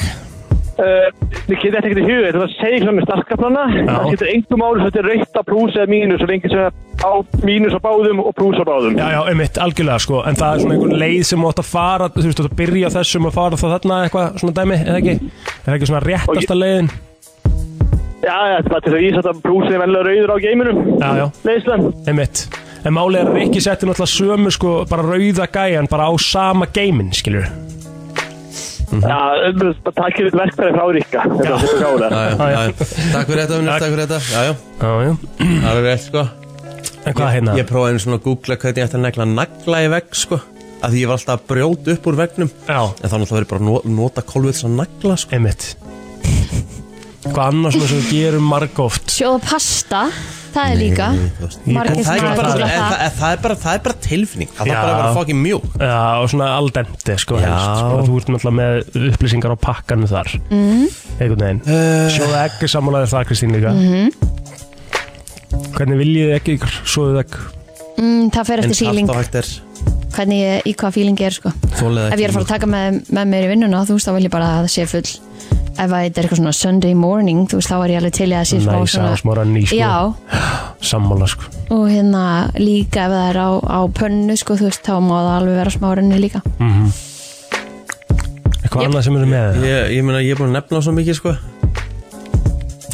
Speaker 9: uh, þið getur þetta ekkert í huga, þetta var að segja hvað með starkaplana. Það getur engum máli þetta er reyta plús eða mínus og lengi sem það á mínus á báðum og plús á báðum.
Speaker 4: já, já, einmitt, algjörlega sko en það er svona einhvern leið sem þú átt að fara þú veist, þú átt að byrja á þessum og fara þá þarna eitthvað svona dæmi, eða ekki er það ekki svona réttasta leiðin
Speaker 9: Já, já, þetta er bara til þess að vísa þetta plúsið er venlega rauður á geiminum.
Speaker 4: já, já,
Speaker 9: Leislan.
Speaker 4: einmitt En málið er að Rikki setti náttúrulega sömu sko bara rauða gæjan bara á sama geimin, skilur
Speaker 9: Já, það takkir þetta verkfæri frá Ríkka. Þetta er þetta gálega.
Speaker 2: já,
Speaker 4: Já, já.
Speaker 2: já, já. Takk fyrir þetta, minnast, takk fyrir þetta Já, já,
Speaker 4: Já, já Mm.
Speaker 2: það er rétt, sko
Speaker 4: En hvað hérna?
Speaker 2: Ég prófaði einu svona að googla hvernig ég ætti að negla nagla í vegg, sko Af því ég var alltaf að brjóta upp úr veggnum
Speaker 4: Já,
Speaker 2: En þá náttúrulega verið bara að no- nota kolvið sem nagla, sko
Speaker 4: einmitt Hvað annars með sem við gerum margóft
Speaker 3: Sjóða pasta, það er líka
Speaker 2: Mm, Þú veist.
Speaker 4: Ég-
Speaker 2: En
Speaker 3: Margir
Speaker 2: það
Speaker 3: sem
Speaker 2: er
Speaker 3: hafa
Speaker 2: ekki bara,
Speaker 3: googlað
Speaker 2: en
Speaker 3: það
Speaker 2: það- en það er bara, það er bara tilfinning Það
Speaker 4: Já.
Speaker 2: er bara að vera fucking mjúk
Speaker 4: Já, og svona aldente sko,
Speaker 2: Já.
Speaker 4: helst, sko. Þú ert náttúrulega með upplýsingar á pakkanu þar mm. Einhvern veginn uh. Sjóðu ekki sammálaðið það Kristín líka Hvernig viljið þið ekki ykkur sjóðu ekki
Speaker 3: mm, Það fer
Speaker 2: En
Speaker 3: eftir
Speaker 2: allt
Speaker 3: fíling,
Speaker 2: á hægt er
Speaker 3: hvernig ég, í hvað fíling ég er sko
Speaker 2: þolið
Speaker 3: Ef ég er að fara að taka með, með mér í vinnuna þú veist, þá vil ég bara að það sé full Ef að þetta er eitthvað svona Sunday morning þú veist, þá er ég alveg til í að það sé smá
Speaker 4: Næsa og
Speaker 3: svona
Speaker 4: smá ranni sko.
Speaker 3: Já,
Speaker 4: Sammála sko.
Speaker 3: og hérna líka ef það er á, á pönnu sko, þú veist, þá má það alveg vera smá renni líka
Speaker 2: Mm.
Speaker 4: Eitthvað annað sem eru með
Speaker 2: Ég, ég meina, ég er búin að nefna svo mikið, sko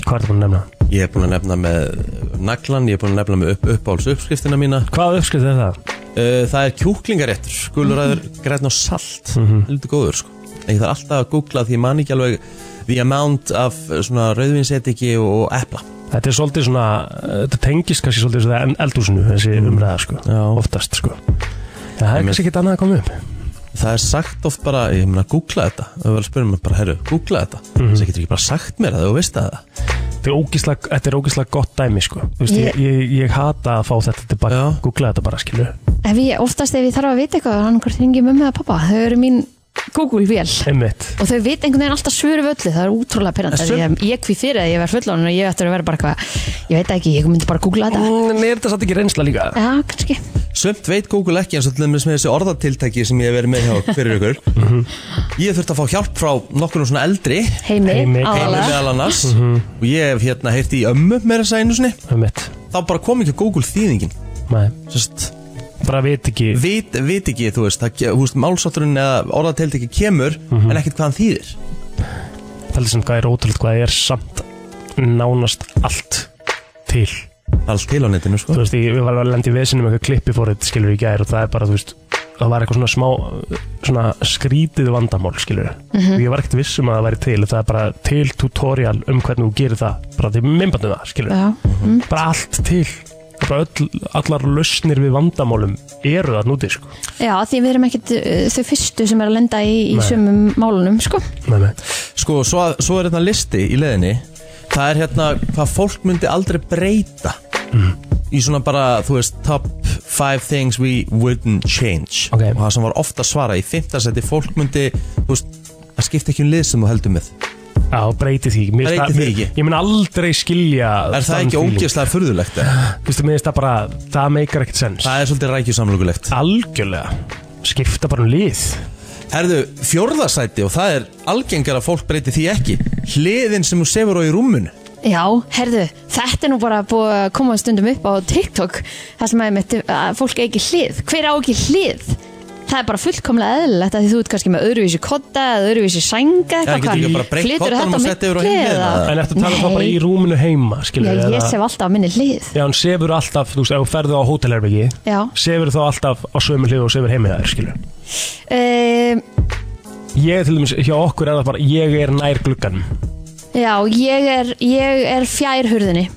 Speaker 4: Hvað er það búin að nefna?
Speaker 2: Ég er búin að nefna með naglan, ég er búin að nefna með upp, uppáhalds uppskriftina mína
Speaker 4: Hvað uppskrift er það?
Speaker 2: uh, Það er kjúklingaréttur, skuluræður, græn og salt mm Lítið góður, sko En ég þarf alltaf að googla því ég man ekki alveg The amount of uh, svona rauðvinsetiki og epla
Speaker 4: Þetta er svolítið svona, þetta tengist kannski svolítið svona eldúsinu, þessi umræða sko, Já. oftast sko. En það er kannski ekkert annað að koma upp.
Speaker 2: Það er sagt oft bara, ég meina, googla þetta Það er verið að spyrja mig bara, herru, googla þetta mm Það getur ekki bara sagt mér að þú veist það
Speaker 4: Þetta er ógislega, þetta er ógislega gott dæmi sko. Þú veist, ég, ég, ég hata að fá þetta tilbaka, googla þetta bara skilu.
Speaker 3: Ef ég, oftast ef ég þarf að vita eitthvað, hann hvort ringi mömmu eða pappa, þau eru mín Google-vél
Speaker 4: Einmitt.
Speaker 3: og þau veit einhvern veginn alltaf svöru við öllu, það er útrúlega pyrrandi
Speaker 4: Þessu-
Speaker 3: ég, ég kví fyrir að ég verð fullon og ég ætti að vera bara eitthvað, ég veit það ekki, ég myndi bara að googla þetta
Speaker 4: En Mm, er þetta satt ekki reynsla líka?
Speaker 3: Já, kannski
Speaker 2: Sumt veit Google ekki eins og til dæmis með þessi orðatiltæki sem ég hef verið með hjá fyrir ykkur Ég þurfti að fá hjálp frá nokkur svona eldri
Speaker 3: Heimi,
Speaker 4: Heimi,
Speaker 2: Heimi
Speaker 3: aðalega
Speaker 2: meðal annars Og ég hef hérna heyrt í ömmu meira að segja einu sinni
Speaker 4: Einmitt.
Speaker 2: Þá bara kom ekki Google þýðingin
Speaker 4: Nei,
Speaker 2: Sest,
Speaker 4: bara veit ekki.
Speaker 2: vit, vit ekki, þú veist, það, ge- þú veist Málsátturinn eða orðatiltæki kemur En ekkert hvað hann þýðir
Speaker 4: Það er sem hvað er ótrúlega hvað er samt nánast allt til.
Speaker 2: Allt til á netinu, sko
Speaker 4: Þú veist, ég, ég var að lendi í vesinu með eitthvað klippi fórið, skilur, í gær og það er bara, þú veist, það var eitthvað svona smá, svona skrítið vandamál, skilur. Ég var ekkert viss um að það væri til, það er bara til tutorial um hvernig þú gerir það, bara því minnbandum það, skilur.
Speaker 3: Já, mm.
Speaker 4: Bara allt til, Það er bara öll, allar lausnir við vandamálum eru það núti, sko.
Speaker 3: Já, því við erum ekkit uh, þau fyrstu sem er að lenda í, í
Speaker 4: Nei.
Speaker 3: sömum málunum, sko
Speaker 4: Nei, nei.
Speaker 2: Sko, svo, svo er hérna listi í leðinni Það er hérna hvað fólk myndi aldrei breyta Í svona bara, þú veist, top 5 things we wouldn't change
Speaker 4: Ok.
Speaker 2: Og það sem var ofta svara í fimmtarsæti Fólk myndi, þú veist, það skipta ekki um lið sem þú heldur með
Speaker 4: Já, breyti því ekki. Mér finnst
Speaker 2: Breyti
Speaker 4: það-
Speaker 2: því ekki.
Speaker 4: Ég mun aldrei skilja
Speaker 2: Er það
Speaker 4: þann
Speaker 2: ekki
Speaker 4: feeling.
Speaker 2: ógeðslega furðulegt? eða?
Speaker 4: Þú veist, mér finnst það bara, það meikar ekkert sens.
Speaker 2: Það er svolítið rækjusamlugulegt
Speaker 4: Algjörlega. Skipta bara um lið.
Speaker 2: Herðu, fjórðasæti og það er algengar að fólk breyti því ekki Hliðin sem þú sefur á í rúmunu
Speaker 3: Já, herðu, þetta er nú bara búið að koma stundum upp á TikTok Það sem að, mitt, að fólk er ekki hlið Hver á ekki hlið? Það er bara fullkomlega eðlilegt að því þú ert kannski með öðruvísi kotta eða öðruvísi sænga
Speaker 2: Já, getur ekki bara breytt
Speaker 3: Flyturðu
Speaker 2: koddanum
Speaker 3: þetta á
Speaker 2: og sett yfir á
Speaker 3: milli
Speaker 2: hinn
Speaker 3: eða?
Speaker 2: hliðina?
Speaker 4: En eftir að tala um það
Speaker 3: Nei.
Speaker 4: bara í rúminu heima, skilur
Speaker 3: Já, ég sef alltaf á minni hlið
Speaker 4: Já, hann sefur alltaf, þú veist, ef þú ferðu á hótelherbyggi
Speaker 3: Já
Speaker 4: Sefur þá alltaf á sömu hlið og sefur heimið þær, skilur
Speaker 3: um,
Speaker 4: Ég til dæmis, hjá okkur er það bara, ég er nær glugganum
Speaker 3: Já, ég er, ég er fjær hurðinni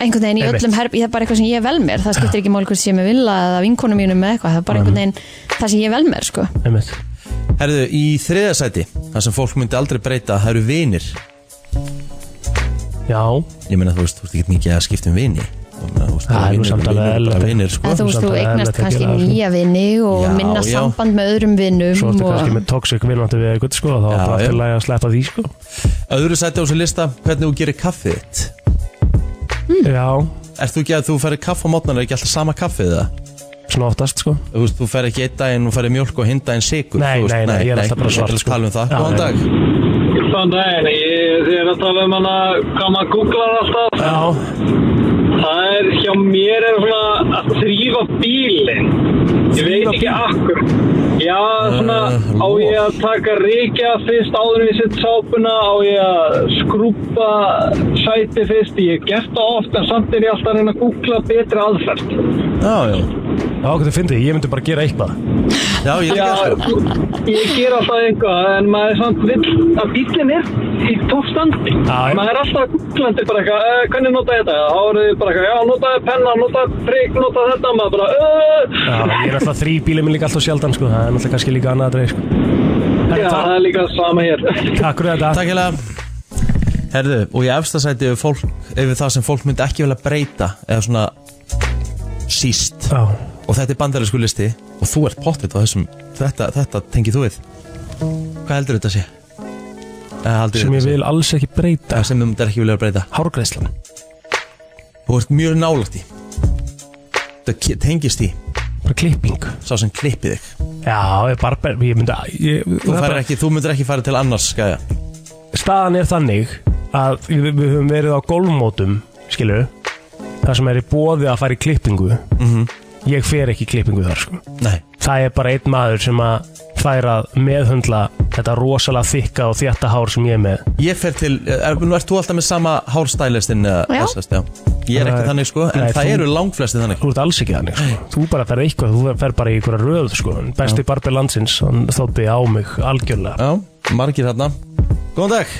Speaker 3: einhvern veginn í
Speaker 4: Einmitt.
Speaker 3: öllum herb, það er bara eitthvað sem ég vel mér það skiptir ekki mál hvort sem ég vilja eða vinkonum mínum með eitthvað, það er bara
Speaker 4: Mhm.
Speaker 3: einhvern veginn það sem ég vel mér sko.
Speaker 4: Einmitt.
Speaker 2: Herðu, í þriðasæti Það sem fólk myndi aldrei breyta, það eru vinir
Speaker 4: Já,
Speaker 2: ég meina þú veist, þú veist ekki mikið að skipta um vini og meina, þú veist,
Speaker 4: Það er nú
Speaker 2: vinir-
Speaker 4: samt alveg
Speaker 2: vinir eru bara
Speaker 4: eðlilegt.
Speaker 2: vinir, sko.
Speaker 3: eða þú veist, þú
Speaker 4: samt alveg
Speaker 3: eignast
Speaker 4: eðlilegt að
Speaker 3: kannski
Speaker 4: gera það, sko.
Speaker 3: nýja vinni og
Speaker 2: Já,
Speaker 3: minna
Speaker 2: já.
Speaker 3: samband með öðrum vinnum
Speaker 4: svo ertu kannski
Speaker 3: og...
Speaker 4: með toxic vinnandi við eitthvað, sko Þá
Speaker 2: Já,
Speaker 4: er bara
Speaker 2: já.
Speaker 4: til að sleppa því, sko
Speaker 2: öðru sæti á þessu lista, hvernig þú gerir kaffið þitt
Speaker 3: Mm.
Speaker 4: Já,
Speaker 2: Ert þú ekki að þú ferir kaff á mótnar er ekki alltaf sama kaffið það?
Speaker 4: svona oftast, sko
Speaker 2: Þú veist, þú fer ekki einn daginn og ferir mjölk og hinn daginn sigur
Speaker 4: Nei,
Speaker 2: þú veist,
Speaker 4: nei, nei, ég er alltaf bara svart,
Speaker 2: Ég ætla að
Speaker 4: sko.
Speaker 2: tala um það,
Speaker 4: Já,
Speaker 2: góðan
Speaker 4: nei.
Speaker 2: dag
Speaker 10: Góðan daginn, ég ég er að tala um hana hvað maður googlar alltaf.
Speaker 4: Já,
Speaker 10: Það er hjá mér er svona að þrýfa bílinn. Ég veit
Speaker 4: Þrífa
Speaker 10: ekki akkur. Já, svona
Speaker 2: Eh,
Speaker 10: á ég að taka reykja fyrst áður en ég sett sápuna, á ég að skrúpa sæti fyrst. Ég hef gert það oft en samt er ég alltaf að reyna að googla betri aðferð.
Speaker 2: Já, já,
Speaker 4: já, hvað þið fyndið, ég myndi bara gera eitthvað
Speaker 2: já, ég líka sko
Speaker 10: ég ger alltaf eitthvað en maður er samt vill að bílinn er í toppstandi.
Speaker 4: Já, já.
Speaker 10: Maður er alltaf gúglandi bara eitthvað, uh, hvernig nota ég þetta? Þá eru þið bara eitthvað, já, notaði penna, notaði prigg, notaði þetta, maður bara, uh,
Speaker 4: Já, ég er alltaf þrý bílið minn líka alltaf sjaldan, sko Það er alltaf kannski líka annað aðrið, sko Herri,
Speaker 10: já, það
Speaker 4: takk-
Speaker 10: er líka sama hér.
Speaker 4: Takk fyrir þetta
Speaker 2: Takk hérlega Herðu, og ég efsta sæti yfir, fólk, yfir það sem fólk myndi ekki vilja breyta eða svona síst
Speaker 4: Já.
Speaker 2: og þetta er bandarísku listi og þú ert pottitt á þessum þetta, þetta tengið þú við hvað heldur þetta sé? Eða heldur
Speaker 4: sem ég vil alls ekki breyta
Speaker 2: Eða sem þú myndir ekki vilja breyta
Speaker 4: Hárgreðslan
Speaker 2: þú ert mjög nálægt í það ke- tengist í
Speaker 4: Bara klipping
Speaker 2: sá sem klippi þig
Speaker 4: Já, ég, barber, ég myndi ég,
Speaker 2: þú,
Speaker 4: það er
Speaker 2: farir
Speaker 4: bara,
Speaker 2: ekki, þú myndir ekki fara til annars skæja.
Speaker 4: Staðan er þannig að við, við höfum verið á golfmótum skilur Það sem er í bóði að fara í klippingu Ég fer ekki í klippingu þar sko.
Speaker 2: nei,
Speaker 4: Það er bara einn maður sem að fær að meðhundla þetta rosalega þykka og þjætta hár sem ég er með
Speaker 2: ég fer til er, nú ert þú alltaf með sama hárstælistin
Speaker 3: Já.
Speaker 2: ég er ekki
Speaker 4: Nei.
Speaker 2: þannig sko en
Speaker 4: Nei,
Speaker 2: það
Speaker 4: þú-
Speaker 2: eru langflesti þannig
Speaker 4: Þú ert alls ekki þannig sko. Þú bara fer eitthvað, þú fer bara í einhverja röð sko. En Besti barber landsins, hann þótti á mig algjörlega
Speaker 2: já, margir hérna góðan dag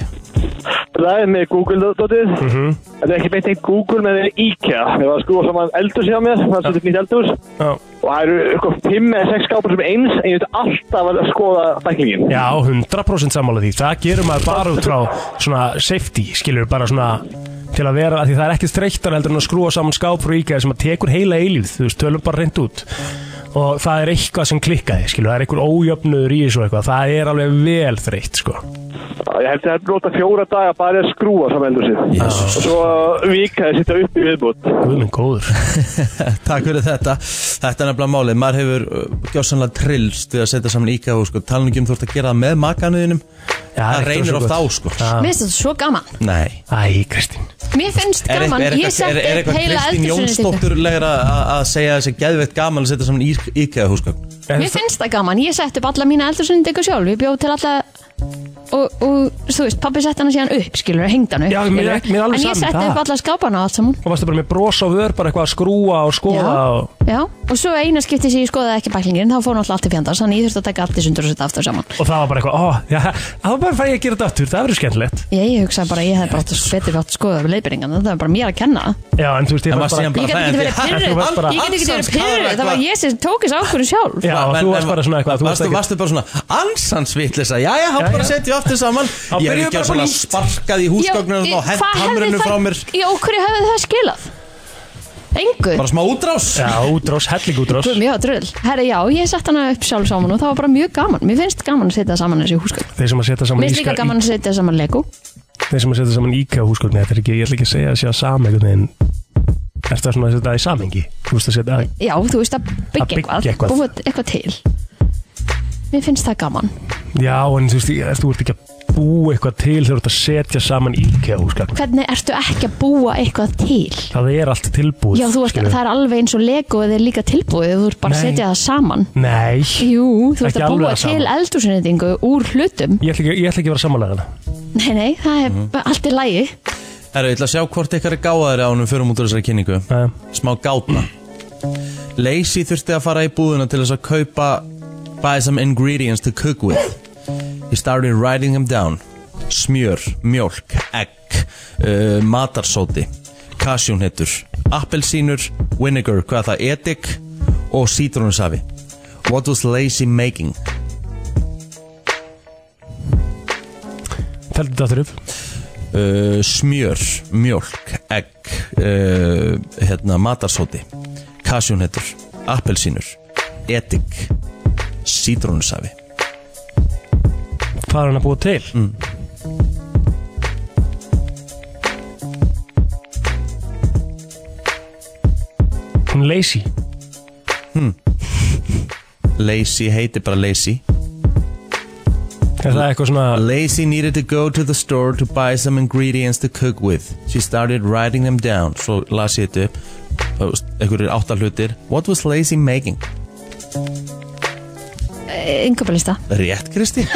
Speaker 11: ræði með Google-dótið Þetta er ekki beint einn Google með IKEA Ég var að skrúa saman eldur síðan mér Það er svolítið nýtt eldur
Speaker 4: Já.
Speaker 11: Og það eru eitthvað 5 eða 6 skápar sem er eins En ég veit alltaf að skoða bæklingin
Speaker 4: Já, 100% sammála því. Það gerum maður bara út frá svona safety, skilur bara svona til að vera, af því það er ekki streyktar heldur en að skrúa saman skáp frá íkæði sem að tekur heila eilíð, þú veist, tölum bara reynd út og það er eitthvað sem klikkaði, skilur, það er eitthvað ójöfnuður í þessu og eitthvað, það er alveg vel þreytt, sko.
Speaker 11: Ég held að það er nota fjóra daga bara í að skrúa saman eldur síðan
Speaker 4: Jesus.
Speaker 11: Og svo vikaði sitta upp í viðbútt
Speaker 4: Guðminn góður
Speaker 2: *laughs* Takk fyrir þetta Þetta er nefnilega málið Maður hefur uh, gjóðsannlega trillst við að setja saman íka og sko, tala nú ekki um þú ert að gera það með makanuðinum Það reynir oft á sko
Speaker 3: Mér finnst þetta svo gaman
Speaker 2: Nei
Speaker 4: Æ, Kristín
Speaker 3: Mér finnst gaman, ég sett upp heila
Speaker 2: Kristín
Speaker 3: eldursinu
Speaker 2: Jónsdóttur legra að segja þessi geðveitt gaman að setja saman íka húsgögn
Speaker 3: Mér finnst það gaman, ég sett upp alla mína eldursinu ykkur sjálf, ég bjóð til alla og, og þú veist, pabbi sett hana síðan upp skilur, hengd hana upp
Speaker 4: Já, mér er-
Speaker 3: skilurðu.
Speaker 4: mér er alveg
Speaker 3: En ég
Speaker 4: sama um
Speaker 3: sett
Speaker 4: það.
Speaker 3: upp alla skápana og allt saman
Speaker 4: Og varstu bara með brosa og vör, bara eitthvað að skrúa og skoða og...
Speaker 3: Já, og svo eina skipti sem ég skoðaði ekki bæklingin þá fór náttúrulega allt í fjandars, þannig ég þurfti að taka allt í sundur og setja aftur saman.
Speaker 4: Og það var bara eitthvað, ó, já, það var bara fæði að gera þetta aftur, það verður skemmtilegt.
Speaker 3: Ég, ég hugsaði bara, að ég hef bara átt að betur átt að skoða við leiðbyrningan, þetta er bara mér að kenna.
Speaker 4: Já, en þú veist, ég
Speaker 2: En
Speaker 4: var
Speaker 2: maður
Speaker 4: bara...
Speaker 2: síðan bara Ég gat ekki verið
Speaker 3: Pirruð,
Speaker 4: Þú varst bara-
Speaker 3: Ég get ekki verið pyrruð, það var ég sem tók þessu ákvörðu sjálf.
Speaker 4: Já,
Speaker 2: En-
Speaker 4: þú
Speaker 2: en-
Speaker 4: varst bara svona eitthvað, þú varst
Speaker 2: varstu,
Speaker 4: ekki-
Speaker 2: varstu bara svona ansansvitlisa Jæja, hann
Speaker 4: Já,
Speaker 2: bara
Speaker 4: já.
Speaker 2: setja aftur saman
Speaker 4: Þá
Speaker 2: Ég er
Speaker 4: byrjuðu
Speaker 2: ekki
Speaker 4: bara
Speaker 2: að svona
Speaker 4: nýtt.
Speaker 2: sparkað í
Speaker 3: eh,
Speaker 2: húsgögnunum og hent hamrunum frá mér
Speaker 3: Já, hverju hefði það skilað? Engu.
Speaker 2: Bara smá útrás
Speaker 4: Já, útrás, helling útrás
Speaker 3: Guð, Mjög drull. Herra, já, ég sett hana upp sjálf saman og það var bara mjög gaman. Mér finnst gaman að setja saman þessi húsgögn.
Speaker 4: Þeir sem að setja
Speaker 3: Mér
Speaker 4: saman,
Speaker 3: finnst líka
Speaker 4: íska,
Speaker 3: gaman að setja saman Lego.
Speaker 4: þeir sem að setja saman íka húsgögn Þetta er ekki, ég ætla ekki að segja að sé að sama einhvern veginn Er það svona að setja það í samengi? Þú veist að setja það
Speaker 3: Já, þú veist að
Speaker 4: Að byggja
Speaker 3: byggja
Speaker 4: eitthvað.
Speaker 3: eitthvað, búa eitthvað til. Mér finnst það gaman.
Speaker 4: Já, en þú veist, ég- þú ert ekki að búa eitthvað til þegar þú ert að setja saman íka húsgögn
Speaker 3: Hvernig ertu ekki að búa eitthvað til?
Speaker 4: Það er allt tilbúið
Speaker 3: Já, þú ert,
Speaker 4: skilurðu.
Speaker 3: það er alveg eins og Lego eða líka tilbúið, þú ert bara að
Speaker 4: Nei.
Speaker 3: setja það saman.
Speaker 4: Nei
Speaker 3: Jú, þú ert
Speaker 4: Ekki
Speaker 3: að
Speaker 4: alveg
Speaker 3: búa
Speaker 4: það
Speaker 3: til
Speaker 4: sama.
Speaker 3: eldursynnendingu úr hlutum.
Speaker 4: Ég ætla ekki, ég ætla ekki að vera samanlega hana
Speaker 3: Nei, nei, það er
Speaker 2: Mhm.
Speaker 3: allt í lægi.
Speaker 2: Herru, ég ætla að sjá hvort ykkar er gáðari ánum fyrir út úr þessari kynningu Smá gátna Lacey þurfti að fara í búðuna til þess að kaupa Buy some ingredients to cook with He started writing them down Smjör, mjólk, egg uh, Matarsóti Kasjúnhettur Appelsínur, vinegar, hvað það, edik Og sítrónusafi What was Lacey making?
Speaker 4: Teldi þetta aftur upp
Speaker 2: uh, Smjör, mjólk, egg uh, hérna, Matarsóti Kasjúnhettur Appelsínur Edik Sítrónusafi
Speaker 4: Hvað er hann að búa til? Mm. Hún er lazy
Speaker 2: hmm. Lacey heitir bara Lacey
Speaker 4: Er það eitthvað svona
Speaker 2: Lacey needed to go to the store to buy some ingredients to cook with She started writing them down Svo las ég þetta upp Það var einhverjir áttar hlutir What was Lacey making?
Speaker 3: Eh, Yngöpalista.
Speaker 2: Rétt Kristi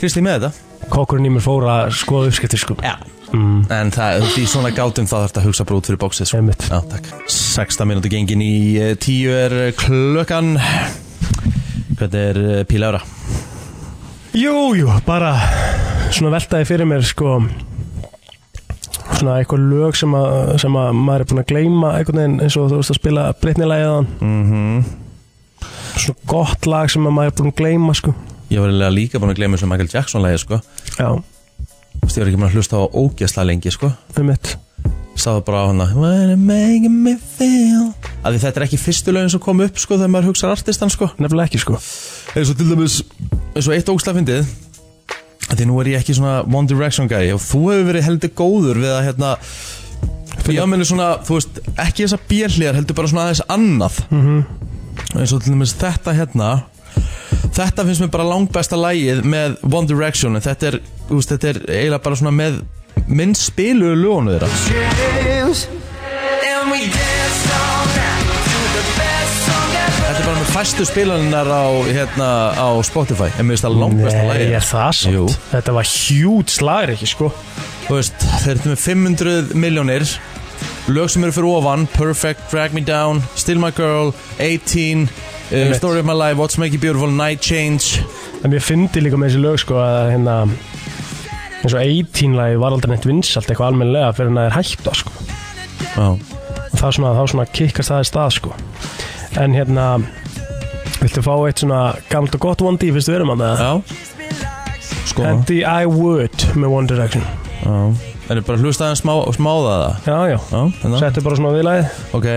Speaker 2: Kristi með þetta
Speaker 4: Kokkurinn í mér fór að skoða uppskipti sko
Speaker 2: Já En það, þú veist, í svona gátum þá þarf þetta að hugsa bara út fyrir bóksið sko. Já, takk 16 minúti gengin í 10 er eh, klukkan Hvernig er eh, Píla Ára?
Speaker 4: Jú, jú, bara svona veltaði fyrir mér sko svona eitthvað lög sem að, sem að maður er búinn að gleyma einhvern veginn eins og þú veist að spila Britney-lægiðan
Speaker 2: mm
Speaker 4: Mhm.
Speaker 2: -hmm.
Speaker 4: svona gott lag sem að maður er búinn að gleyma sko
Speaker 2: Ég var eiginlega líka búin að gleyma þessu Michael Jackson lægi sko
Speaker 4: Já
Speaker 2: Þú veist, ég var ekki búin að hlusta á ógæsla lengi sko
Speaker 4: um mitt
Speaker 2: Sáðu bara á hana When you're making me feel að því þetta er ekki fyrstu lögin sem kom upp sko þegar maður hugsa artistan sko
Speaker 4: nefnilega ekki sko
Speaker 2: eins og til dæmis eins og eitt ógslag fyndið að því nú er ég ekki svona One Direction guy og þú hefur verið heldur góður við að hérna ég meina svona þú veist ekki þessa björnlegar heldur bara svona aðeins annað eins og til dæmis þetta hérna þetta finnst mér bara langbesta lægið með One Direction en þetta er, þú veist, þetta er eiginlega bara svona með minn spiluðu lögunu þeirra Þetta er bara með fæstu spilaninnar á, hérna, á Spotify En mér finnst það langbesta
Speaker 4: Nei,
Speaker 2: lagi
Speaker 4: er það samt? Þetta var hjút slagir ekki, sko
Speaker 2: Þú veist, þeir eru með 500 miljónir Lög sem eru fyrir ofan Perfect, Drag Me Down, Still My Girl uh, 18, uh,
Speaker 4: Einmitt.
Speaker 2: Story of My Life, What's Make You Beautiful Night Change
Speaker 4: En mér fyndi líka með þessi lög sko að hérna eins og 18 lagi var aldrei neitt vinsalt eitthvað almennilega fyrir en að það er hægt á sko
Speaker 2: Já
Speaker 4: Það er svona, þá svona kikkast það í stað sko En hérna Viltu fá eitt svona gamalt og gott 1D fyrst við erum að það?
Speaker 2: Já Sko
Speaker 4: Hendi I Would með One Direction
Speaker 2: Já Er þið bara að hlusta aðeins smá, smá það það?
Speaker 4: Já, já, hérna.
Speaker 2: já hérna.
Speaker 4: Settu bara svona viðlæð
Speaker 2: Ok,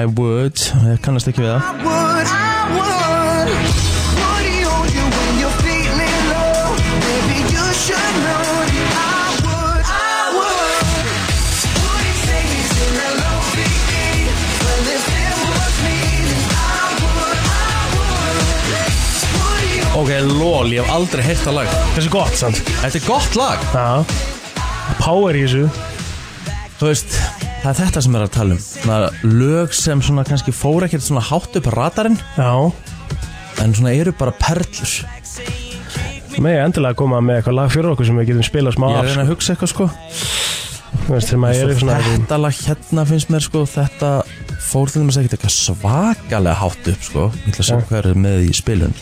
Speaker 2: I would, ég kannast ekki við það Ok, lol, ég hef aldrei heyrt það lag
Speaker 4: Þetta er gott, sant?
Speaker 2: Þetta er gott lag
Speaker 4: Já Power í þessu
Speaker 2: Þú veist, það er þetta sem er að tala um svona Lög sem svona kannski fór ekkert svona hátt upp radarinn
Speaker 4: Já
Speaker 2: En svona eru bara perlur
Speaker 4: Megi endilega koma með eitthvað lag fyrir okkur sem við getum spilað smá
Speaker 2: Ég er
Speaker 4: af,
Speaker 2: að reyna að hugsa eitthvað sko
Speaker 4: Þú veist, þegar maður er í svona
Speaker 2: Þetta lag hérna finnst mér sko Þetta fór til þess að ekkert eitthvað svakalega hátt upp sko Ég ætla að sjá
Speaker 4: Já.
Speaker 2: hvað er með í spilun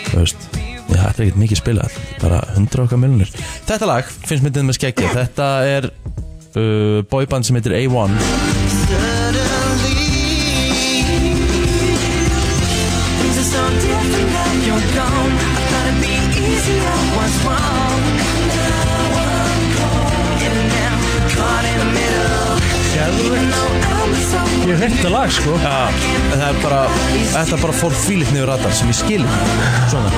Speaker 2: Þú veist Já, þetta er ekkert mikið spilað Bara hundra okkar miljonir Þetta lag finnst mér til þess að skegja Þetta er uh, boyband sem heitir A1
Speaker 4: Ég hef þetta lag sko
Speaker 2: Já, en það er bara Þetta bara fór þvílitt niður radar sem ég skil ekki. Svona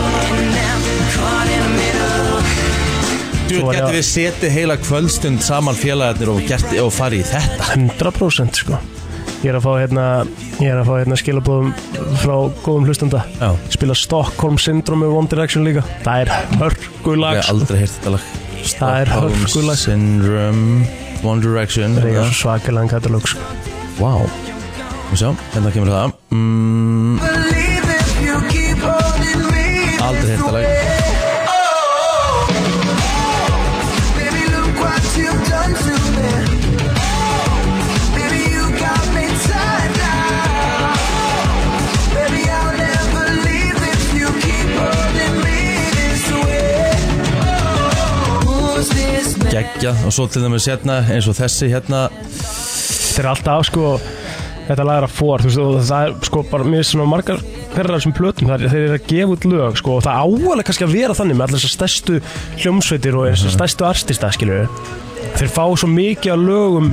Speaker 2: Þú getur við setið heila kvöldstund saman félagarnir og, gert, og farið í þetta
Speaker 4: 100% sko Ég er að fá hérna, ég er að fá hérna skilabóðum frá góðum hlustanda
Speaker 2: Já.
Speaker 4: Spila Stockholm Syndrome með One Direction líka Það er sko. hörgulag
Speaker 2: Ég hef aldrei heyrt þetta lag
Speaker 4: Það er
Speaker 2: Stockholm
Speaker 4: hörkulag.
Speaker 2: Syndrome One Direction
Speaker 4: Það er svakalega katalóg sko
Speaker 2: Vá Og sjá, hérna kemur það mm, Aldrei heyrt þetta lag
Speaker 5: Oh, Oh,
Speaker 2: Gekkja Og svo til dæmis hérna eins og þessi hérna
Speaker 4: Þetta er alltaf sko Þetta lag er að fór, þú veist, og það er sko bara Mér er svona margar hverjar af þessum plötum það er, Þeir eru að gefa út lög sko Og það áalega kannski að vera þannig með allar þessar stærstu hljómsveitir Og þessar stærstu artista, skilur Þeir fá svo mikið af lögum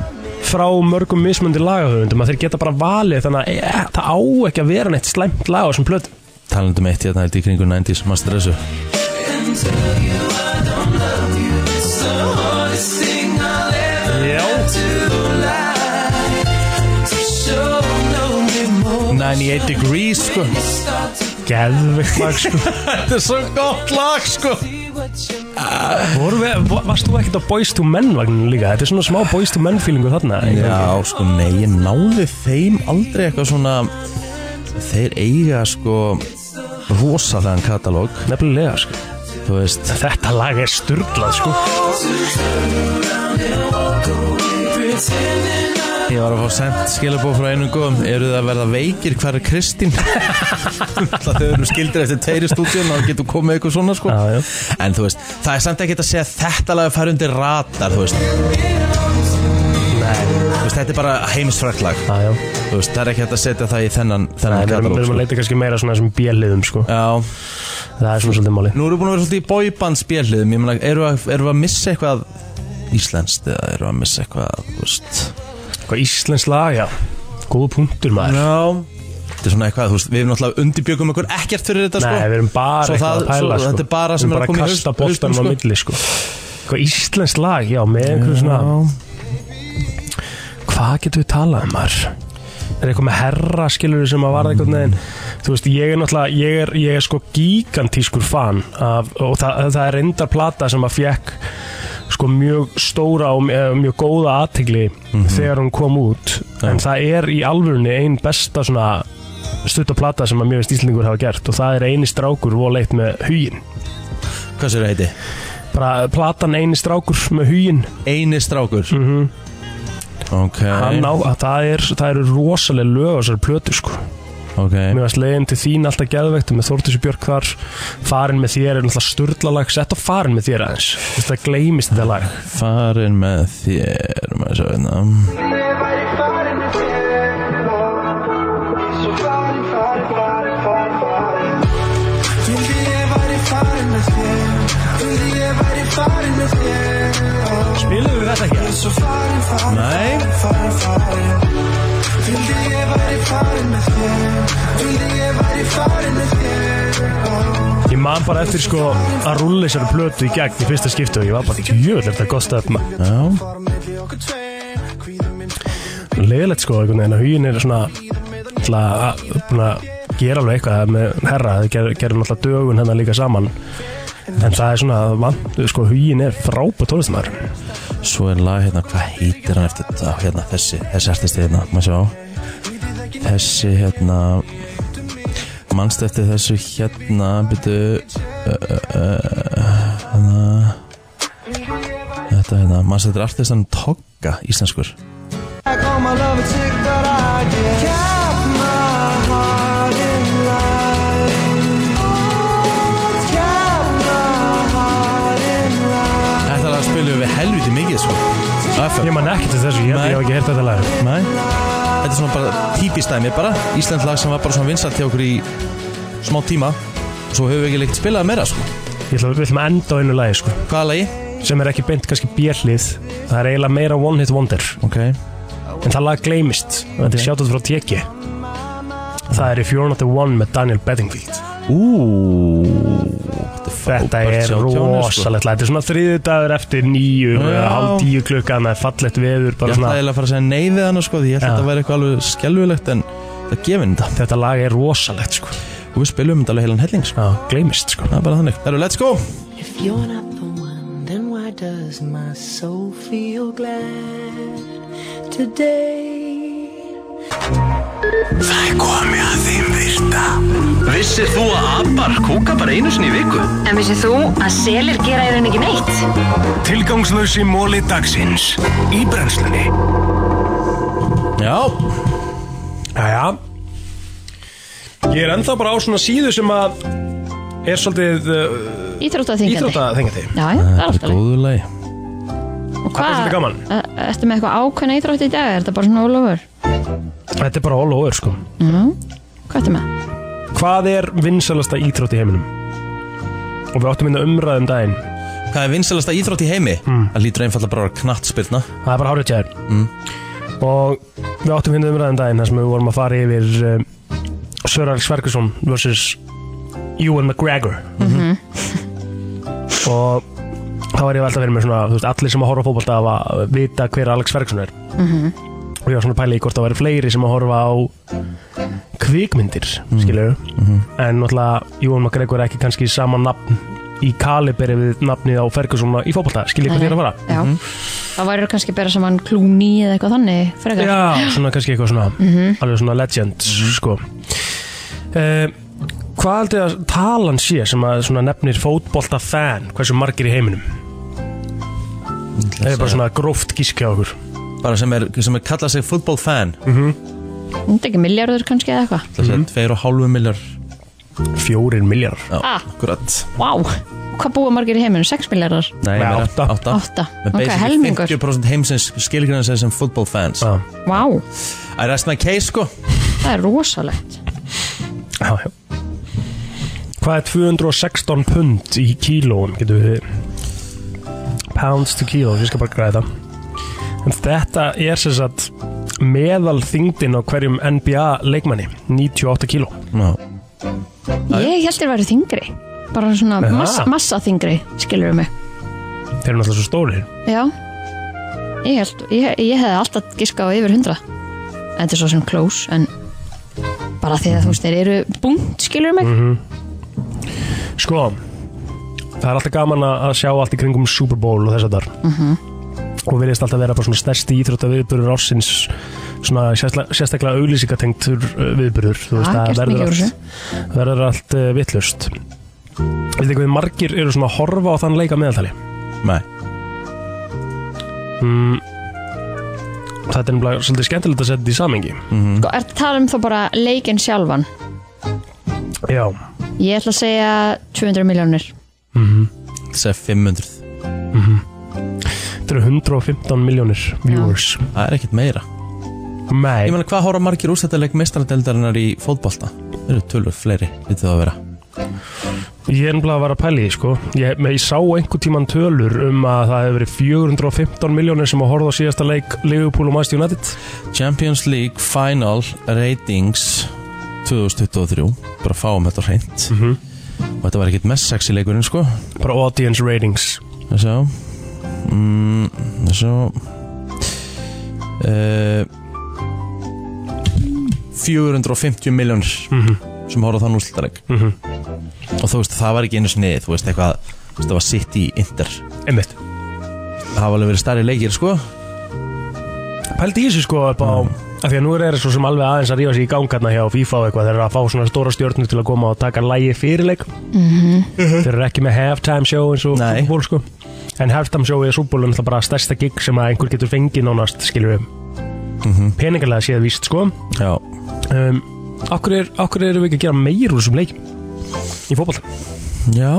Speaker 4: frá mörgum mismundi lagahöfundum að þeir geta bara valið þannig að e, það á ekki að vera neitt slæmt lag á þessum plötum
Speaker 2: Talandum eitt hérna er díkringur 90s Master þessu
Speaker 4: Já
Speaker 2: 98 Degrees sko
Speaker 4: Geðvikt lag sko
Speaker 2: *laughs* Þetta er svo gott lag sko
Speaker 4: Voru við, va- varst þú ekkert á Boys to Men vagninu líka? Þetta er svona smá Boys to Men feelingu þarna
Speaker 2: Já, sko, nei, ég náði þeim aldrei eitthvað svona Þeir eiga, sko, rosalegan katalóg
Speaker 4: Nefnilega, sko
Speaker 2: Þú veist
Speaker 4: Þetta lag er sturglað, sko
Speaker 2: Ég var að fá sent skilabóð frá einum góðum Eru það að verða veikir, hver er Kristín? Það þau eru skildir eftir tveiri stúdíun og getur komið eitthvað svona, sko já, já. En þú veist, það er samt ekkert að segja að Þetta lag fær undir ratar, þú veist Nei Þú veist, þetta er bara heimsfrækt lag
Speaker 4: Já, já
Speaker 2: Þú veist, það er ekki hægt að setja það í þennan,
Speaker 4: Nei,
Speaker 2: þennan sko.
Speaker 4: við erum, við erum að leita kannski meira svona þessum bjelliðum, sko
Speaker 2: Já
Speaker 4: Það er svona svolítið máli
Speaker 2: Nú erum við búin að vera svolítið í bóibandsbjörliðum Ég meina, eru við að, að missa eitthvað íslenskt eða eru við að missa eitthvað, þú veist Sko,
Speaker 4: Eitthvað íslensk lag, já Góð punktur, maður
Speaker 2: Já Þetta er svona eitthvað, þú veist, við erum náttúrulega undirbjögum okkur ekkert fyrir þetta, sko
Speaker 4: Nei, við erum bara
Speaker 2: Svo
Speaker 4: eitthvað
Speaker 2: það-
Speaker 4: að pæla,
Speaker 2: svo,
Speaker 4: sko
Speaker 2: Þetta er bara sem
Speaker 4: Við
Speaker 2: er
Speaker 4: erum
Speaker 2: að koma í
Speaker 4: að
Speaker 2: haust
Speaker 4: kasta boltanum á
Speaker 2: haustum,
Speaker 4: milli, sko Eitthvað íslensk lag, já, með einhverjum svona Hvað getum við talað um, maður? er eitthvað með herra skilur sem að varða eitthvað neginn þú veist, ég er náttúrulega, ég er, ég er sko gigantískur fan af, og það, það er reyndar plata sem að fjekk sko mjög stóra og eh, mjög góða aðtegli
Speaker 2: Mhm.
Speaker 4: þegar hún kom út en það er í alvörunni ein besta svona stuttaplata sem að mjög veist Íslingur hafa gert og það er eini strákur voleitt með hugin
Speaker 2: Hvað sér heiti?
Speaker 4: bara platan eini strákur með hugin
Speaker 2: eini strákur
Speaker 4: mm
Speaker 2: Ok
Speaker 4: hann á, það, er, það eru rosalega lög á þessari plötu sko
Speaker 2: okay.
Speaker 4: Mér var slegin til þín alltaf geðveikt með Þórtísu Björk þar Farin með þér er náttúrulega sturlalag Sett á farin með þér aðeins Þú veist, Það gleymist þetta lag
Speaker 2: Farin með þér maður svo veitna
Speaker 5: Vildi ég væri farin með þér Vildi ég væri farin með þér
Speaker 4: Spilum við þetta ekki?
Speaker 5: Ég er svo farin, farin,
Speaker 2: Nei.
Speaker 5: farin, farin, farin Vildi ég væri farin með þér Vildi ég væri farin með þér
Speaker 4: Ég man bara eftir sko að rúlla þessari plötu í gegn í fyrsta skiptu og ég var bara jöður þetta er gott stöfn
Speaker 2: Já
Speaker 4: Leðilegt sko einhvern veginn að hugin er svona ætla að búin að gera alveg eitthvað með herra það ger, gerum alltaf dögun hennar líka saman en það er svona að vant sko hugin er frábæð tólistamæður
Speaker 2: Svo er lag hérna, hvað heitir hann eftir þetta hérna, þessi, þessi artisti hérna, maður sjá þessi hérna mannst eftir þessu hérna byrju uh, uh, uh, hérna þetta hérna, mannst eftir artistan Togga, íslenskur
Speaker 5: Back on my love and take that I get. Kept my heart in line. Kept my heart in line.
Speaker 2: Þetta lag spilum við helviti mikið sko FM.
Speaker 4: Ég man ekki til þessu, ég held ég hafi ekki heyrt þetta lag
Speaker 2: Nei, þetta er svona bara típist dæmi bara Ísland lag sem var bara svona vinsalt hjá okkur í smá tíma Svo höfum við ekki leikt spilað meira sko
Speaker 4: Ég ætla að við ætlum að enda á einu lagi sko
Speaker 2: Hvaða lagi?
Speaker 4: Sem er ekki beint kannski björlið Það er eiginlega meira one hit wonder
Speaker 2: okay.
Speaker 4: En það lag gleymist Þetta er sjátt frá Tjekki Það er If You're Not The One með Daniel Bedingfield
Speaker 2: Úúú
Speaker 4: Þetta er
Speaker 2: shout, Jónas, sko.
Speaker 4: rosalegt lag Þetta er svona þriðu dagur eftir nýju
Speaker 2: Já.
Speaker 4: Hálf tíu klukkan, það er fallegt veður
Speaker 2: Ég
Speaker 4: bara
Speaker 2: ætla
Speaker 4: svona,
Speaker 2: eiginlega að fara að segja nei við hana sko Því ég held að þetta væri eitthvað alveg skelvilegt En það gefur þetta
Speaker 4: Þetta lag er rosalegt sko
Speaker 2: Og við spilum þetta alveg heilan helling sko
Speaker 4: Já, gleymist sko
Speaker 2: Það er bara þannig Það eru let's go
Speaker 5: If you're not the one, then why does my soul feel glad today?
Speaker 1: Það er komið að þeim virta Vissir þú að abar kúka bara einu sinni í viku?
Speaker 8: En vissið þú að selir gera í raun ekki neitt?
Speaker 1: Tilgangslösi móli dagsins Í brennslunni
Speaker 2: Já
Speaker 4: Jæja Ég er ennþá bara á svona síðu sem að Er svolítið uh,
Speaker 3: Íþróttaþingjandi.
Speaker 4: Íþróttaþengjandi
Speaker 3: Já, já, það er alltaf leið.
Speaker 2: góðu lagi
Speaker 3: Og
Speaker 4: Það er svolítið gaman.
Speaker 3: e- ertu með eitthvað ákveðna íþrótt í dag? Er þetta bara svona ólofur?
Speaker 4: Þetta er bara all over sko
Speaker 3: Mm. Hvað ertu með?
Speaker 4: Hvað er vinsalasta íþrótt í heiminum? Og við áttum inn að umræða um daginn
Speaker 2: Hvað er vinsalasta íþrótt í heimi?
Speaker 4: Hmm.
Speaker 2: Það lítur einfallega bara knatt spilna
Speaker 4: Það er bara hárið tjær mm. Og við áttum hérna umræðan daginn þar sem við vorum að fara yfir uh, Sörarl Svergusson vs. Ewan McGregor
Speaker 2: Mhm.
Speaker 3: Mhm,
Speaker 4: Og þá var ég velta að vera með svona þú veist, Allir sem að horfa á fótbolta hafa að vita hver Alex Svergusson er
Speaker 5: Mhm.
Speaker 4: Og ég var svona að pæla í hvort það væri fleiri sem að horfa á kvikmyndir, mm. skilur En náttúrulega Ewan McGregor er ekki kannski sama nafn í kaliberi við nafnið á Ferguson í fótbolta, skilur ég hvað
Speaker 3: Nei,
Speaker 4: þér að fara?
Speaker 3: nei,
Speaker 2: Mhm.
Speaker 3: já. Það væri kannski að bera saman klúni eða eitthvað þannig frekar.
Speaker 4: Já, svona kannski eitthvað svona
Speaker 3: Mhm.
Speaker 4: Alveg svona legend, sko uh, Hvað heldur að talan sé sem að svona nefnir fótbolta fan Hversu margir í heiminum? Það er bara svona gróft gískja okkur
Speaker 2: Bara sem er, sem er kallað sig football fan
Speaker 4: Hmm.
Speaker 3: Þetta er ekki miljardur kannski eða eitthvað.
Speaker 2: Það er tveir og hálfu miljar
Speaker 4: Fjórir miljar
Speaker 2: Já,
Speaker 3: Ah.
Speaker 2: akkurat
Speaker 3: Vá, hvað búa margir í heiminu? 6 miljardar?
Speaker 2: Nei, meira.
Speaker 4: átta.
Speaker 2: átta.
Speaker 3: Átta.
Speaker 2: Með
Speaker 3: Ok,
Speaker 2: basically
Speaker 3: helmingur.
Speaker 2: 50% heimsins skilgræna sér sem football fans
Speaker 4: ah.
Speaker 3: Vá,
Speaker 2: I rest my case sko
Speaker 3: það er rosalegt.
Speaker 4: Já, já Hvað er 216 pund í kílóum, getur við Pounds to kíló, ég skal bara græða En þetta er sem sagt meðal þyngdin á hverjum NBA leikmanni 98 kíló
Speaker 2: Já
Speaker 3: Ég held þér væri þingri. Bara svona
Speaker 4: Aha.
Speaker 3: mass, massa þingri, skilur við mig.
Speaker 4: Þeir eru náttúrulega svo stórir
Speaker 3: Já, ég held, ég, ég hefði alltaf giskað á yfir 100. Þetta er svo sem close, en bara því að þú veist, þeir eru búnt, skilur við mig.
Speaker 4: Sko Það er alltaf gaman að að sjá allt í kringum Super Bowl og þess að þar
Speaker 5: Mhm.
Speaker 4: og virðist alltaf vera bara svona stærsti íþrótta viðbörur ársins svona sérstaklega, sérstaklega auglýsingatengtur uh, viðbörur þú veist,
Speaker 5: Ja,
Speaker 4: það
Speaker 5: gerst mikið
Speaker 4: verður
Speaker 5: úr
Speaker 4: allt, verður allt uh, vittlust Veit ekki hvað margir eru svona að horfa á þann leika meðaltali?
Speaker 2: Nei
Speaker 4: mm, Þetta er nefnilega svolítið skemmtilegt að setja þetta í samengi
Speaker 2: Mhm.
Speaker 4: mm
Speaker 3: Er það tala um þá bara leikinn sjálfan?
Speaker 4: Já
Speaker 3: Ég ætla að segja 200 miljónir
Speaker 4: Mhm,
Speaker 2: Sæ 500
Speaker 4: Þetta eru 115 miljónir viewers
Speaker 2: Það er ekkert meira
Speaker 4: Nei
Speaker 2: Ég meina hvað horfa margir úrstættileg mestaradeldarinnar í fótbolta? Það eru tölur fleiri, lítið það að vera
Speaker 4: Ég er nefnilega að vara að pæli því sko ég, ég sá einhver tíman tölur um að það hefur verið 415 miljónir sem að horfa á síðasta leik Liverpool og Manchester United
Speaker 2: Champions League Final Ratings 2023 Bara fáum þetta hreint Og þetta var ekkert mest sexy leikurinn sko
Speaker 4: Bara audience ratings
Speaker 2: Þessu mm, Þessu uh, 450 miljónir sem horfðu á þann úrslitaleg mm og þú veist það var ekki einu snið þú veist eitthvað, þú veist, það var sitt í inter
Speaker 4: Einmitt
Speaker 2: það hafa alveg verið stærri leikir sko
Speaker 4: Pældi í þessu sko upp á af því að nú er þeirra svo sem alveg aðeins að rífa sér í gangarna hjá FIFA og eitthvað þeir eru að fá svona stóra stjórnur til að koma og taka lægi fyrirleik þeir eru ekki með halftime show eins og fútból sko en halftime show í sútból er náttúrulega bara stærsta gig sem að einhver getur fengið nánast skilur við peningarlega séð víst sko
Speaker 2: já
Speaker 4: um, okkur, er, okkur erum við ekki að gera meir úr þessum leik í fótball
Speaker 2: já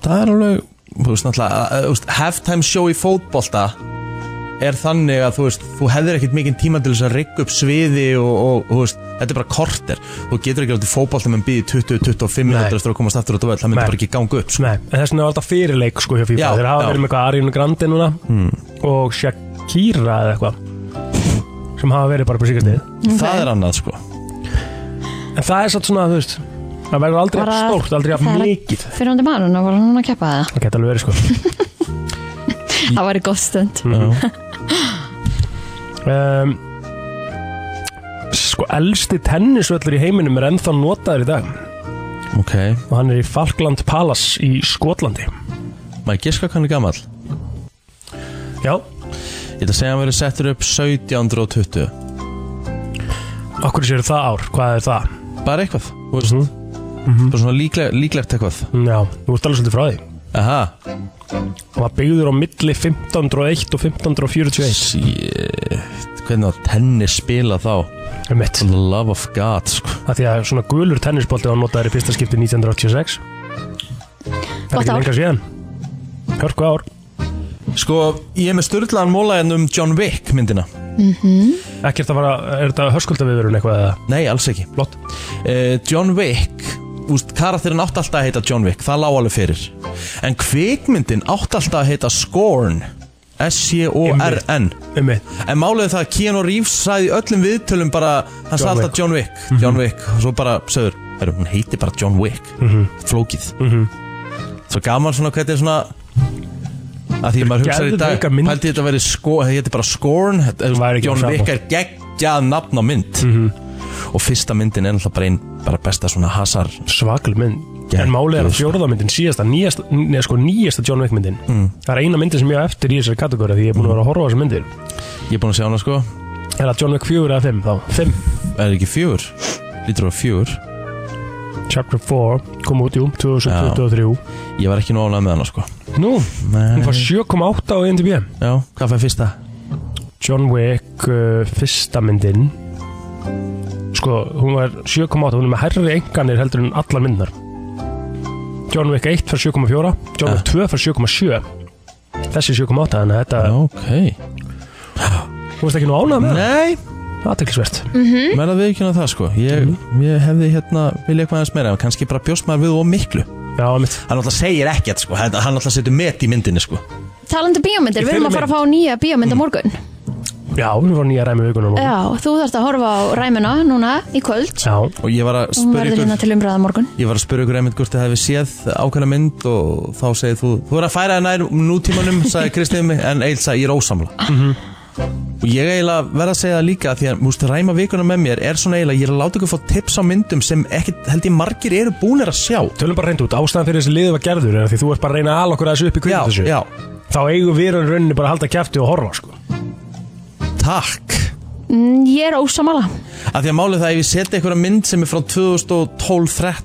Speaker 2: það er alveg þú veist náttúrulega uh, þú veist, halftime show í fótbolta er þannig að þú veist þú hefðir ekkert mikinn tíma til þess að rigga upp sviði og, og þú veist þetta er bara korter þú getur ekki átt í fótbolta menn býði 20-25 minútur eftir að komast aftur á dóvel það myndi
Speaker 4: Nei.
Speaker 2: bara ekki ganga upp sko.
Speaker 4: Nei, en þess vegna er alltaf fyrirleik sko hjá FIFA
Speaker 2: Já,
Speaker 4: Þeir hafa
Speaker 2: já. Hmm.
Speaker 4: verið með eitthvað Ariun Grande núna og Shakira eða eitthvað sem hafa verið bara på síkastíð
Speaker 2: Það er annað sko
Speaker 4: En það er satt svona, þú veist það verður aldrei jafn
Speaker 3: Bara-
Speaker 4: stórt, aldrei jafn
Speaker 3: það er að-
Speaker 4: mikið
Speaker 3: Fyrir hundi mann og var hún að keppa það
Speaker 4: Það geta alveg verið sko
Speaker 3: Það var í góð stund
Speaker 2: Mm.
Speaker 4: um, Sko, elsti tennisvöllur í heiminum er ennþá notaður í dag
Speaker 2: Ok
Speaker 4: og hann er í Falkland Palace í Skotlandi
Speaker 2: maður giska hvað hann er gamall
Speaker 4: já
Speaker 2: ég ætla að segja að hann verið settur upp 1720
Speaker 4: Okkur séu það ár, hvað er það?
Speaker 2: Bara eitthvað, þú veist Bara svona líkleg, líklegt eitthvað
Speaker 4: Já, þú ert alveg svolítið frá því
Speaker 2: Aha
Speaker 4: Það var byggður á milli 1501 og 1541
Speaker 2: Shit, hvernig var tennis spila þá?
Speaker 4: Emmett
Speaker 2: Love of God, sko
Speaker 4: að því að svona gulur tennisbolti var notaður í fyrsta skipti 1986 Það er
Speaker 2: Gott
Speaker 4: ekki
Speaker 2: ár.
Speaker 4: lengra síðan Hörku ár
Speaker 2: Sko, ég er með styrlaðan mólæðin um John Wick myndina
Speaker 4: Ekkert að fara, er þetta höskuldaviðurinn eitthvað eða?
Speaker 2: Nei, alls ekki Eh,
Speaker 4: Blott
Speaker 2: John Wick Úst, karakterinn átti alltaf að heita John Wick, það lág alveg fyrir En kvikmyndin átti alltaf að heita Scorn S-C-O-R-N En málið er það að Keanu Reeves sagði í öllum viðtölum bara Hann
Speaker 4: John
Speaker 2: sagði alltaf John
Speaker 4: Wick. Mhm.
Speaker 2: Wick, John Wick Og svo bara, sögur, heru, hún heiti bara John Wick
Speaker 4: Mhm.
Speaker 2: Flókið Svo gaman svona hvernig er svona að Því maður hugsaði í dag
Speaker 4: geðveika mynd.
Speaker 2: Pældi þetta verið sko, þetta heiti bara Scorn þetta-
Speaker 4: væri ekki
Speaker 2: John
Speaker 4: það
Speaker 2: Wick
Speaker 4: sama. Mhm.
Speaker 2: er geggjað nafn á mynd Og fyrsta myndin er náttúrulega bara einn Bara besta svona hasar
Speaker 4: Svakl mynd En
Speaker 2: sko.
Speaker 4: málið er að fjórðamyndin síðasta, nýjasta, neða sko nýjasta John Wick myndin
Speaker 2: Mm.
Speaker 4: Það er eina myndin sem ég á eftir í þessari kategóri Því ég er búin að vera að horfa á þessar myndir
Speaker 2: Ég er búin að sjá hana sko
Speaker 4: Er það John Wick 4 eða 5 þá? 5
Speaker 2: Er ekki fjögur? Lítur á fjögur
Speaker 4: Chapter 4 kom út, jú, 2023
Speaker 2: Ég var ekki nú ánað með hana sko
Speaker 4: Nú,
Speaker 2: Nei.
Speaker 4: hún fór 7,8 á IMDb
Speaker 2: Já, hvað fær fyrsta?
Speaker 4: John Wick, uh, fyrsta myndin Sko, hún var 7,8 Hún er með herri enganir heldur en allar myndnar John Wick 1 fær 7,4 John
Speaker 2: Ah.
Speaker 4: Wick 2 fær 7,7 Þessi er 7,8 Þannig að þetta
Speaker 2: Ok
Speaker 4: Þú veist ekki nú ánað með
Speaker 2: Nei
Speaker 4: Það er ekki svært
Speaker 3: Mm.
Speaker 2: -hmm. Mér er að viðkjöna það sko Ég, ég hefði hérna vilja eitthvað aðeins meira en Kannski bara bjóst maður við og miklu
Speaker 4: Já, mitt
Speaker 2: Hann alltaf segir ekkert sko Hann hann alltaf setur met í myndinni sko
Speaker 3: Talandi um bíómyndir,
Speaker 2: Í Mm.
Speaker 3: við erum að
Speaker 2: þeirri
Speaker 3: fara að fá nýja bíómynd á morgun
Speaker 4: Já, við fórum nýja ræmi vikunum
Speaker 3: Já, þú þarft að horfa á ræmina núna í kvöld
Speaker 4: Já
Speaker 2: Og ég var að
Speaker 3: Hún
Speaker 2: spyrja
Speaker 3: verður
Speaker 2: ykkur
Speaker 3: hérna til umræða á morgun
Speaker 2: Ég var að spyrja ykkur einmitt hvort þið hefði séð ákveðna mynd og þá segið þú Þú er að færa þér nær nútímanum, sagði Kristið mig En Eils sagði ég er ósamla Og ég eiginlega verð að segja það líka Því að múst, ræma vikuna með mér er svona eiginlega Ég er að láta ykkur fá tips á myndum sem ekkit held ég margir eru búnir að sjá
Speaker 4: Tölum bara reynd út, ástæðan fyrir þessi liði var gerður er að Því þú ert bara að reyna að ala okkur að þessu upp í kvíðu þessu
Speaker 2: já.
Speaker 4: Þá eigum við í rauninni bara að halda kæfti og horfa sko.
Speaker 2: Takk
Speaker 3: Mm, Ég er ósamala
Speaker 2: Af því að málið það ef ég setja einhverja mynd sem er frá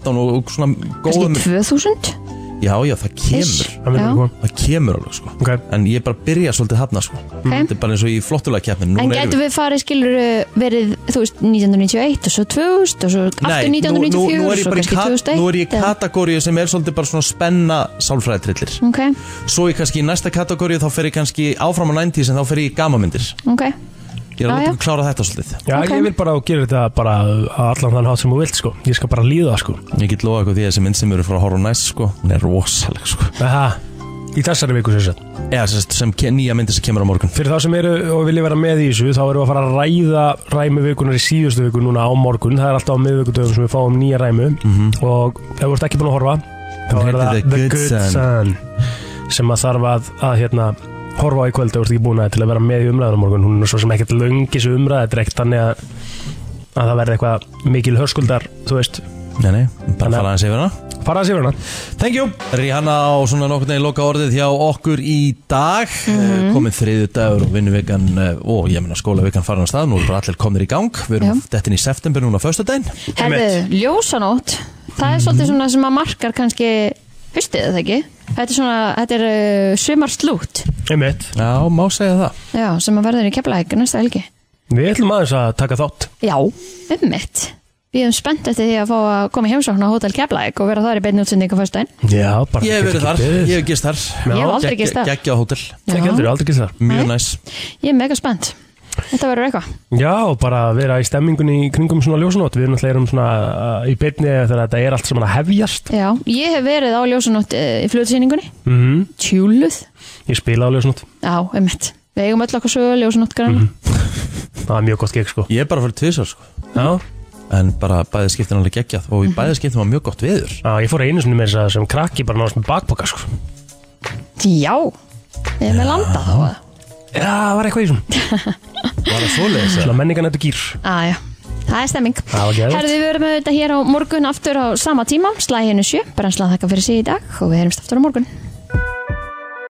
Speaker 2: 2012-13 og, og svona
Speaker 3: Kannski
Speaker 2: góðum
Speaker 3: 2000?
Speaker 2: Já, já, það kemur
Speaker 3: Ish, Það mun já. koma.
Speaker 2: Það kemur alveg, sko okay. En ég er bara að byrja svolítið hafna, sko Þetta er bara eins og í flottulega keppnin
Speaker 3: En getur við farið skilur verið, þú veist, 1991 og svo 2000 og svo aftur
Speaker 2: Nei, nú, nú, nú
Speaker 3: 1994 og
Speaker 2: er ég
Speaker 3: svo
Speaker 2: bara í,
Speaker 3: kannski
Speaker 2: kat,
Speaker 3: 2001
Speaker 2: nú er ég í kategóriu sem er svolítið bara svona spenna sálfræðitrillir
Speaker 3: Ok,
Speaker 2: Svo ég kannski í næsta kategóriu þá fer ég kannski áfram á 90s en þá fer ég í gamamyndir
Speaker 3: ok
Speaker 2: Ég er að
Speaker 3: Já, já.
Speaker 2: láta ykkur klára þetta svolítið
Speaker 4: Já, ég vil bara að gera þetta bara á allan þann hátt sem þú vilt sko Ég skal bara líða sko
Speaker 2: Ég get lofa ykkur því að þessi mynd sem eru frá Horror Nights sko, hún er rosaleg sko
Speaker 4: Aha, í þessari viku sem sagt
Speaker 2: Já, sem, sagt, sem ke- nýja myndir sem kemur á morgun
Speaker 4: Fyrir þá sem eru og vilja vera með í þessu þá erum við að fara að ræða ræmi vikunar í síðustu viku núna á morgun Það er alltaf á miðvikudöfum sem við fáum nýja ræmu Og ef þú ert ekki búin að horfa þá
Speaker 2: Hún
Speaker 4: er
Speaker 2: Mhm. heitir
Speaker 4: það
Speaker 2: The Good Son.
Speaker 4: sem að þarf að, að hérna, horfa á í kvöld ef þú ert ekki búin að til að vera með í umræðan á morgun Hún er svo sem ekkert löngis umræða þetta er ekkert þannig að, að það verði eitthvað mikil hörskuldar, þú veist
Speaker 2: Nei, nei, bara fara aðeins yfir hana
Speaker 4: Fara aðeins yfir hana
Speaker 2: Thank you Rihanna á svona nokkur neginn loka orðið hjá okkur í dag mm Komið þriðu dagur og vinnuvikan eh, og ég meina skólavikan farin á stað Nú er bara allir komnir í gang Við erum dettin í september núna á föstudaginn
Speaker 3: Herðu, ljósanót Það er svolítið svona sem að markar kannski Hustið það ekki Þetta er svona, þetta er uh, sumarslút
Speaker 4: Einmitt
Speaker 2: Já, má segja það
Speaker 3: Já, sem að verður í keflaðik næsta helgi
Speaker 4: Við ætlum aðeins að taka þátt
Speaker 3: Já, ummitt Við erum spennt eftir því að fá að koma í heimsókn á Hotel Keflavík og vera þar í beinni útsendingu fyrstæðin.
Speaker 4: Já, bara
Speaker 2: Ég hef verið þar, ég hef gist þar
Speaker 3: Ég hef aldrei gist þar.
Speaker 2: Gekkja á hótel
Speaker 3: Já. Ekki heldur,
Speaker 4: aldrei gist þar
Speaker 2: Mjög næs
Speaker 3: Ég er mega spennt. Þetta verður eitthvað.
Speaker 4: Já, og bara að vera í stemmingunni í kringum svona ljósanót Við erum alltaf erum svona uh, í beinni þegar þetta er allt saman að hefjast
Speaker 3: Já, ég hef verið á ljósanót eh, í flutsýningunni.
Speaker 4: mm
Speaker 2: Mhm.
Speaker 3: Tjúluð.
Speaker 4: Ég spila á ljósanót
Speaker 3: Já, ummitt. Við eigum öll okkur sögu ljósanót grann.
Speaker 4: Það er mjög gott gig sko
Speaker 2: Ég er bara fyrir tvisar sko Mhm.
Speaker 4: Já
Speaker 2: En bara bæðið skiptin alveg geggjað og í bæðið skiptin var mjög gott viður
Speaker 4: Já, ég fór einu sinni með þess að sem krakki bara náðast með bakpoka sko
Speaker 3: Já, við erum með landað á það.
Speaker 4: Já, það var eitthvað í
Speaker 2: *laughs*
Speaker 4: þessum
Speaker 2: Var það svoleiðis?
Speaker 4: Svona menningan þetta gýr
Speaker 3: Æja, það er stemming.
Speaker 4: Það var geðvægt
Speaker 3: Herðu, við verum auðvitað hér á morgun aftur á sama tíma, slæðinu sjö, brennslan þakka fyrir sig í dag og við heyrumst aftur á morgun.